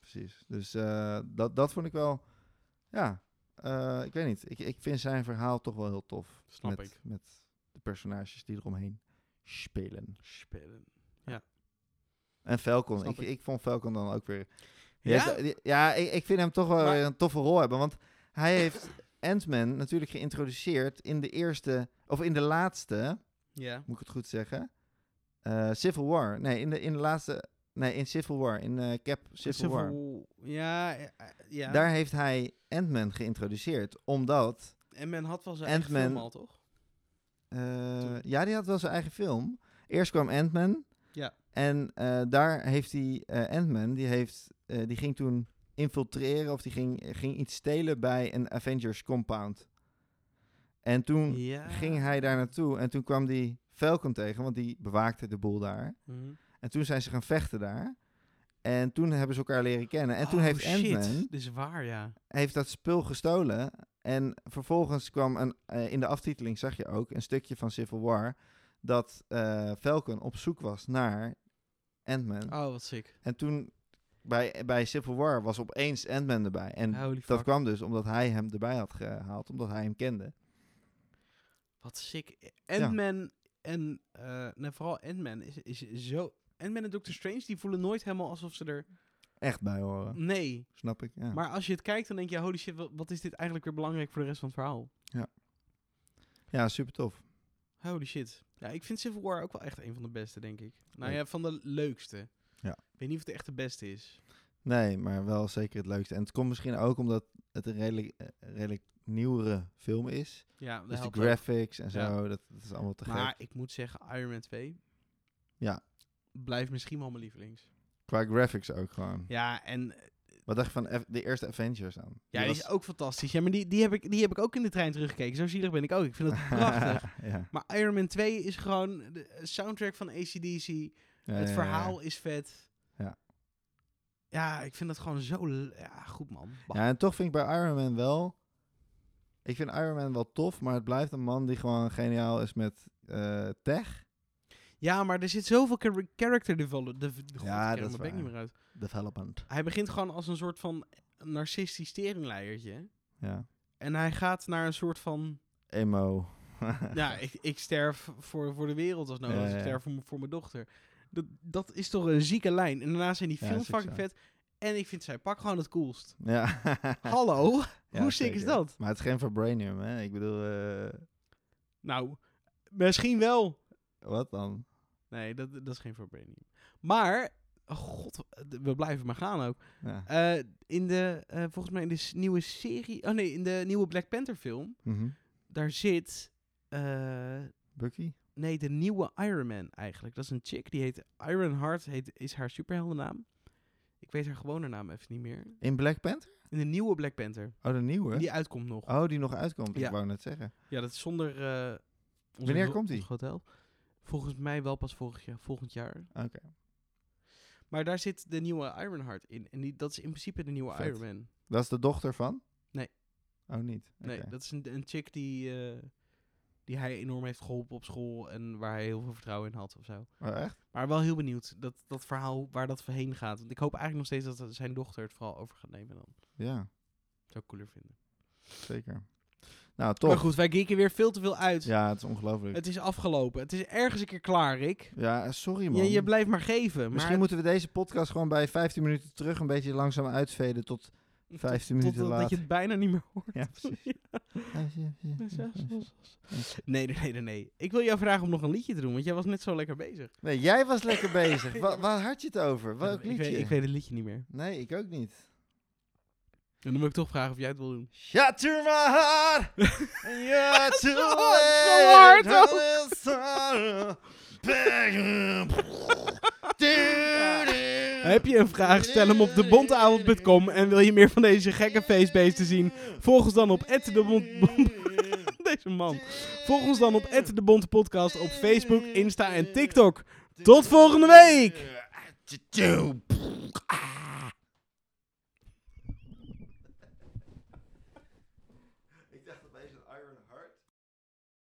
Speaker 2: Precies. Dus eh, dat, dat vond ik wel. Ja, eh, ik weet niet. Ik, ik vind zijn verhaal toch wel heel tof.
Speaker 1: Snap
Speaker 2: met,
Speaker 1: ik.
Speaker 2: Met de personages die eromheen spelen.
Speaker 1: Spelen.
Speaker 2: En Falcon.
Speaker 1: Snap
Speaker 2: Ik,
Speaker 1: ik.
Speaker 2: ik. vond Falcon dan ook weer. die
Speaker 1: Ja?
Speaker 2: heeft- die- ja ik, ik vind hem toch wel
Speaker 1: Maar-
Speaker 2: weer een toffe rol hebben. Want hij heeft Ant-Man natuurlijk geïntroduceerd in de eerste. Of in de laatste,
Speaker 1: Ja.
Speaker 2: moet ik het goed zeggen. eh, Civil War. Nee, in de, in de laatste. Nee, in Civil War. In eh, Cap Civil, War.
Speaker 1: Ja, eh, eh, ja.
Speaker 2: Daar heeft hij Ant-Man geïntroduceerd, omdat...
Speaker 1: En men had wel zijn eigen
Speaker 2: Ant-Man.
Speaker 1: film al, toch?
Speaker 2: eh,
Speaker 1: Toen-
Speaker 2: ja, die had wel zijn eigen film. Eerst kwam Ant-Man.
Speaker 1: Ja.
Speaker 2: En eh, daar heeft hij... eh Ant-Man, die, heeft, eh, die ging toen infiltreren... of die ging, ging iets stelen bij een Avengers compound. En toen
Speaker 1: Ja.
Speaker 2: ging hij daar naartoe en toen kwam die Falcon tegen... want die bewaakte de boel daar.
Speaker 1: Mhm.
Speaker 2: En toen zijn ze gaan vechten daar... En toen hebben ze elkaar leren kennen. En toen
Speaker 1: Oh,
Speaker 2: heeft
Speaker 1: shit.
Speaker 2: Ant-Man
Speaker 1: Dit is waar, ja.
Speaker 2: heeft dat spul gestolen. En vervolgens kwam een, eh, in de aftiteling, zag je ook, een stukje van Civil War. Dat eh, Falcon op zoek was naar Ant-Man.
Speaker 1: Oh, wat sick.
Speaker 2: En toen bij, bij Civil War was opeens Ant-Man erbij. En
Speaker 1: Holy
Speaker 2: dat
Speaker 1: fuck.
Speaker 2: kwam dus omdat hij hem erbij had gehaald, omdat hij hem kende.
Speaker 1: Wat sick. Ant-Man en eh, nee, vooral Ant-Man is, is zo... Ant-Man en Doctor Strange, die voelen nooit helemaal alsof ze er...
Speaker 2: Echt bij horen,
Speaker 1: Nee.
Speaker 2: snap ik. Ja.
Speaker 1: Mm. Maar als je het kijkt, dan denk je... Holy shit, wa- wat is dit eigenlijk weer belangrijk voor de rest van het verhaal?
Speaker 2: ja, super tof.
Speaker 1: Holy shit. Ja, ik vind Civil War ook wel echt een van de beste, denk ik. Nou
Speaker 2: Ja.
Speaker 1: ja, van de leukste.
Speaker 2: Ja.
Speaker 1: Ik weet niet of het echt de beste is.
Speaker 2: Nee, maar wel zeker het leukste. En het komt misschien ook omdat het een redelijk, eh, redelijk nieuwere film is.
Speaker 1: Ja, dat
Speaker 2: Dus de
Speaker 1: helpt ook.
Speaker 2: graphics en zo,
Speaker 1: Ja.
Speaker 2: dat, dat is allemaal te gek.
Speaker 1: Maar ik moet zeggen, Iron Man 2...
Speaker 2: Ja.
Speaker 1: Blijft misschien wel mijn lievelings.
Speaker 2: Qua graphics ook gewoon.
Speaker 1: Ja, en eh,
Speaker 2: Wat dacht je van F- de eerste Avengers aan?
Speaker 1: Ja, die is ook fantastisch. Ja, maar die, die, heb ik, die heb ik ook in de trein teruggekeken. Zo zielig ben ik ook. Ik vind het prachtig.
Speaker 2: ja.
Speaker 1: Maar Iron Man 2 is gewoon de eh, soundtrack van ACDC.
Speaker 2: Ja, ja,
Speaker 1: het
Speaker 2: ja,
Speaker 1: verhaal
Speaker 2: Ja,
Speaker 1: is vet.
Speaker 2: Ja.
Speaker 1: Ja, ik vind dat gewoon zo... l- Ja, goed man. Bah.
Speaker 2: Ja, en toch vind ik bij Iron Man wel... Ik vind Iron Man wel tof, maar het blijft een man die gewoon geniaal is met eh, tech.
Speaker 1: Ja, maar er zit zoveel char- character development. De, de,
Speaker 2: Ja,
Speaker 1: ja,
Speaker 2: dat
Speaker 1: dat
Speaker 2: is
Speaker 1: ben ik
Speaker 2: waar.
Speaker 1: niet meer uit.
Speaker 2: Development.
Speaker 1: Hij begint gewoon als een soort van narcistisch teringleiertje.
Speaker 2: Ja.
Speaker 1: En hij gaat naar een soort van...
Speaker 2: Emo.
Speaker 1: ja, Nou, ik, ik sterf voor, voor de wereld als nou
Speaker 2: Ja,
Speaker 1: als ik
Speaker 2: ja.
Speaker 1: sterf voor, m- voor mijn dochter. Dat, dat is toch een zieke lijn. En daarna zijn die
Speaker 2: Ja,
Speaker 1: film
Speaker 2: is ook
Speaker 1: fucking
Speaker 2: zo.
Speaker 1: vet. En ik vind zijn pak gewoon het coolst.
Speaker 2: ja.
Speaker 1: Hallo?
Speaker 2: Ja,
Speaker 1: Hoe sick is
Speaker 2: zeker.
Speaker 1: dat?
Speaker 2: Maar het is geen Vibranium, hè? Ik bedoel, eh,
Speaker 1: Nou, misschien wel.
Speaker 2: wat dan?
Speaker 1: Nee, dat, dat is geen verbranding. Maar, oh god, we blijven maar gaan ook.
Speaker 2: Ja.
Speaker 1: Eh, in de, eh, volgens mij in de s- nieuwe serie... Oh nee, in de nieuwe Black Panther film...
Speaker 2: Mhm.
Speaker 1: Daar zit... eh,
Speaker 2: Bucky?
Speaker 1: nee, de nieuwe Iron Man eigenlijk. Dat is een chick, die heet Ironheart, heet, is haar superheldennaam. Ik weet haar gewone naam even niet meer.
Speaker 2: In Black Panther?
Speaker 1: In de nieuwe Black Panther.
Speaker 2: Oh, de nieuwe?
Speaker 1: Die uitkomt nog.
Speaker 2: Oh, die nog uitkomt.
Speaker 1: Ja.
Speaker 2: Ik wou net zeggen.
Speaker 1: Ja, dat is zonder... eh, ons
Speaker 2: Wanneer
Speaker 1: ho-
Speaker 2: komt die?
Speaker 1: ons Hotel. Volgens mij wel pas vorig jaar, volgend jaar.
Speaker 2: Oké.
Speaker 1: Maar daar zit de nieuwe Ironheart in. En die, dat is in principe de nieuwe
Speaker 2: Vet.
Speaker 1: Iron Man.
Speaker 2: Dat is de dochter van?
Speaker 1: Nee.
Speaker 2: Oh, niet?
Speaker 1: Nee,
Speaker 2: Oké.
Speaker 1: dat is een, een chick die, eh, die hij enorm heeft geholpen op school en waar hij heel veel vertrouwen in had of zo.
Speaker 2: Oh, echt?
Speaker 1: Maar wel heel benieuwd dat, dat verhaal waar dat heen gaat. Want ik hoop eigenlijk nog steeds dat zijn dochter het vooral over gaat nemen dan.
Speaker 2: Ja,
Speaker 1: Zou ik cooler vinden.
Speaker 2: zeker. Nou, toch.
Speaker 1: Maar goed, wij geeken weer veel te veel uit.
Speaker 2: Ja, het is ongelooflijk.
Speaker 1: Het is afgelopen. Het is ergens een keer klaar, Rick.
Speaker 2: Ja, sorry man.
Speaker 1: Je, je blijft maar geven. Maar
Speaker 2: Misschien moeten we deze podcast gewoon bij 15 minuten terug een beetje langzaam uitveden tot... 15
Speaker 1: tot,
Speaker 2: minuten
Speaker 1: tot, Dat je
Speaker 2: later.
Speaker 1: het bijna niet meer hoort.
Speaker 2: Ja, precies.
Speaker 1: Nee, nee, nee, nee, nee. Ik wil jou vragen om nog een liedje te doen, want jij was net zo lekker bezig.
Speaker 2: Nee, jij was lekker bezig. Wa- waar had je het over? Welk
Speaker 1: ik, weet,
Speaker 2: liedje?
Speaker 1: ik weet het liedje niet meer.
Speaker 2: Nee, ik ook niet.
Speaker 1: En dan wil ik toch vragen of jij het wil doen.
Speaker 2: Shut to my heart! Yeah, to
Speaker 1: Zo hard ook. Heb je een vraag? Stel hem op debonteavond.com. En wil je meer van deze gekke feestbeesten zien? Volg ons dan op @debont. Deze man. Volg ons dan op @debontepodcast op Facebook, Insta en TikTok. Tot volgende week!
Speaker 2: Doe,